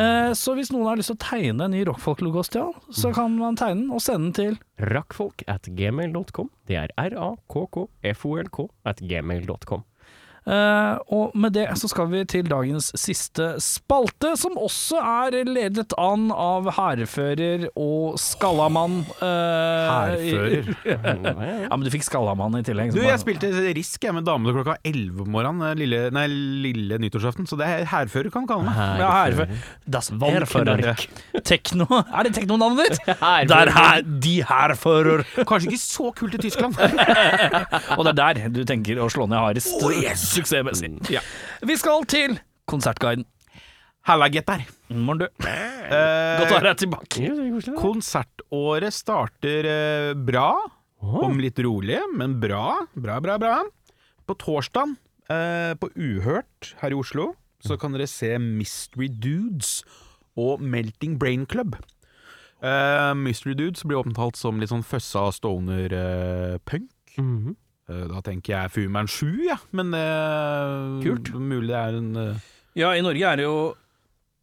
[SPEAKER 3] Eh, Så hvis noen har lyst til å tegne en ny rockfolk-logo hos Stian, så kan man tegne den og sende den til
[SPEAKER 2] Rakkfolk at gmail.com. Det er r-a-k-k-f-o-l-k at gmail.com.
[SPEAKER 3] Eh, og med det så skal vi til dagens siste spalte, som også er ledet an av hærfører og skallamann. eh, i-
[SPEAKER 1] Hærfører.
[SPEAKER 3] Ja, men du fikk skallamann i tillegg.
[SPEAKER 1] Du,
[SPEAKER 3] som
[SPEAKER 1] jeg
[SPEAKER 3] var-
[SPEAKER 1] spilte risk jeg med damene klokka 11 om morgenen, eh, lille, nei, lille nyttårsaften, så det er hærfører kan du kalle meg.
[SPEAKER 3] ja, hærfører. Das Hærfører.
[SPEAKER 1] Hærfører.
[SPEAKER 3] Tekno Er det teknonavnet ditt?
[SPEAKER 2] Hærfører.
[SPEAKER 3] Der her, de hærfører.
[SPEAKER 1] Kanskje ikke så kult i Tyskland.
[SPEAKER 3] Og det er der du tenker å slå ned hardest suksessmessig.
[SPEAKER 1] ja.
[SPEAKER 3] Vi skal til Konsertguiden.
[SPEAKER 1] Halla, getter.
[SPEAKER 3] Morn, du.
[SPEAKER 1] Eh,
[SPEAKER 3] Godt å ha deg tilbake.
[SPEAKER 2] Ja, det er koselig, det.
[SPEAKER 1] Konsertåret starter eh, bra, om litt rolig, men bra. Bra, bra, bra. På torsdagen, eh, på Uhørt her i Oslo, så kan dere se Mystery Dudes og Melting Brain Club. Eh, Mystery Dudes blir omtalt som litt sånn føssa stoner-punk.
[SPEAKER 2] Mhm.
[SPEAKER 1] Eh, da tenker jeg Fumeren 7, ja. men eh,
[SPEAKER 2] Kult.
[SPEAKER 1] mulig det er en eh,
[SPEAKER 3] Ja, i Norge er det jo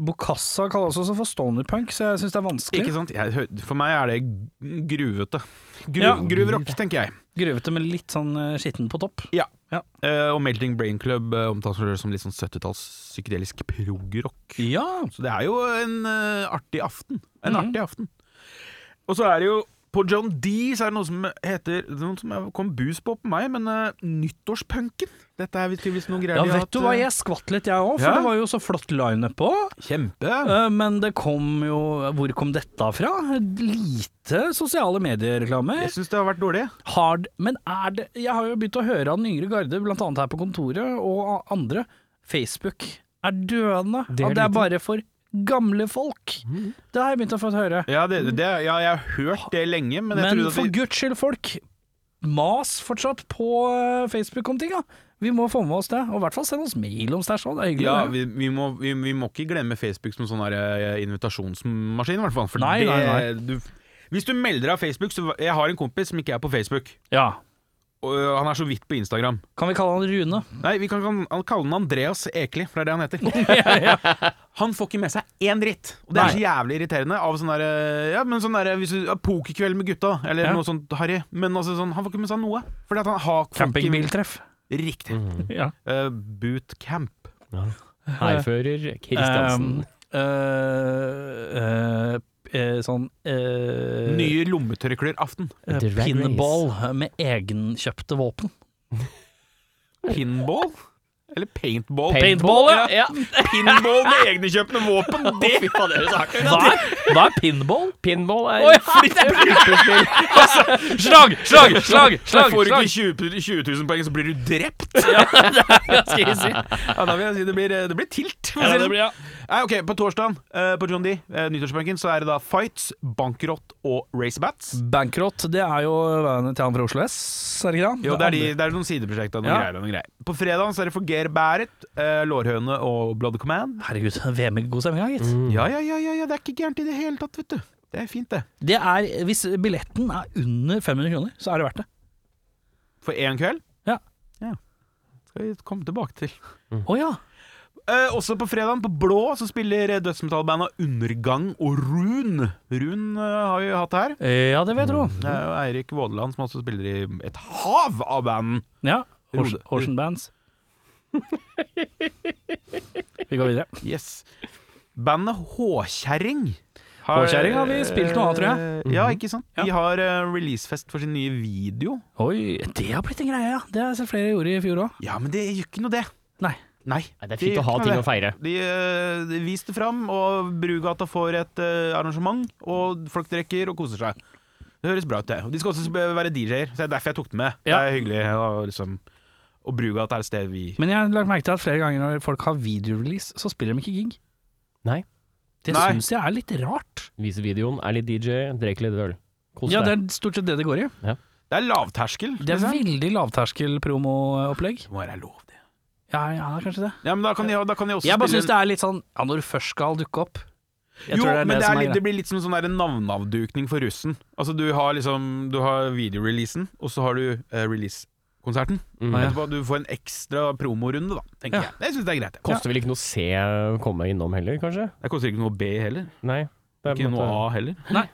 [SPEAKER 3] Bokassa kalles også for stonerpunk, så jeg syns det er vanskelig.
[SPEAKER 1] Ikke sant? Jeg, hø- for meg er det gruvete. Gru,
[SPEAKER 3] Ja.
[SPEAKER 1] Gruverock, tenker jeg.
[SPEAKER 3] Grøvete, men litt sånn eh, skitten på topp.
[SPEAKER 1] Eh, og Melting Brain Club eh, omtales som litt sånn 70-talls psykedelisk prog-rock.
[SPEAKER 3] Ja.
[SPEAKER 1] Så det er jo en eh, artig aften. En
[SPEAKER 3] Mhm.
[SPEAKER 1] artig aften. Og så er det jo på John D så er det noe som heter det er Noe som jeg kom bus på på meg, men eh, nyttårspunken. Dette er tydeligvis noen greier
[SPEAKER 3] Ja,
[SPEAKER 1] de har
[SPEAKER 3] vet du
[SPEAKER 1] hatt,
[SPEAKER 3] hva,
[SPEAKER 1] eh,
[SPEAKER 3] jeg skvatt litt jeg òg, for
[SPEAKER 1] Ja.
[SPEAKER 3] det var jo så flott lineup òg.
[SPEAKER 1] Kjempe!
[SPEAKER 3] Eh, Men det kom jo Hvor kom dette fra? Lite sosiale mediereklame.
[SPEAKER 1] Jeg syns det har vært dårlig.
[SPEAKER 3] Hard Men er det Jeg har jo begynt å høre av den yngre garde, blant annet her på kontoret, og a- andre. Facebook er døende.
[SPEAKER 2] Det er
[SPEAKER 3] og det er
[SPEAKER 2] lite.
[SPEAKER 3] bare for gamle folk.
[SPEAKER 1] Mm.
[SPEAKER 3] Det har jeg begynt å få høre.
[SPEAKER 1] Ja, det, det, ja, jeg har hørt det lenge, men jeg
[SPEAKER 3] Men
[SPEAKER 1] trodde at
[SPEAKER 3] for
[SPEAKER 1] vi-
[SPEAKER 3] guds skyld, folk. Mas fortsatt på eh, Facebook om ting, da. Vi må få med oss det. Og i hvert fall send oss mail om stæsj. Det er hyggelig.
[SPEAKER 1] ja,
[SPEAKER 3] det.
[SPEAKER 1] vi, vi, må, vi, vi må ikke glemme Facebook som sånn her, eh, invitasjonsmaskin, i hvert fall. For
[SPEAKER 3] Nei,
[SPEAKER 1] det,
[SPEAKER 3] nei,
[SPEAKER 1] Du, hvis du melder deg av Facebook så, Jeg har en kompis som ikke er på Facebook.
[SPEAKER 3] ja.
[SPEAKER 1] Og øh, han er så vidt på Instagram.
[SPEAKER 3] Kan vi kalle han Rune?
[SPEAKER 1] Nei, vi kan, kan han kalle han Andreas Ekeli, for det er det han heter. Han får ikke med seg én dritt! Og det er så jævlig irriterende. Av sånn der, eh, ja, men sånn der, hvis du, ja, Pokerkveld med gutta, eller
[SPEAKER 3] Ja.
[SPEAKER 1] noe sånt harry. Men altså, sånn, han får ikke med seg noe. Fordi at han har
[SPEAKER 3] Campingbiltreff.
[SPEAKER 1] Riktig.
[SPEAKER 3] Mm. Ja.
[SPEAKER 1] Eh, bootcamp.
[SPEAKER 2] Hærfører Kristiansen.
[SPEAKER 3] Eh, eh, eh, sånn eh,
[SPEAKER 1] Nye lommetørklær-aften.
[SPEAKER 3] eh,
[SPEAKER 2] Drag Race.
[SPEAKER 3] pinball med egenkjøpte våpen.
[SPEAKER 1] Pinball? Eller paintball?
[SPEAKER 3] Paintball, ja.
[SPEAKER 1] Pinball med egnekjøpte våpen! Det
[SPEAKER 2] Fy faen, dere snakker.
[SPEAKER 3] Hva er, hva er pinball?
[SPEAKER 2] Pinball er
[SPEAKER 3] Å, ja, Altså,
[SPEAKER 2] flippespill.
[SPEAKER 3] Slag, slag, slag!
[SPEAKER 1] Slag, får du ikke 20, 20 000 poeng, så blir du drept! Ja,
[SPEAKER 3] Skal jeg si.
[SPEAKER 1] da vil jeg si det blir, eh, det blir tilt. for å
[SPEAKER 3] Ja,
[SPEAKER 1] si
[SPEAKER 3] det blir, ja.
[SPEAKER 1] Nei, ok, På torsdagen eh, på John D, eh, nyttårsbanken, så er det da Fights, Bankrott og
[SPEAKER 3] Mm.
[SPEAKER 1] Racebats.
[SPEAKER 3] Bankrott, det er jo bandet til han fra Oslo S, er det ikke det?
[SPEAKER 1] Jo, det er, de, det er noen sideprosjekter. Noen
[SPEAKER 3] Ja.
[SPEAKER 1] greier, noen greier. På fredagen så er det Forger Bæret, eh, Lårhøne og Blood Command.
[SPEAKER 3] Herregud, VM er god stemning, da, gitt.
[SPEAKER 1] Ja, ja, ja, ja, ja, det er ikke gærent i det hele tatt, vet du. Det er fint, det.
[SPEAKER 3] Det er, hvis billetten er under 500 kroner, så er det verdt det.
[SPEAKER 1] For én kveld.
[SPEAKER 3] Ja.
[SPEAKER 1] ja. Skal vi komme tilbake til.
[SPEAKER 3] Å ja.
[SPEAKER 1] Eh, også på fredagen på Blå så spiller eh, dødsmetallbanda Undergang og Rune. Rune eh, har vi jo hatt her.
[SPEAKER 3] Ja, det vil jeg tro.
[SPEAKER 1] Det er jo Eirik Vådeland som også spiller i et hav av band.
[SPEAKER 3] Ja. Horsen, Horsen Bands. Vi går videre.
[SPEAKER 1] Yes. Bandet Håkjerring.
[SPEAKER 3] Håkjerring har vi spilt noe av, tror jeg. Mhm.
[SPEAKER 1] Eh, Ja, ikke sant? De har eh, releasefest for sin nye video.
[SPEAKER 3] Oi, det har blitt en greie, ja. Det har jeg sett flere gjorde i fjor òg.
[SPEAKER 1] Ja, men det gjør ikke noe, det.
[SPEAKER 3] Nei.
[SPEAKER 1] Nei.
[SPEAKER 2] Nei, Det er fint å ha
[SPEAKER 1] gjør ikke noe,
[SPEAKER 2] ting
[SPEAKER 1] det.
[SPEAKER 2] å feire.
[SPEAKER 1] De, eh, de viste fram, og Brugata får et eh, arrangement, og folk drikker og koser seg. Det høres bra ut, det. Og De skal også sp- være DJ-er, så det er derfor jeg tok dem med.
[SPEAKER 3] Ja.
[SPEAKER 1] Det er hyggelig. Og, liksom, og Brugata er et sted vi
[SPEAKER 3] Men jeg har lagt merke til at flere ganger når folk har videorelease, så spiller de ikke gig.
[SPEAKER 2] Nei.
[SPEAKER 3] Det
[SPEAKER 1] Nei.
[SPEAKER 3] syns jeg er litt rart.
[SPEAKER 2] Vise videoen, er litt DJ, drikk litt øl. Kos
[SPEAKER 3] Ja, det er
[SPEAKER 2] deg.
[SPEAKER 3] stort sett det det går i.
[SPEAKER 1] Det er lavterskel.
[SPEAKER 3] Det er
[SPEAKER 1] liksom.
[SPEAKER 3] veldig lavterskel promoopplegg.
[SPEAKER 1] Det må være lov, det.
[SPEAKER 3] Ja, ja, kanskje det.
[SPEAKER 1] Ja, men da kan de, da kan de også
[SPEAKER 3] Jeg bare
[SPEAKER 1] spille
[SPEAKER 3] syns det er litt sånn ja, når du først skal dukke opp Jeg
[SPEAKER 1] jo,
[SPEAKER 3] tror det er
[SPEAKER 1] men
[SPEAKER 3] det,
[SPEAKER 1] det,
[SPEAKER 3] som
[SPEAKER 1] er
[SPEAKER 3] er
[SPEAKER 1] litt,
[SPEAKER 3] greia.
[SPEAKER 1] det blir litt som en sånn der navneavdukning for russen. Altså Du har liksom Du har videoreleasen, og så har du eh, releasekonserten.
[SPEAKER 2] Mm.
[SPEAKER 1] Etterpå Du får en ekstra promorunde, da, tenker
[SPEAKER 3] Ja.
[SPEAKER 1] jeg. Jeg syns det er greit. jeg.
[SPEAKER 2] Koster vel ikke noe å se å komme innom heller, kanskje?
[SPEAKER 1] Det koster ikke noe B heller.
[SPEAKER 2] Nei. Det er på
[SPEAKER 1] Ikke
[SPEAKER 2] en
[SPEAKER 1] noe
[SPEAKER 2] måte-
[SPEAKER 1] A heller.
[SPEAKER 3] Nei.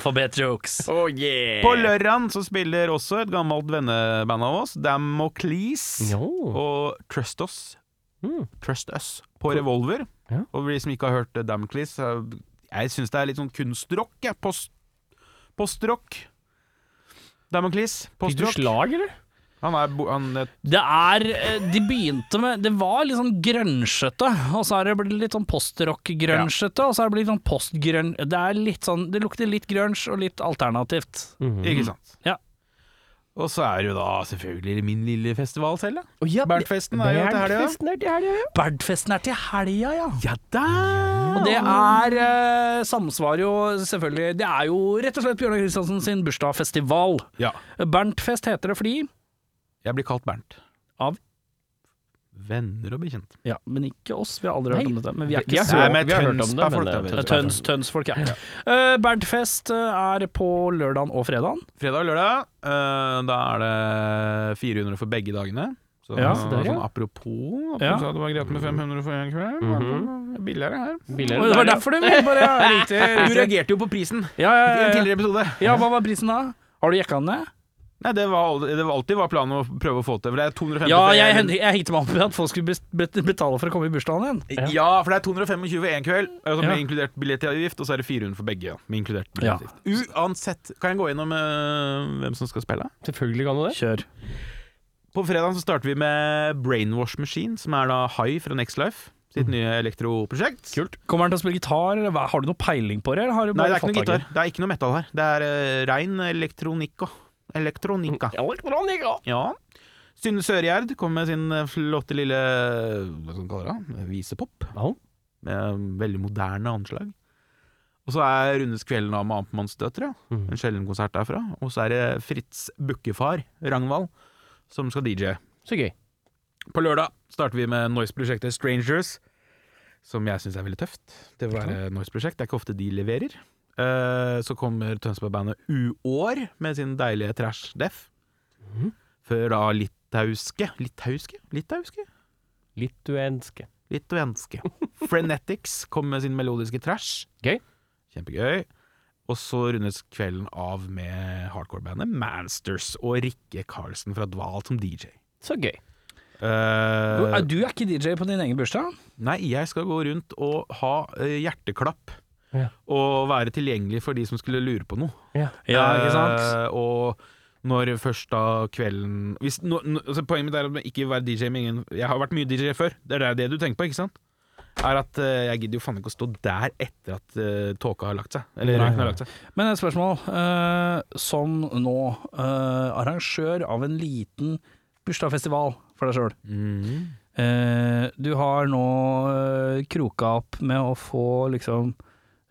[SPEAKER 3] for bedre jokes.
[SPEAKER 2] Oh yeah!
[SPEAKER 1] På lørdagen så spiller også et gammelt venneband av oss, Damocles
[SPEAKER 2] Jo.
[SPEAKER 1] og Trust Us.
[SPEAKER 2] Mm.
[SPEAKER 1] Trust Us på Revolver.
[SPEAKER 2] Ja.
[SPEAKER 1] Og for de som ikke har hørt eh, Damocles, eh, jeg syns det er litt sånn kunstrock, jeg. Post, postrock. Damocles,
[SPEAKER 2] Fikk du
[SPEAKER 1] postrock.
[SPEAKER 2] slag, eller?
[SPEAKER 1] Han er bo- han, eh,
[SPEAKER 3] Det er eh, De begynte med Det var litt sånn grønsjete, og så er det blitt litt sånn postrock-grønsjete, og så er det blitt sånn postgrønn Det er litt sånn Det lukter litt grønsj og litt alternativt.
[SPEAKER 2] Mm.
[SPEAKER 1] Ikke sant.
[SPEAKER 3] Ja.
[SPEAKER 1] Og så er det jo da selvfølgelig min lille festival selv, da.
[SPEAKER 2] Oh, ja,
[SPEAKER 1] Berntfesten er jo til helga.
[SPEAKER 2] Berntfesten er til helga, ja.
[SPEAKER 3] Berdfesten er til helga, ja.
[SPEAKER 1] Ja da!
[SPEAKER 3] Og det er eh, samsvarer jo selvfølgelig Det er jo rett og slett Bjørnar Kristiansen sin bursdagsfestival.
[SPEAKER 1] Ja.
[SPEAKER 3] Berntfest heter det fordi
[SPEAKER 1] Jeg blir kalt Bernt.
[SPEAKER 3] Av?
[SPEAKER 1] Venner og bekjente.
[SPEAKER 3] Ja, men ikke oss. Vi har aldri hørt
[SPEAKER 2] Nei.
[SPEAKER 3] om dette. Men vi er
[SPEAKER 2] Vi
[SPEAKER 3] ikke
[SPEAKER 2] har
[SPEAKER 1] så-
[SPEAKER 2] hørt-
[SPEAKER 1] Nei, men
[SPEAKER 2] vi har hørt om det,
[SPEAKER 1] Tønsberg- folk, da,
[SPEAKER 2] men,
[SPEAKER 1] vet
[SPEAKER 2] eh,
[SPEAKER 1] du.
[SPEAKER 3] Tøns,
[SPEAKER 2] Tøns-
[SPEAKER 3] Tønsfolk, ja. Eh, Berntfest eh, er på lørdagen og fredagen.
[SPEAKER 1] Fredag og lørdag, eh, da er det 400 for begge dagene. Så,
[SPEAKER 3] Ja,
[SPEAKER 2] så der, ja.
[SPEAKER 1] Sånn apropos at
[SPEAKER 3] Ja.
[SPEAKER 1] du sa det var greit med 500 for en kveld.
[SPEAKER 2] Mhm.
[SPEAKER 1] Billigere her. Eh,
[SPEAKER 2] Billigere
[SPEAKER 3] Og det var
[SPEAKER 2] der, ja.
[SPEAKER 3] derfor det var bare ja, riktig,
[SPEAKER 1] Du
[SPEAKER 3] riktig.
[SPEAKER 1] reagerte jo på prisen i
[SPEAKER 3] Ja,
[SPEAKER 1] en
[SPEAKER 3] ja, ja, ja.
[SPEAKER 1] tidligere episode.
[SPEAKER 3] ja, hva var prisen da? Har du jekka den ned?
[SPEAKER 1] Nei, det var, aldri, det var alltid var planen å prøve å få til. For det er 250
[SPEAKER 3] Ja,
[SPEAKER 1] for
[SPEAKER 3] jeg,
[SPEAKER 1] en-
[SPEAKER 3] jeg hengte meg opp i at folk skulle bes- bet- betale for å komme i bursdagen din.
[SPEAKER 1] Ja, for det er 225 for én kveld, altså med
[SPEAKER 3] Ja.
[SPEAKER 1] inkludert billettavgift, og så er det 400 for begge, ja, med inkludert billettavgift. Uansett, kan jeg gå gjennom eh, hvem som skal spille?
[SPEAKER 2] Selvfølgelig kan du det.
[SPEAKER 3] Kjør.
[SPEAKER 1] På fredag så starter vi med Brainwash Machine, som er da High fra Next Life. Sitt
[SPEAKER 3] Mm.
[SPEAKER 1] nye elektroprosjekt.
[SPEAKER 2] Kult.
[SPEAKER 3] Kommer han til å spille gitar, eller hva? har du noe peiling på det? Eller har du
[SPEAKER 1] Nei,
[SPEAKER 3] bare
[SPEAKER 1] det er ikke noe
[SPEAKER 3] fått tak i
[SPEAKER 1] gitar. Det er ikke noe metal her. Det er eh, rein elektronikka.
[SPEAKER 3] Mm.
[SPEAKER 1] Elektronika.
[SPEAKER 2] Elektronika.
[SPEAKER 1] Ja. Synne Søregjerd kommer med sin eh, flotte lille Hva skal man kalle det? eh, Visepop.
[SPEAKER 2] Ja.
[SPEAKER 1] Med eh, veldig moderne anslag. Og så er Runes kvelden av med Amtmannsdøtre.
[SPEAKER 2] Mhm.
[SPEAKER 1] En sjelden konsert derfra. Og så er det Fritz Bukkefar Rangvald som skal DJ.
[SPEAKER 2] Så gøy.
[SPEAKER 1] På lørdag starter vi med Noise-prosjektet Strangers, som jeg syns er veldig tøft. Det å være Noise-prosjekt, det er ikke ofte de leverer. Eh, så kommer Tønsberg-bandet U-år med sin deilige trash-deff. Før da litauiske Litauiske? Litauiske?
[SPEAKER 2] Lituenske.
[SPEAKER 1] Litauenske. Frenetics kommer med sin melodiske trash.
[SPEAKER 2] Gøy.
[SPEAKER 1] Kjempegøy. Og så rundes kvelden av med hardcore-bandet Mansters og Rikke Karlsen fra Dval som DJ.
[SPEAKER 2] Så gøy.
[SPEAKER 1] Eh,
[SPEAKER 3] Du er, du er ikke DJ på din egen bursdag?
[SPEAKER 1] Nei, jeg skal gå rundt og ha eh, hjerteklapp.
[SPEAKER 2] Ja.
[SPEAKER 1] Og være tilgjengelig for de som skulle lure på noe.
[SPEAKER 2] Ja.
[SPEAKER 1] Eh, og når først da kvelden hvis, nå, nå, altså Poenget mitt er at ikke være DJ med ingen Jeg har vært mye DJ før, det er det du tenker på, ikke sant? Er at eh, jeg gidder jo faen ikke å stå der etter at eh, tåka har lagt seg. Eller
[SPEAKER 2] Nei.
[SPEAKER 1] røyken har lagt seg.
[SPEAKER 3] Men et spørsmål. eh, som nå eh, arrangør av en liten bursdagsfestival for deg sjøl.
[SPEAKER 1] Mhm.
[SPEAKER 3] du har nå eh, kroka opp med å få liksom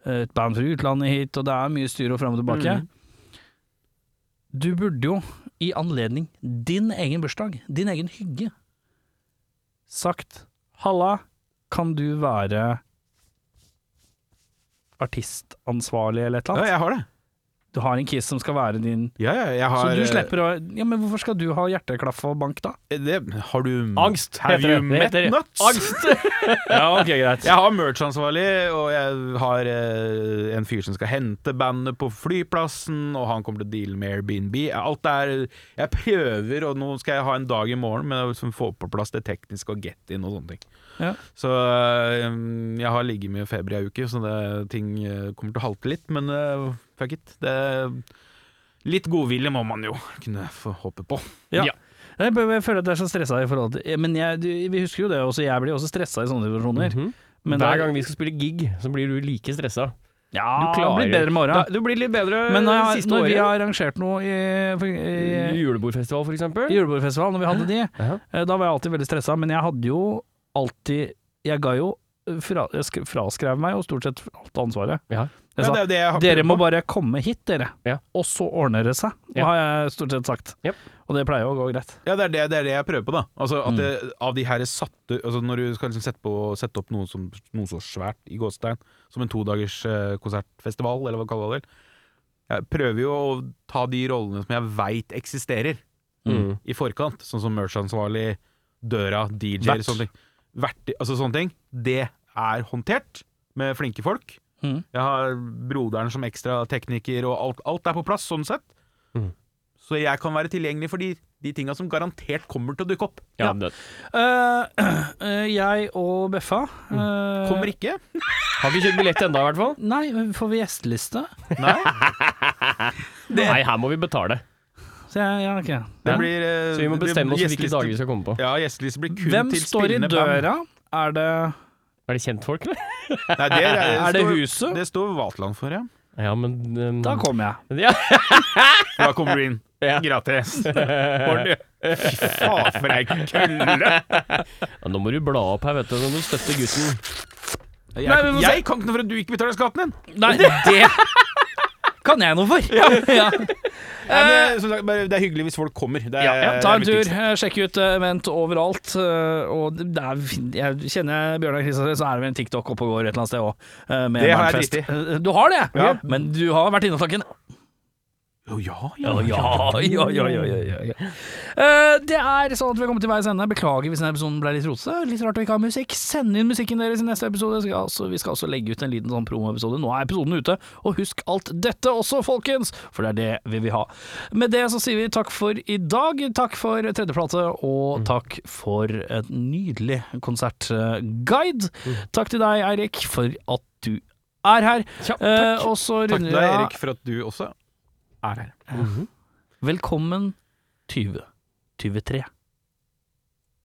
[SPEAKER 3] eh, et band fra utlandet hit, og det er mye styr og fram og tilbake.
[SPEAKER 1] Mhm.
[SPEAKER 3] Du burde jo, i anledning din egen bursdag, din egen hygge, sagt Halla, kan du være artistansvarlig eller et eller
[SPEAKER 1] Ja,
[SPEAKER 3] annet?
[SPEAKER 1] jeg har det.
[SPEAKER 3] Du har en kiss som skal være din
[SPEAKER 1] Ja, ja, jeg har,
[SPEAKER 3] Så du slipper å Ja, men hvorfor skal du ha hjerteklaff og bank, da?
[SPEAKER 1] eh, det, Har du
[SPEAKER 2] Angst
[SPEAKER 1] Have
[SPEAKER 2] heter
[SPEAKER 1] you
[SPEAKER 2] det.
[SPEAKER 1] met
[SPEAKER 2] Det heter
[SPEAKER 1] nuts?
[SPEAKER 2] Angst! ja, ok, greit.
[SPEAKER 1] Jeg har merch-ansvarlig, og jeg har eh, en fyr som skal hente bandet på flyplassen, og han kommer til å deale med Airbnb. Alt er Jeg prøver, og nå skal jeg ha en dag i morgen med å liksom få på plass det tekniske og get in og sånne ting.
[SPEAKER 3] Ja.
[SPEAKER 1] Så eh, jeg har ligget mye feber i ei uke, så det, ting eh, kommer til å halte litt, men eh, fuck it. Det, litt godvilje må man jo kunne få håpe på.
[SPEAKER 3] Ja.
[SPEAKER 2] Ja.
[SPEAKER 3] Jeg, bare- jeg føler at det er så stressa i forhold til Men jeg, du, vi husker jo det også, jeg blir også stressa i sånne situasjoner.
[SPEAKER 2] Mhm.
[SPEAKER 3] Men
[SPEAKER 2] Hver
[SPEAKER 3] det er-
[SPEAKER 2] gang vi skal spille gig, så blir du like stressa.
[SPEAKER 3] Ja,
[SPEAKER 2] Du
[SPEAKER 3] du
[SPEAKER 2] klarer-
[SPEAKER 3] blir bedre med åra.
[SPEAKER 2] Da- Du blir litt bedre
[SPEAKER 3] Men når, jeg, har-
[SPEAKER 2] siste
[SPEAKER 3] når vi
[SPEAKER 2] året.
[SPEAKER 3] har arrangert noe i, for-
[SPEAKER 2] Eh,
[SPEAKER 3] i,
[SPEAKER 2] Julebordfestival, for
[SPEAKER 3] i
[SPEAKER 2] eksempel.
[SPEAKER 3] julebordfestival, når vi hadde de,
[SPEAKER 2] Ja.
[SPEAKER 3] eh, da var jeg alltid veldig stressa, men jeg hadde jo alltid Jeg ga jo fra, jeg sk- fraskrev meg jo stort sett alt ansvaret.
[SPEAKER 2] Ja.
[SPEAKER 1] Men
[SPEAKER 3] Jeg sa
[SPEAKER 1] det er jo det jeg har
[SPEAKER 3] dere
[SPEAKER 1] prøvd
[SPEAKER 3] må
[SPEAKER 1] på.
[SPEAKER 3] bare komme hit, dere,
[SPEAKER 2] Ja.
[SPEAKER 3] og så ordner det seg. Det
[SPEAKER 2] Ja.
[SPEAKER 3] har jeg stort sett sagt.
[SPEAKER 2] Jep.
[SPEAKER 3] Og det pleier jo å gå greit.
[SPEAKER 1] Ja, det er det, det er det jeg prøver på, da. Altså, at
[SPEAKER 3] Mm.
[SPEAKER 1] det, av de her satte altså, Når du skal liksom sette, på, sette opp noe, som, noe så svært i gåstein, som en todagers eh, konsertfestival, eller hva du kaller det vel, jeg prøver jo å ta de rollene som jeg veit eksisterer,
[SPEAKER 2] Mm.
[SPEAKER 1] i forkant. Sånn som merch-ansvarlig, døra, DJ-er,
[SPEAKER 2] Vert.
[SPEAKER 1] sånne ting. Vert, altså sånne ting. Det er håndtert med flinke folk.
[SPEAKER 2] Mm.
[SPEAKER 3] Mhm.
[SPEAKER 1] Jeg har broderen som ekstratekniker, og alt, alt er på plass sånn sett.
[SPEAKER 2] Mhm.
[SPEAKER 1] Så jeg kan være tilgjengelig for de, de tinga som garantert kommer til å dukke opp.
[SPEAKER 2] Ja, det-
[SPEAKER 3] Eh, eh, jeg og Beffa
[SPEAKER 2] Mm.
[SPEAKER 3] eh,
[SPEAKER 1] Kommer ikke.
[SPEAKER 2] Har ikke kjøpt billett ennå, i hvert fall.
[SPEAKER 3] Nei, men får vi gjesteliste?
[SPEAKER 2] Nei, her må vi betale.
[SPEAKER 3] Så jeg, jeg har ikke det.
[SPEAKER 2] Ja.
[SPEAKER 1] Det blir, eh,
[SPEAKER 2] Så vi må
[SPEAKER 1] det-
[SPEAKER 2] bestemme oss for hvilke
[SPEAKER 1] gjesteliste-
[SPEAKER 2] dager vi skal komme på.
[SPEAKER 1] Ja, gjesteliste blir kun
[SPEAKER 3] Hvem
[SPEAKER 1] til
[SPEAKER 3] står i
[SPEAKER 1] spillende band.
[SPEAKER 3] døra? Er det,
[SPEAKER 2] Er det kjentfolk, eller?
[SPEAKER 1] Nei, det, er,
[SPEAKER 3] er det
[SPEAKER 1] står-
[SPEAKER 3] huset?
[SPEAKER 1] Det står Vatland for, ja.
[SPEAKER 2] Ja, men um,
[SPEAKER 3] Da kommer jeg.
[SPEAKER 2] Ja,
[SPEAKER 1] Da kommer du inn.
[SPEAKER 2] Ja.
[SPEAKER 1] Gratis. Ordentlig. Fy faen, for ei kølle!
[SPEAKER 2] Ja, nå må du bla opp her, vet du. Nå må du støtte gutten.
[SPEAKER 1] Jeg,
[SPEAKER 3] Nei, men må se-
[SPEAKER 1] jeg kan ikke noe for at du ikke betaler skatten din!
[SPEAKER 3] Nei, det kan jeg noe for! Ja.
[SPEAKER 1] Nei, men, som sagt, bare, det er hyggelig hvis folk kommer. Det er,
[SPEAKER 3] Ja,
[SPEAKER 1] det
[SPEAKER 3] ta
[SPEAKER 1] er
[SPEAKER 3] en
[SPEAKER 1] viktigst.
[SPEAKER 3] tur. eh, Sjekk ut eh, Event overalt. eh, Og det det er, fin- jeg kjenner jeg Bjørnar Kristiansen, så er det vel en TikTok oppe og går et eller annet sted eh, òg.
[SPEAKER 1] Det har jeg
[SPEAKER 3] Eh, Du har det,
[SPEAKER 1] Ja.
[SPEAKER 3] men du har vært inne og takket
[SPEAKER 1] Å, ja, ja.
[SPEAKER 3] Ja, ja, ja, ja, ja, ja, ja. Eh, Det er sånn at vi har kommet til veis ende. Beklager hvis denne episoden ble litt rotete. Litt rart å ikke ha musikk. Send inn musikken deres i neste episode. Vi skal altså- Vi skal også legge ut en liten sånn promoepisode. Nå er episoden ute. Og husk alt dette også, folkens, for det er det vi vil ha. Med det så sier vi takk for i dag. Takk for tredjeplate, og takk for et nydelig konsertguide. Takk til deg, Eirik, for at du er her.
[SPEAKER 2] Ja,
[SPEAKER 3] Eh, og så
[SPEAKER 1] Takk
[SPEAKER 3] runder
[SPEAKER 1] til deg,
[SPEAKER 3] jeg
[SPEAKER 1] Erik, for at du også er her.
[SPEAKER 3] Velkommen 2023.